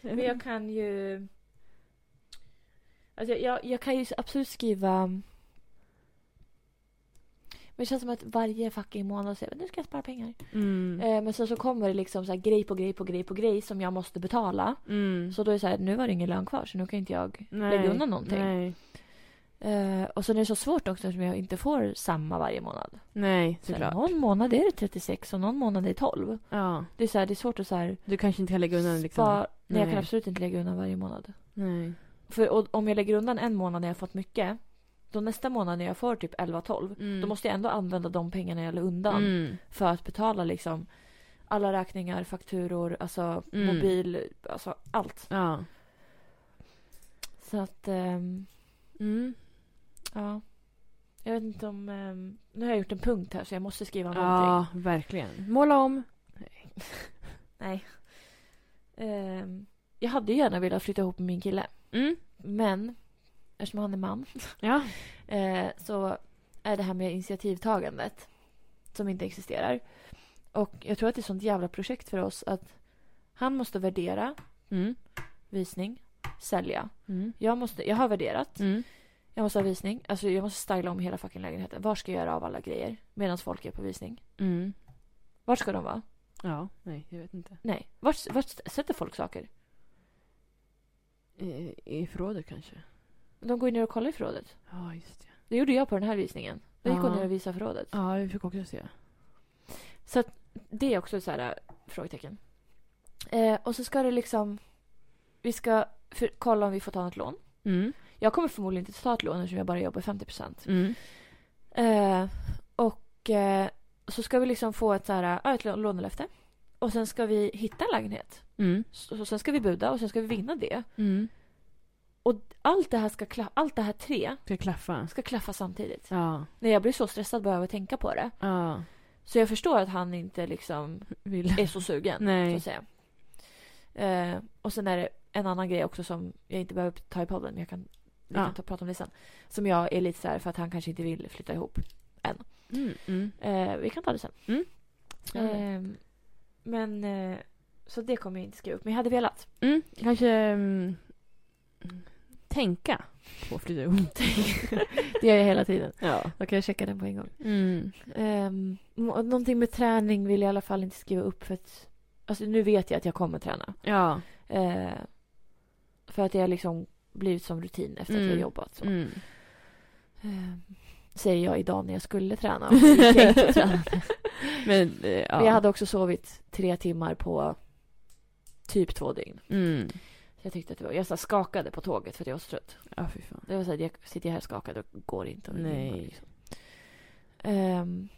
[SPEAKER 1] Men
[SPEAKER 2] Mm.
[SPEAKER 1] jag kan ju... Alltså jag, jag, jag kan ju absolut skriva... Men det känns som att varje fucking månad säger jag nu ska jag spara pengar.
[SPEAKER 2] Mm.
[SPEAKER 1] Eh, men sen så kommer det liksom så här grej på grej på grej på grej som jag måste betala.
[SPEAKER 2] Mm.
[SPEAKER 1] Så då är det så här, nu var det ingen lön kvar så nu kan inte jag
[SPEAKER 2] Nej.
[SPEAKER 1] lägga undan någonting.
[SPEAKER 2] Nej.
[SPEAKER 1] Eh, och sen är det så svårt också eftersom jag inte får samma varje månad.
[SPEAKER 2] Nej,
[SPEAKER 1] Så
[SPEAKER 2] såklart.
[SPEAKER 1] någon månad är det 36 och någon månad är det 12.
[SPEAKER 2] Ja.
[SPEAKER 1] Det är, så här, det är svårt att så här,
[SPEAKER 2] Du kanske inte kan lägga undan liksom...
[SPEAKER 1] spara. Nej, jag kan
[SPEAKER 2] Nej.
[SPEAKER 1] absolut inte lägga undan varje månad.
[SPEAKER 2] Nej.
[SPEAKER 1] För och, om jag lägger undan en månad när jag fått mycket. Då nästa månad när jag får typ 11-12. Då måste jag ändå använda de pengarna jag la undan.
[SPEAKER 2] Mm.
[SPEAKER 1] För att betala liksom alla räkningar, fakturor, alltså
[SPEAKER 2] Mm.
[SPEAKER 1] mobil, alltså allt.
[SPEAKER 2] Ja.
[SPEAKER 1] Så att, ehm,
[SPEAKER 2] Mm.
[SPEAKER 1] ja. Jag vet inte om, ehm, nu har jag gjort en punkt här så jag måste skriva någonting.
[SPEAKER 2] ja, verkligen. Måla om.
[SPEAKER 1] Nej. Ehm, jag hade ju gärna velat flytta ihop med min kille.
[SPEAKER 2] Mm.
[SPEAKER 1] Men eftersom han är man
[SPEAKER 2] Ja.
[SPEAKER 1] eh, så är det här med initiativtagandet som inte existerar. Och jag tror att det är ett sånt jävla projekt för oss att han måste värdera
[SPEAKER 2] Mm.
[SPEAKER 1] visning, sälja.
[SPEAKER 2] Mm.
[SPEAKER 1] Jag, måste, jag har värderat,
[SPEAKER 2] Mm.
[SPEAKER 1] jag måste ha visning. Alltså jag måste styla om hela fucking lägenheten. Var ska jag göra av alla grejer medan folk är på visning?
[SPEAKER 2] Mm.
[SPEAKER 1] Var ska de vara?
[SPEAKER 2] Ja, nej, jag vet inte.
[SPEAKER 1] Nej. Vart, vart sätter folk saker?
[SPEAKER 2] I, i förrådet kanske?
[SPEAKER 1] De går ju ner och kollar i förrådet.
[SPEAKER 2] Ja, just det.
[SPEAKER 1] Det gjorde jag på den här visningen. Då gick hon
[SPEAKER 2] Ja.
[SPEAKER 1] ner och visade förrådet.
[SPEAKER 2] Ja, vi fick också se.
[SPEAKER 1] Så att det är också så här äh, frågetecken. Eh, och så ska det liksom... Vi ska för, kolla om vi får ta något lån.
[SPEAKER 2] Mm.
[SPEAKER 1] Jag kommer förmodligen inte ta ett lån eftersom jag bara jobbar 50 procent.
[SPEAKER 2] Mm.
[SPEAKER 1] Eh, och eh, så ska vi liksom få ett, så här, ja, ett lå- lånelöfte. Och sen ska vi hitta en lägenhet.
[SPEAKER 2] Mm.
[SPEAKER 1] Så, sen ska vi buda och sen ska vi vinna det.
[SPEAKER 2] Mm.
[SPEAKER 1] Allt det här, ska kla- allt det här tre
[SPEAKER 2] Ska klaffa.
[SPEAKER 1] ska klaffa samtidigt.
[SPEAKER 2] Ja.
[SPEAKER 1] När jag blir så stressad behöver jag tänka på det.
[SPEAKER 2] Ja.
[SPEAKER 1] Så jag förstår att han inte liksom
[SPEAKER 2] Vill.
[SPEAKER 1] är så sugen.
[SPEAKER 2] Nej.
[SPEAKER 1] Så att säga. Eh, och sen är det en annan grej också som jag inte behöver ta i podden. Men jag kan, vi
[SPEAKER 2] Ja.
[SPEAKER 1] kan ta, prata om det sen. Som jag är lite så här för att han kanske inte vill flytta ihop.
[SPEAKER 2] Mm. Mm.
[SPEAKER 1] Eh, vi kan ta det sen.
[SPEAKER 2] Mm.
[SPEAKER 1] Eh, men eh, så det kommer jag inte skriva upp. Men jag hade velat.
[SPEAKER 2] Mm. Kanske mm, tänka på att flytta ihop.
[SPEAKER 1] Det gör jag hela tiden.
[SPEAKER 2] Ja.
[SPEAKER 1] Då kan jag checka den på en gång.
[SPEAKER 2] Mm.
[SPEAKER 1] Um, någonting med träning vill jag i alla fall inte skriva upp för att alltså, nu vet jag att jag kommer träna.
[SPEAKER 2] Ja.
[SPEAKER 1] Eh, för att det har liksom blivit som rutin efter att jag
[SPEAKER 2] Mm.
[SPEAKER 1] har jobbat. Så.
[SPEAKER 2] Mm.
[SPEAKER 1] Ehm, säger jag idag när jag skulle träna. och det gick jag inte träna.
[SPEAKER 2] Men eh, ja.
[SPEAKER 1] Men jag hade också sovit tre timmar på typ två dygn.
[SPEAKER 2] Mm.
[SPEAKER 1] Så jag tyckte att det var, jag så här skakade på tåget för att jag var så trött.
[SPEAKER 2] Ja, fy fan.
[SPEAKER 1] Det var så här, jag sitter här skakad och går inte. Och
[SPEAKER 2] Nej.
[SPEAKER 1] liksom. Ehm,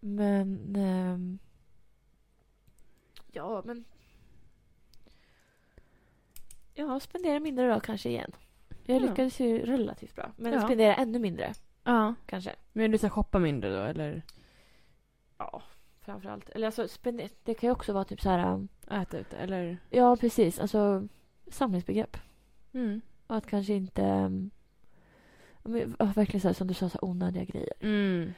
[SPEAKER 1] men... ehm, ja, men... Ja, spendera mindre då kanske igen. Jag
[SPEAKER 2] Ja.
[SPEAKER 1] lyckades ju relativt bra. Men
[SPEAKER 2] Ja.
[SPEAKER 1] spendera ännu mindre
[SPEAKER 2] Ja.
[SPEAKER 1] kanske.
[SPEAKER 2] Men du ska shoppa mindre då eller?
[SPEAKER 1] Ja, framförallt. Eller alltså, spende- det kan ju också vara typ så här... um,
[SPEAKER 2] Äta ute eller?
[SPEAKER 1] Ja, precis. Alltså, samlingsbegrepp.
[SPEAKER 2] Mm.
[SPEAKER 1] Och att kanske inte... um, men, ja, Verkligen så här, som du sa, så här onödiga grejer.
[SPEAKER 2] Mm.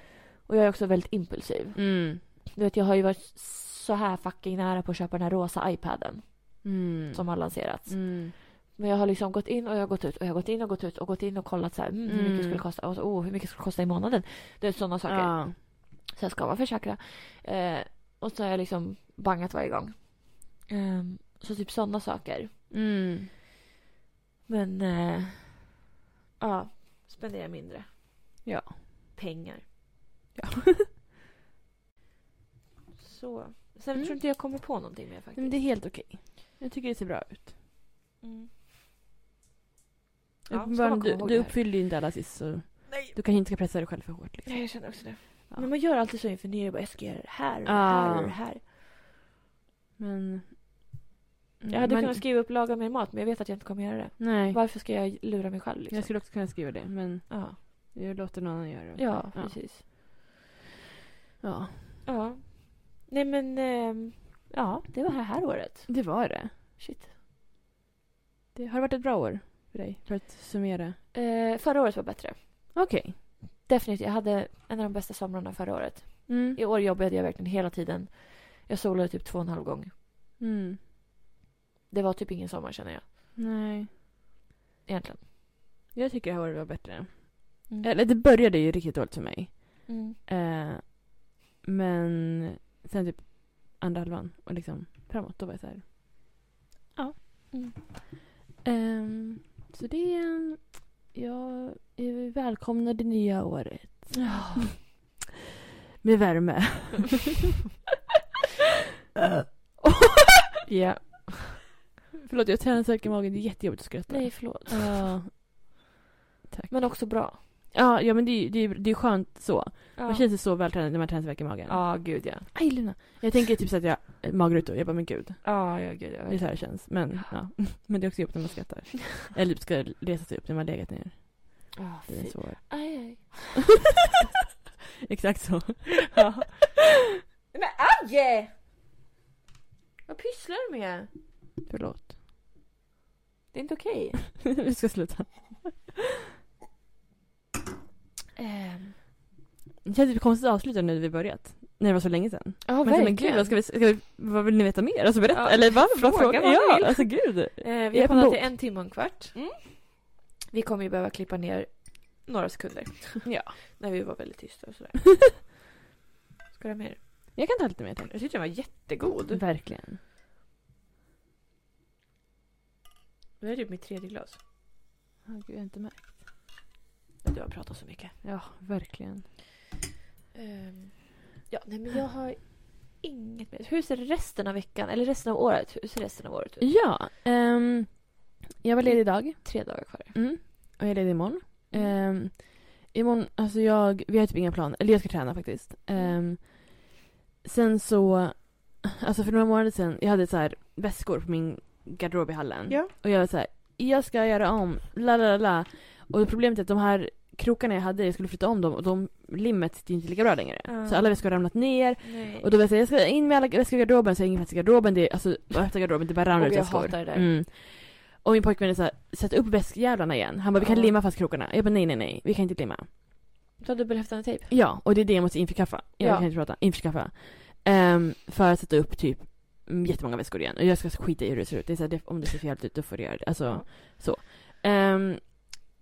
[SPEAKER 1] Och jag är också väldigt impulsiv.
[SPEAKER 2] Mm.
[SPEAKER 1] Du vet, jag har ju varit så här fucking nära på att köpa den här rosa iPaden
[SPEAKER 2] Mm.
[SPEAKER 1] som har lanserats.
[SPEAKER 2] Mm.
[SPEAKER 1] Men jag har liksom gått in och jag har gått ut och jag har gått in och gått ut och gått in och kollat så här, mm, hur mycket
[SPEAKER 2] Mm.
[SPEAKER 1] skulle det kosta? Och så, oh, hur mycket skulle det kosta i månaden? Det är sådana saker.
[SPEAKER 2] Ja.
[SPEAKER 1] Så jag ska vara försäkrad. Eh, och så har jag liksom bangat varje gång. Ehm, så typ sådana saker.
[SPEAKER 2] Mm.
[SPEAKER 1] Men eh, ja, spendera mindre.
[SPEAKER 2] Ja.
[SPEAKER 1] Pengar.
[SPEAKER 2] Ja.
[SPEAKER 1] så. Sen
[SPEAKER 2] Mm.
[SPEAKER 1] tror inte jag kommer på någonting mer faktiskt.
[SPEAKER 2] Men det är helt okej. Jag tycker det ser bra ut.
[SPEAKER 1] Mm. Ja, ska
[SPEAKER 2] Uppenbarligen,
[SPEAKER 1] man komma
[SPEAKER 2] du,
[SPEAKER 1] ihåg
[SPEAKER 2] du
[SPEAKER 1] det här?
[SPEAKER 2] uppfyllde ju inte alla sist så
[SPEAKER 1] Nej.
[SPEAKER 2] du kanske inte ska pressa dig själv för hårt. Liksom.
[SPEAKER 1] Nej, jag känner också det.
[SPEAKER 2] Ja.
[SPEAKER 1] Men man gör alltid så inför nyår. bara, Jag ska göra det här och det
[SPEAKER 2] Ja.
[SPEAKER 1] här och det här.
[SPEAKER 2] Men...
[SPEAKER 1] Jag hade
[SPEAKER 2] men-
[SPEAKER 1] kunnat skriva upp laga mer mat men jag vet att jag inte kommer göra det.
[SPEAKER 2] Mm. Nej,
[SPEAKER 1] Varför ska jag lura mig själv liksom?
[SPEAKER 2] jag skulle också kunna skriva det men
[SPEAKER 1] ja.
[SPEAKER 2] jag låter någon annan göra det.
[SPEAKER 1] ja,
[SPEAKER 2] Ja.
[SPEAKER 1] precis.
[SPEAKER 2] Ja.
[SPEAKER 1] Ja. Nej men, ehm, ja det var det här året.
[SPEAKER 2] Det var det.
[SPEAKER 1] Shit.
[SPEAKER 2] det. Har det varit ett bra år för dig? För att summera.
[SPEAKER 1] Eh, förra året var bättre.
[SPEAKER 2] Okej.
[SPEAKER 1] Definitivt. Jag hade en av de bästa somrarna förra året.
[SPEAKER 2] Mm.
[SPEAKER 1] I år jobbade jag verkligen hela tiden. Jag solade typ två och en halv gång.
[SPEAKER 2] Mm.
[SPEAKER 1] Det var typ ingen sommar känner jag.
[SPEAKER 2] Nej.
[SPEAKER 1] Egentligen.
[SPEAKER 2] Jag tycker det här året var bättre.
[SPEAKER 1] Mm.
[SPEAKER 2] Eller det började ju riktigt dåligt för mig.
[SPEAKER 1] Mm.
[SPEAKER 2] Eh, men sen typ andra halvan och liksom framåt, då var jag så här. Ja.
[SPEAKER 1] Mm.
[SPEAKER 2] Ehm, så det är en... Jag eh, välkomnar det nya året. Med värme. ja. Förlåt, jag tränar så mycket i magen. Det är jättejobbigt att skratta.
[SPEAKER 1] Nej förlåt.
[SPEAKER 2] Ja. Tack.
[SPEAKER 1] Men också bra.
[SPEAKER 2] Ja, ja men det är ju det är, det är skönt så.
[SPEAKER 1] Ja.
[SPEAKER 2] Man känner sig så vältränad när man tränar så mycket i magen.
[SPEAKER 1] Ja, gud ja.
[SPEAKER 2] Aj, Luna. Jag tänker typ så att jag eh, magrutor. Jag bara, men gud.
[SPEAKER 1] Ja, ja gud ja.
[SPEAKER 2] Det är så här det känns. Men, ja. men det är också jobbigt när man skrattar. Eller typ ska resa sig upp när man har legat ner.
[SPEAKER 1] Ah,
[SPEAKER 2] Det är
[SPEAKER 1] fy.
[SPEAKER 2] så.
[SPEAKER 1] Aj, aj.
[SPEAKER 2] Exakt så.
[SPEAKER 1] Men aj! Vad pysslar du med?
[SPEAKER 2] Förlåt.
[SPEAKER 1] Det är inte okej.
[SPEAKER 2] Vi ska sluta. Ehm. Det känns typ konstigt att avsluta nu när vi börjat. När det var så länge sedan.
[SPEAKER 1] Ja,
[SPEAKER 2] men, så, men gud, vad, ska vi, ska vi, vad vill ni veta mer? Alltså berätta.
[SPEAKER 1] Ja,
[SPEAKER 2] Eller vad? Bra
[SPEAKER 1] fråga
[SPEAKER 2] fråga.
[SPEAKER 1] vad ni
[SPEAKER 2] Ja,
[SPEAKER 1] vill.
[SPEAKER 2] alltså gud.
[SPEAKER 1] Eh, vi
[SPEAKER 2] Jag
[SPEAKER 1] har
[SPEAKER 2] är
[SPEAKER 1] pratat
[SPEAKER 2] emot.
[SPEAKER 1] i en timme och en kvart. Vi kommer ju behöva klippa ner några sekunder.
[SPEAKER 2] Ja.
[SPEAKER 1] När vi var väldigt tysta och sådär. Ska du ha mer?
[SPEAKER 2] Jag kan ta lite mer tack.
[SPEAKER 1] Jag tyckte den var jättegod.
[SPEAKER 2] Verkligen.
[SPEAKER 1] Det är typ mitt tredje glas.
[SPEAKER 2] Ja, gud, jag har inte märkt.
[SPEAKER 1] Du har pratat så mycket.
[SPEAKER 2] Ja, verkligen.
[SPEAKER 1] Ehm, ja, nej men jag har inget mer. Hur ser resten av veckan, eller resten av året, hur ser resten av året ut?
[SPEAKER 2] Ja. ehm, jag var ledig idag.
[SPEAKER 1] Tre dagar kvar.
[SPEAKER 2] Mm. Och jag är ledig imorgon. Um, imorgon, alltså jag, vi har typ inga planer. Eller jag ska träna faktiskt. Ehm, sen så, alltså för några månader sedan, jag hade så här väskor på min garderob i hallen.
[SPEAKER 1] Ja.
[SPEAKER 2] Och jag var så här, jag ska göra om, la la la la. Och problemet är att de här krokarna jag hade, jag skulle flytta om dem och de, limmet sitter ju inte lika bra längre.
[SPEAKER 1] Ja.
[SPEAKER 2] Så alla väskor har ramlat ner.
[SPEAKER 1] Nej.
[SPEAKER 2] Och då var jag säga, jag ska in med alla väskor i garderoben, så jag har ingen plats i garderoben. Det är, alltså, efter garderoben, det bara ramlar
[SPEAKER 1] Och
[SPEAKER 2] ut
[SPEAKER 1] jag
[SPEAKER 2] väskor.
[SPEAKER 1] hatar det där.
[SPEAKER 2] Mm. Och min pojkvän är såhär, sätt upp väskjävlarna igen. Han bara, vi kan
[SPEAKER 1] Ja.
[SPEAKER 2] limma fast krokarna. Jag bara, nej nej nej, vi kan inte limma.
[SPEAKER 1] Du har dubbelhäftande tejp.
[SPEAKER 2] Ja, och det är det jag måste införskaffa. Jag
[SPEAKER 1] Ja.
[SPEAKER 2] kan inte prata, införskaffa. Um, för att sätta upp typ mm, jättemånga väskor igen. Och jag ska skita i hur det ser ut. Det är så här, det, om det ser för jävligt ut, då får du göra det. Alltså,
[SPEAKER 1] Ja.
[SPEAKER 2] så. Ehm,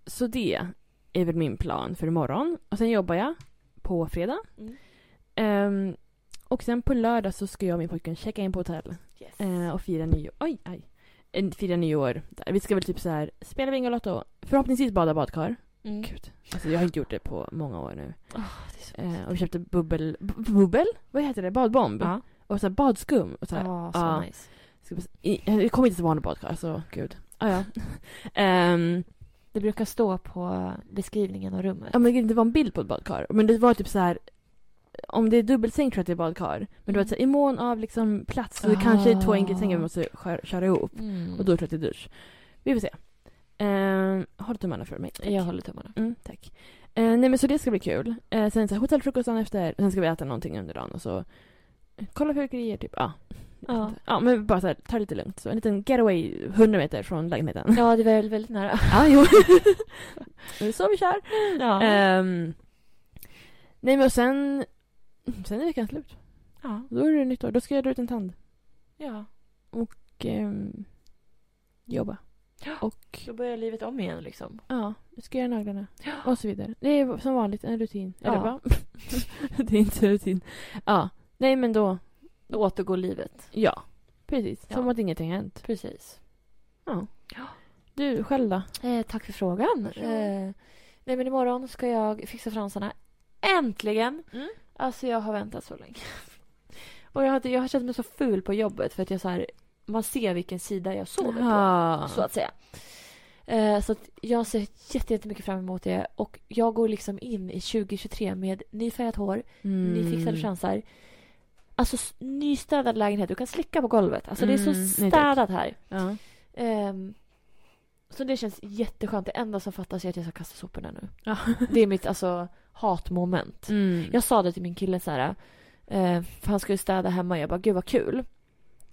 [SPEAKER 2] så det är väl min plan för imorgon. Och sen jobbar jag på fredag.
[SPEAKER 1] Mm.
[SPEAKER 2] Ehm, och sen på lördag så ska jag och min pojkvän checka in på hotell.
[SPEAKER 1] Yes.
[SPEAKER 2] Eh, och fira nyår. Oj, aj. Eh, Fira nyår. där. Vi ska väl typ så här spela Bingolotto. Förhoppningsvis bada badkar.
[SPEAKER 1] Mm.
[SPEAKER 2] Gud. Alltså jag har inte gjort det på många år nu.
[SPEAKER 1] Åh, det är så
[SPEAKER 2] Eh, och vi köpte bubbel... bu- Bubbel? Vad heter det? Badbomb?
[SPEAKER 1] Ja.
[SPEAKER 2] Och så här badskum. Och så här.
[SPEAKER 1] Ja, så
[SPEAKER 2] ja.
[SPEAKER 1] nice.
[SPEAKER 2] Ska vi- i- eh, Det kommer inte så vanligt badkar. Alltså gud. Ah, ja. Ehm,
[SPEAKER 1] Det brukar stå på beskrivningen av rummet.
[SPEAKER 2] ja men gud, det var en bild på ett badkar. Men det var typ så här. Om det är dubbelsäng tror jag att det är badkar. Men det var så här, i mån av liksom plats så det
[SPEAKER 1] Ah.
[SPEAKER 2] kanske är två enkelsängar vi måste skö- köra ihop.
[SPEAKER 1] Mm.
[SPEAKER 2] Och då tror jag att det är dusch. Vi får se. Eh, håll tummarna för mig. Tack.
[SPEAKER 1] Jag håller tummarna.
[SPEAKER 2] Mm, tack. Eh, nej men så det ska bli kul. Eh, sen så här, hotellfrukost dagen efter. Sen ska vi äta någonting under dagen och så kolla fyrverkerier typ. Ja.
[SPEAKER 1] Ja.
[SPEAKER 2] ja men bara så här, ta det lite lugnt. Så en liten getaway 100 meter från lägenheten.
[SPEAKER 1] Ja, det är väldigt, väldigt nära.
[SPEAKER 2] ja jo. det är så vi kör.
[SPEAKER 1] Ja.
[SPEAKER 2] Ehm, nej men och sen sen är veckan slut.
[SPEAKER 1] ja.
[SPEAKER 2] Då är det nytt år. Då ska jag dra ut en tand
[SPEAKER 1] ja.
[SPEAKER 2] och ehm, jobba. Och
[SPEAKER 1] Då börjar livet om igen liksom.
[SPEAKER 2] Ja, du ska göra naglarna. Och så vidare. Det är som vanligt en rutin.
[SPEAKER 1] Ja.
[SPEAKER 2] Eller va? det är inte en rutin. Ja. Nej men då.
[SPEAKER 1] Då återgår livet.
[SPEAKER 2] Ja. Precis.
[SPEAKER 1] Ja.
[SPEAKER 2] Som att ingenting hänt.
[SPEAKER 1] Precis.
[SPEAKER 2] Du själv då?
[SPEAKER 1] Eh, tack för frågan.
[SPEAKER 2] Ja.
[SPEAKER 1] Eh, nej, men imorgon ska jag fixa fransarna. Äntligen!
[SPEAKER 2] Mm.
[SPEAKER 1] Alltså, jag har väntat så länge. Och jag, hade, jag har känt mig så ful på jobbet för att jag så här, man ser vilken sida jag sover på.
[SPEAKER 2] Ja.
[SPEAKER 1] så att säga. Eh, Så att jag ser jätte- jättemycket fram emot det. Och jag går liksom in i 2023 med nyfärgat hår,
[SPEAKER 2] Mm.
[SPEAKER 1] nyfixade fransar. Alltså s- nystädad lägenhet. Du kan slicka på golvet. Alltså det är
[SPEAKER 2] Mm,
[SPEAKER 1] så
[SPEAKER 2] nej tack.
[SPEAKER 1] städat här.
[SPEAKER 2] Ja.
[SPEAKER 1] Ehm, Så det känns jätteskönt. Det enda som fattas är att jag ska kasta soporna nu.
[SPEAKER 2] Ja.
[SPEAKER 1] Det är mitt alltså hatmoment.
[SPEAKER 2] Mm.
[SPEAKER 1] Jag sa det till min kille så här. eh, För han skulle städa hemma. Jag bara, gud vad kul.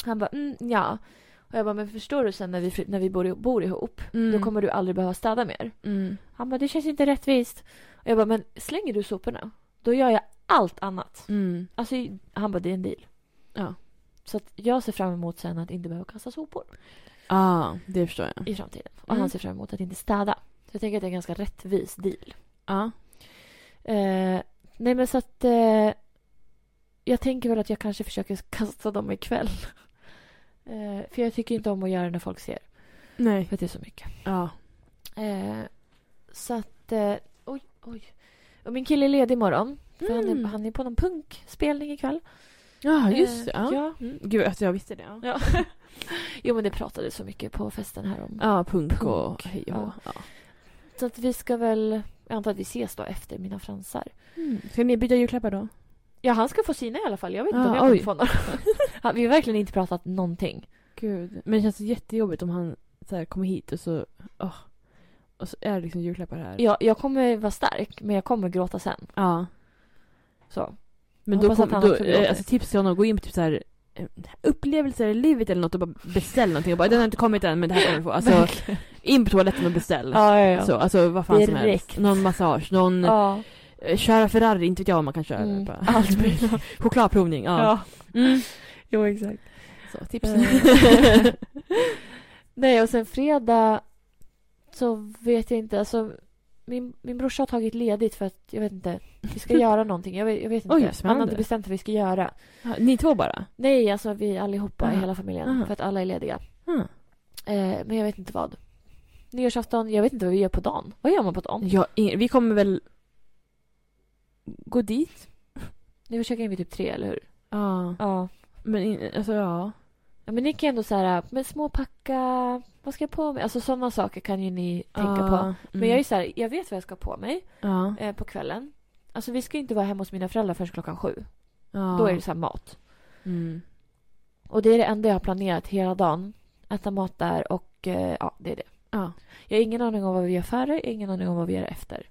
[SPEAKER 1] Han bara, mm, ja. Och jag bara, men förstår du sen när vi, fly- när vi bor, i- bor ihop.
[SPEAKER 2] Mm.
[SPEAKER 1] Då kommer du aldrig behöva städa mer.
[SPEAKER 2] Mm.
[SPEAKER 1] Han bara, det känns inte rättvist. Och jag bara, men slänger du soporna, då gör jag allt annat.
[SPEAKER 2] Mm.
[SPEAKER 1] Alltså, han bara, det är en deal.
[SPEAKER 2] Ja.
[SPEAKER 1] Så att jag ser fram emot sen att inte behöva kasta sopor
[SPEAKER 2] Ja, det förstår jag.
[SPEAKER 1] i framtiden. Och
[SPEAKER 2] Mm.
[SPEAKER 1] han ser fram emot att inte städa. Så jag tänker att det är en ganska rättvis deal.
[SPEAKER 2] Ja.
[SPEAKER 1] Eh, nej men så att eh, jag tänker väl att jag kanske försöker kasta dem ikväll. Eh, för jag tycker inte om att göra det när folk ser.
[SPEAKER 2] Nej.
[SPEAKER 1] För att det är så mycket.
[SPEAKER 2] Ja.
[SPEAKER 1] Eh, så att... Eh, oj, oj. Och min kille är ledig imorgon. För han, är,
[SPEAKER 2] Mm.
[SPEAKER 1] han är på någon punkspelning ikväll.
[SPEAKER 2] Ja, just det.
[SPEAKER 1] Eh,
[SPEAKER 2] Ja.
[SPEAKER 1] ja.
[SPEAKER 2] Mm. Gud, alltså jag visste det. Ja.
[SPEAKER 1] ja. jo, men det pratades så mycket på festen här om.
[SPEAKER 2] Ja, punk, och
[SPEAKER 1] Punk.
[SPEAKER 2] hej och hå. ja.
[SPEAKER 1] Så att vi ska väl... Jag antar att vi ses då efter mina fransar.
[SPEAKER 2] Mm. Ska ni byta julklappar då?
[SPEAKER 1] Ja, han ska få sina i alla fall. Jag vet inte
[SPEAKER 2] Ah,
[SPEAKER 1] om jag kommer
[SPEAKER 2] oj.
[SPEAKER 1] få några. Ja, vi har verkligen inte pratat någonting.
[SPEAKER 2] Gud. Men det känns jättejobbigt om han så här, kommer hit och så... åh. Och så är det liksom julklappar här.
[SPEAKER 1] Jag, jag kommer vara stark, men jag kommer gråta sen.
[SPEAKER 2] Ja.
[SPEAKER 1] Så.
[SPEAKER 2] Men
[SPEAKER 1] Jag
[SPEAKER 2] då,
[SPEAKER 1] hoppas att
[SPEAKER 2] kom,
[SPEAKER 1] han
[SPEAKER 2] då
[SPEAKER 1] också gråter.
[SPEAKER 2] eh, alltså, tips till honom, gå in på typ så här, eh, upplevelser i livet eller något och bara beställ någonting. Och bara, den har inte kommit än men det här kommer du få. Alltså, in på toaletten och beställ.
[SPEAKER 1] Ja, ja, ja.
[SPEAKER 2] Så, alltså vad fan som
[SPEAKER 1] Direkt.
[SPEAKER 2] helst. Någon massage, någon
[SPEAKER 1] Ja.
[SPEAKER 2] eh, köra Ferrari, inte vet jag vad man kan köra.
[SPEAKER 1] Mm.
[SPEAKER 2] Bara.
[SPEAKER 1] Allt möjligt.
[SPEAKER 2] Chokladprovning, ja.
[SPEAKER 1] ja.
[SPEAKER 2] Mm.
[SPEAKER 1] Jo, exakt.
[SPEAKER 2] Så, tips.
[SPEAKER 1] Eh. Nej, och sen fredag så vet jag inte. Alltså, min, min brorsa har tagit ledigt för att jag vet inte. Vi ska göra någonting. Jag vet, jag vet inte.
[SPEAKER 2] Oj,
[SPEAKER 1] Han har
[SPEAKER 2] spännande.
[SPEAKER 1] inte bestämt vad vi ska göra.
[SPEAKER 2] Ja, Ni två bara?
[SPEAKER 1] Nej, alltså vi allihopa i
[SPEAKER 2] Aha.
[SPEAKER 1] hela familjen.
[SPEAKER 2] Aha.
[SPEAKER 1] För att alla är lediga.
[SPEAKER 2] Ah.
[SPEAKER 1] Eh, men jag vet inte vad. Nyårsafton, jag vet inte vad vi gör på dagen. Vad gör man på dagen?
[SPEAKER 2] Ja, ingen- vi kommer väl gå dit?
[SPEAKER 1] Nu försöker vi typ tre, eller hur?
[SPEAKER 2] Ja.
[SPEAKER 1] Ja.
[SPEAKER 2] Men in, alltså ja.
[SPEAKER 1] ja men ni kan ju ändå så här, äh, men småpacka, vad ska jag på mig? Alltså sådana saker kan ju ni tänka
[SPEAKER 2] Ja,
[SPEAKER 1] på.
[SPEAKER 2] mm.
[SPEAKER 1] Men jag är ju så här, jag vet vad jag ska ha på mig
[SPEAKER 2] Ja.
[SPEAKER 1] eh, på kvällen. Alltså vi ska ju inte vara hemma hos mina föräldrar förrän klockan sju.
[SPEAKER 2] ja.
[SPEAKER 1] Då är det så här mat.
[SPEAKER 2] Mm.
[SPEAKER 1] Och det är det enda jag har planerat hela dagen. Äta mat där och eh, ja, det är det.
[SPEAKER 2] Ja.
[SPEAKER 1] Jag har ingen aning om vad vi gör före, jag har ingen aning om vad vi gör efter.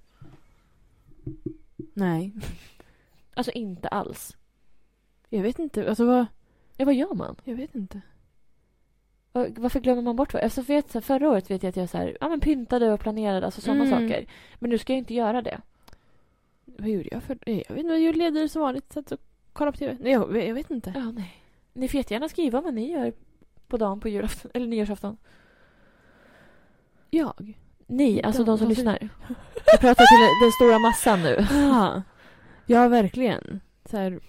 [SPEAKER 2] Nej.
[SPEAKER 1] Alltså inte alls.
[SPEAKER 2] Jag vet inte. Alltså vad?
[SPEAKER 1] Ja, vad gör man?
[SPEAKER 2] Jag vet inte.
[SPEAKER 1] Och Varför glömmer man bort vad? Alltså för vet, så här, förra året vet jag att jag så här, ja, men pyntade och planerade, alltså sådana
[SPEAKER 2] Mm.
[SPEAKER 1] saker. Men nu ska jag inte göra det.
[SPEAKER 2] Vad gjorde jag för... Jag vet inte. Jag ledare som vanligt. Satt och kollade på TV. Nej, jag, jag vet inte.
[SPEAKER 1] Ja, nej. Ni får jättegärna skriva vad ni gör på dagen på julafton, eller nyårsafton.
[SPEAKER 2] Jag?
[SPEAKER 1] Ni, alltså de,
[SPEAKER 2] De-
[SPEAKER 1] som
[SPEAKER 2] de som-
[SPEAKER 1] lyssnar. Jag pratar till den stora massan nu.
[SPEAKER 2] Ja. Ja, verkligen. Så här,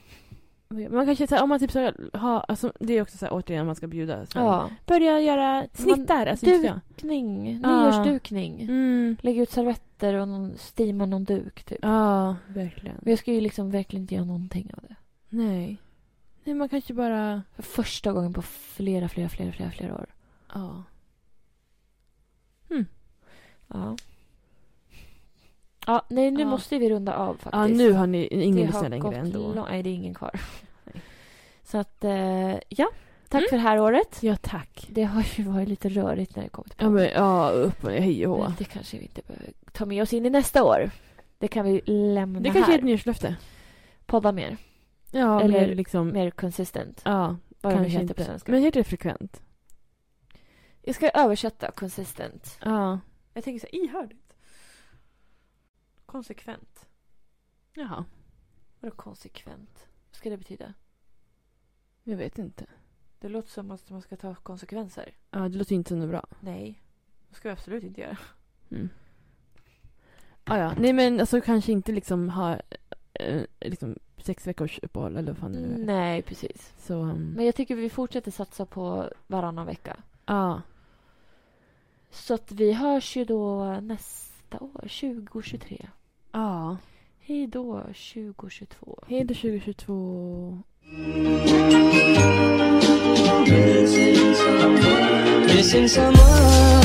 [SPEAKER 2] man kanske så här, om man typ så ha, alltså, det är också så här, återigen man ska bjuda. Så här,
[SPEAKER 1] Ja.
[SPEAKER 2] Börja göra snittar. Alltså,
[SPEAKER 1] du-
[SPEAKER 2] inte jag.
[SPEAKER 1] Dukning,
[SPEAKER 2] Ja.
[SPEAKER 1] nyårsdukning.
[SPEAKER 2] Mm.
[SPEAKER 1] Lägg ut servetter och någon, steama någon duk typ.
[SPEAKER 2] Ja, verkligen.
[SPEAKER 1] Men jag ska ju liksom verkligen inte göra någonting av det.
[SPEAKER 2] Nej. Nej, man kanske bara...
[SPEAKER 1] För första gången på flera, flera, flera, flera, flera år.
[SPEAKER 2] Ja.
[SPEAKER 1] Ja. Ja, nej nu
[SPEAKER 2] Ja.
[SPEAKER 1] måste vi runda av faktiskt.
[SPEAKER 2] Ja, nu har ni
[SPEAKER 1] Det
[SPEAKER 2] ingen lyssnar
[SPEAKER 1] har
[SPEAKER 2] längre
[SPEAKER 1] gått
[SPEAKER 2] ändå.
[SPEAKER 1] lång- Nej, det är ingen kvar.
[SPEAKER 2] Nej.
[SPEAKER 1] Så att, eh, ja. Tack
[SPEAKER 2] Mm.
[SPEAKER 1] för det här året.
[SPEAKER 2] Ja, tack.
[SPEAKER 1] Det har ju varit lite rörigt när det kommer till
[SPEAKER 2] Ja, men ja, upp med hej och hå.
[SPEAKER 1] Men det kanske vi inte behöver ta med oss in i nästa år. Det kan vi lämna
[SPEAKER 2] Det
[SPEAKER 1] här.
[SPEAKER 2] kanske är ett nyårslöfte.
[SPEAKER 1] Podda mer.
[SPEAKER 2] Ja,
[SPEAKER 1] Eller-
[SPEAKER 2] eller liksom...
[SPEAKER 1] Mer consistent.
[SPEAKER 2] ja,
[SPEAKER 1] Vad det nu
[SPEAKER 2] kanske
[SPEAKER 1] heter på
[SPEAKER 2] inte.
[SPEAKER 1] svenska.
[SPEAKER 2] Men heter det frekvent?
[SPEAKER 1] Jag ska översätta consistent.
[SPEAKER 2] Ja.
[SPEAKER 1] Jag tänker så här, ihärdigt. Konsekvent.
[SPEAKER 2] Jaha.
[SPEAKER 1] Vadå konsekvent? Vad ska det betyda?
[SPEAKER 2] Jag vet inte.
[SPEAKER 1] Det låter som att man ska ta konsekvenser.
[SPEAKER 2] Ja, det låter ju inte så nog bra.
[SPEAKER 1] Nej. Det ska vi absolut inte göra.
[SPEAKER 2] Ah, ja. Nej men alltså kanske inte liksom ha eh, liksom sex veckors uppehåll eller vad fan det nu är.
[SPEAKER 1] Nej, precis.
[SPEAKER 2] Så, um,
[SPEAKER 1] Men jag tycker vi fortsätter satsa på varannan vecka.
[SPEAKER 2] ja.
[SPEAKER 1] Så att vi hörs ju då nästa år, 2023.
[SPEAKER 2] Ja.
[SPEAKER 1] Hej då, 2022.
[SPEAKER 2] Hej då 2022.
[SPEAKER 3] Missing someone